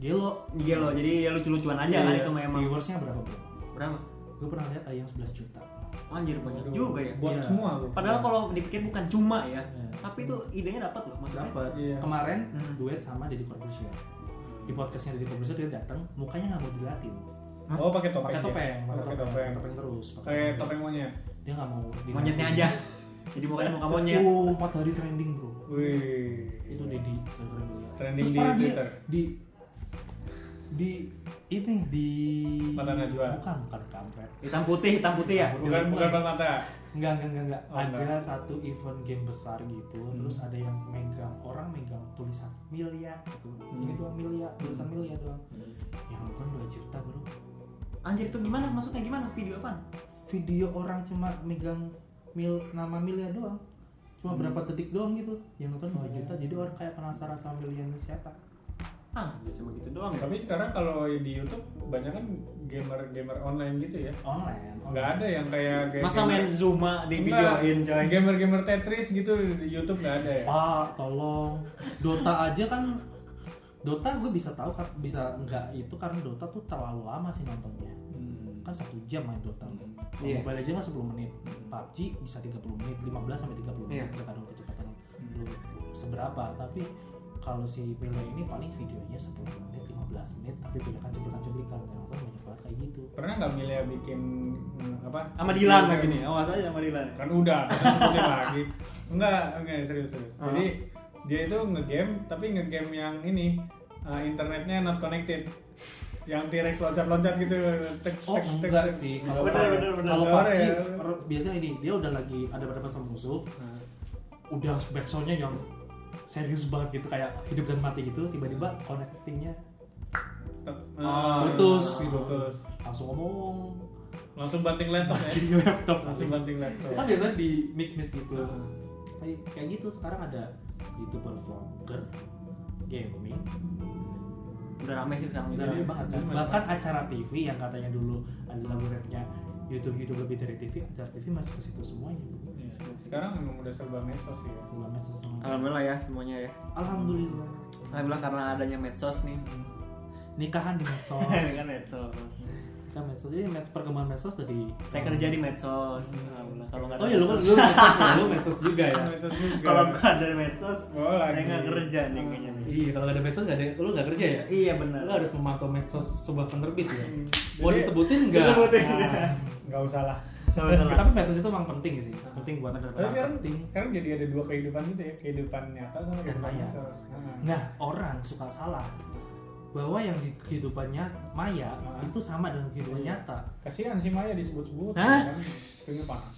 S1: gelo
S2: Iya loh, jadi ya lucu-lucuan aja kan
S3: Iya,
S2: itu memang.
S1: viewersnya berapa bro?
S2: Berapa?
S1: gue pernah lihat ada yang 11 juta
S2: Oh, Anjir banyak
S3: Aduh,
S2: juga ya.
S3: Buat
S1: Iya.
S3: semua bu.
S2: Padahal kalau dipikir bukan cuma ya,
S1: Iya.
S2: tapi itu idenya dapat loh maksudnya.
S1: dapat
S3: Iya. Hmm.
S1: kemarin
S2: Hmm.
S1: duet sama Deddy Corbuzier di podcastnya Deddy Corbuzier dia datang mukanya nggak mau dilatin
S3: Oh, pakai topeng.
S1: pakai
S3: ya?
S1: topeng
S3: Oh,
S1: pakai topeng
S3: Pakai
S1: pakai
S3: topeng.
S1: topeng terus pakai
S3: Pakai topeng monyet.
S1: dia nggak mau dilatin.
S2: Monyetnya
S1: [laughs]
S2: aja. Jadi mukanya muka monyet.
S1: oh empat hari trending bro
S3: Wih.
S1: itu Deddy gara-gara Milia.
S3: Trending
S1: Terus
S3: di
S1: parah dia
S3: Twitter.
S1: di di ini di
S3: Mata Najwa. Iya,
S1: bukan bukan kampret Nah,
S2: Hitam putih, hitam putih ya.
S3: Bukan bukan Pak mata.
S1: Enggak, enggak, enggak, enggak.
S3: Oh,
S1: ada
S3: enggak. Hmm.
S1: satu event game besar gitu, terus ada yang megang orang megang tulisan milia gitu.
S3: Hmm.
S1: Ini doang milia, tulisan milia doang. Yang nonton 2 juta, Bro.
S2: Anjir itu gimana? Maksudnya gimana? Video apaan?
S1: Video orang cuma megang mil nama milia doang.
S3: Hmm.
S1: Cuma berapa detik doang gitu. Yang nonton 2 juta, jadi orang kayak penasaran sama milia ini siapa.
S2: Ah, anjir, cuma gitu doang. ya?
S3: Tapi sekarang kalau di YouTube banyak kan gamer-gamer online gitu ya.
S1: Online. online.
S3: Nggak ada yang kayak kayak
S2: Masa
S3: gamer-
S2: main Zuma di
S3: Enggak.
S2: videoin coy.
S3: Gamer-gamer Tetris gitu di YouTube nggak ada ya.
S1: Pak, tolong. Dota aja kan Dota gue bisa tahu kan bisa enggak itu karena Dota tuh terlalu lama sih nontonnya.
S3: Hmm.
S1: kan satu jam main Dota. Kalau
S2: Iya.
S1: Mobile Legends kan 10 menit. PUBG bisa 30 menit, 15 sampai 30 menit
S2: Iya. Hmm.
S1: tergantung kecepatan lu seberapa. Tapi kalau si Pele ini paling videonya 10 menit, 15 menit, tapi kebanyakan cuplikan-cuplikan yang nonton banyak banget kayak gitu.
S3: Pernah nggak Milia bikin hmm, apa?
S2: Sama Dilan lagi nih. Awas aja sama Dilan.
S3: kan udah kan sebutin lagi enggak enggak serius serius
S2: Ah.
S3: jadi dia itu ngegame tapi ngegame yang ini uh, internetnya not connected yang T-Rex loncat-loncat gitu tek,
S1: Oh
S3: tek, tek,
S1: enggak
S3: tek.
S1: sih,
S3: Nggak
S1: kalau
S2: Bener,
S1: PUBG-
S2: bener, bener.
S1: kalau
S3: Nggak
S1: PUBG
S3: ya.
S1: r- biasanya ini dia udah lagi ada berdebat sama musuh,
S2: Hmm.
S3: Nah,
S1: udah backsoundnya yang serius banget gitu kayak hidup dan mati gitu, tiba-tiba connectingnya
S3: tek,
S2: Ah,
S3: ah,
S1: putus
S3: ah,
S1: gitu.
S3: putus
S1: langsung ngomong
S3: langsung banting laptop ya
S1: di
S2: eh.
S1: laptop
S3: langsung banting laptop Iya.
S1: kan biasanya di mix mix gitu
S3: Heeh.
S1: Kayak- kayak gitu sekarang ada youtuber vlogger gaming
S2: Udah rame sih sekarang
S1: udah
S2: juga.
S1: rame banget kan
S3: Jadi banyak
S1: bahkan acara TV yang katanya dulu adalah webnya YouTube YouTube lebih dari TV acara TV masuk ke situ semuanya
S3: Iya. sekarang memang udah serba medsos ya
S1: Segala macam semuanya.
S2: Alhamdulillah ya semuanya ya.
S1: Alhamdulillah
S2: Alhamdulillah karena adanya medsos nih.
S1: nikahan di [laughs] medsos
S2: Dengan Oh, iya, kan medsos.
S1: Nikahan medsos jadi meds perkembangan medsos dari
S2: Saya kerja di medsos. Alhamdulillah kalau nggak
S1: oh
S2: ada
S1: ya lu kan lu medsos ya, lu medsos juga ya
S3: medsos juga
S2: Iya. kalau nggak ada medsos,
S3: Oh,
S2: saya
S3: lagi.
S2: nggak kerja nih kayaknya. nih.
S1: iya kalau nggak ada medsos nggak ada lu nggak kerja ya
S2: Iya benar.
S1: lu harus memantau medsos sebuah penerbit ya mau
S3: Jadi-
S1: disebutin nggak
S2: Disebutin.
S1: Nah.
S3: nggak usah lah
S1: Nggak masalah.
S2: tapi medsos itu emang penting sih penting buat ada
S3: Terus sekarang,
S2: penting
S3: sekarang jadi ada dua kehidupan gitu ya, kehidupan nyata sama
S1: Dan
S3: kehidupan
S1: maya.
S3: medsos. Nah,
S1: Nah, orang suka salah bahwa yang di kehidupannya maya
S3: Ah.
S1: itu sama dengan kehidupan
S3: Iya.
S1: nyata.
S3: kasihan si Maya disebut-sebut.
S2: Hah?
S3: Kan? Kayaknya panas.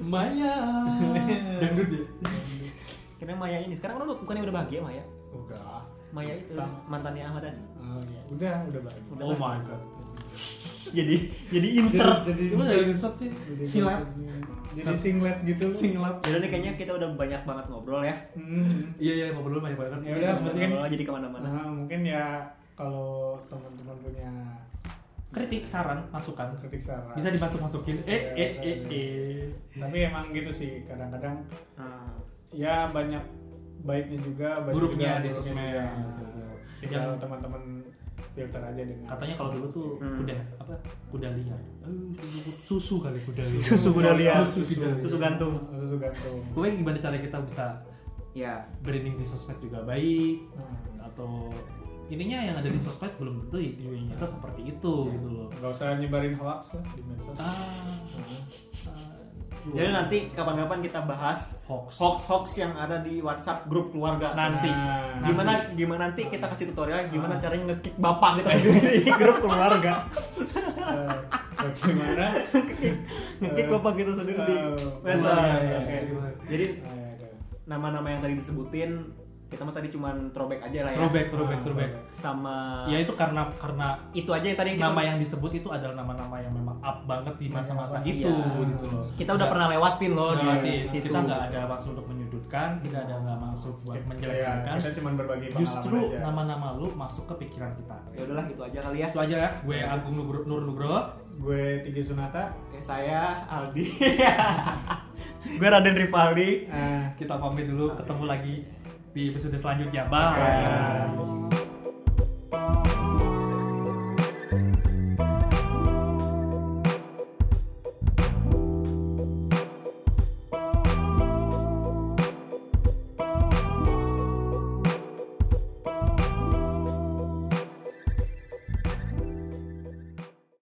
S1: Maya. [laughs] Dangdut ya?
S2: karena Maya ini sekarang udah bukannya udah bahagia Maya
S3: Udah.
S2: Maya itu
S3: Sama.
S2: mantannya Ahmad Dhani
S3: Oh, iya. Udah, udah baik.
S2: Udah
S4: Oh my
S2: lah.
S4: god.
S2: jadi jadi insert
S3: Jadi,
S1: Itu dari riset sih.
S3: jadi-
S1: Silat.
S3: Jadi singlet gitu.
S1: Singlet.
S2: jadi kayaknya kita udah banyak banget ngobrol ya
S3: Hmm.
S4: Iya iya ngobrol banyak banget.
S3: Ya udah,
S2: Sempet
S3: mungkin
S2: ngobrol jadi kemana-mana
S3: Nah, mungkin ya kalau teman-teman punya
S1: Kritik, saran, masukan
S3: kritik saran.
S1: bisa dimasuk masukin. Eh
S3: Iya,
S1: eh eh
S3: betul.
S1: eh.
S3: Tapi emang gitu sih kadang-kadang
S2: Ah.
S3: ya banyak baiknya juga, banyak
S1: Buruknya
S3: juga
S1: di
S3: buruknya
S1: sosmed.
S3: juga. gitu.
S1: Betul.
S3: Tinggal
S1: Yang-
S3: teman-teman filter aja dengan
S1: Katanya kalau dulu tuh
S2: Hmm.
S1: kuda apa? Kuda liar. Eh, susu, susu kali kuda liar.
S2: Susu kuda liar.
S1: Susu kuda liar.
S2: Susu gantung.
S3: Susu gantung.
S1: Gue gimana cara kita bisa
S2: ya
S1: branding di sosmed juga baik
S3: Hmm.
S1: atau intinya yang ada di sosmed belum tentu di dunia nyata seperti itu
S2: Iya.
S1: gitu loh.
S3: Gak usah nyebarin hoax lah di medsos.
S1: Ah, ah,
S2: jadi nanti kapan-kapan kita bahas
S1: hoax.
S2: hoax-hoax yang ada di WhatsApp grup keluarga
S1: Nanti. Ah.
S3: Nah,
S2: gimana gimana nanti kita kasih tutorial gimana caranya ngekick bapak kita
S1: [laughs]
S2: [laughs] di grup keluarga
S3: eh, bagaimana? Nah,
S2: ngekick bapak kita sendiri di
S3: Oh,
S2: medsos
S1: iya, iya,
S2: ah, Oke.
S1: iya, iya.
S2: jadi
S3: Ah, ya, ya.
S2: nama-nama yang tadi disebutin kita mah tadi cuman throwback aja lah ya
S1: Throwback, throwback, throwback.
S2: sama
S1: Ya itu karena karena
S2: itu aja yang tadi kita,
S1: nama yang disebut itu adalah nama-nama yang memang up banget di masa-masa
S2: gitu. Iya.
S1: itu gitu loh.
S2: kita udah pernah lewatin loh
S1: Nah,
S2: di
S1: nanti
S2: situ
S1: kita nggak ada maksud untuk menyudutkan, tidak ada nggak maksud
S2: Iya,
S1: buat
S3: Ya,
S1: menjelek-jelekan.
S3: kita cuma berbagi pengalaman
S1: Justru
S3: aja.
S1: nama-nama lu masuk ke pikiran kita.
S2: ya udahlah gitu aja kali ya
S1: Itu aja ya, gue Agung Nugro- Nur Nugroho.
S3: gue Tigi Sunata.
S2: oke saya Aldi [laughs] gue Raden Rivaldi
S3: Ah,
S1: Kita pamit dulu, ketemu lagi di episode selanjutnya. Bye.
S3: Bye.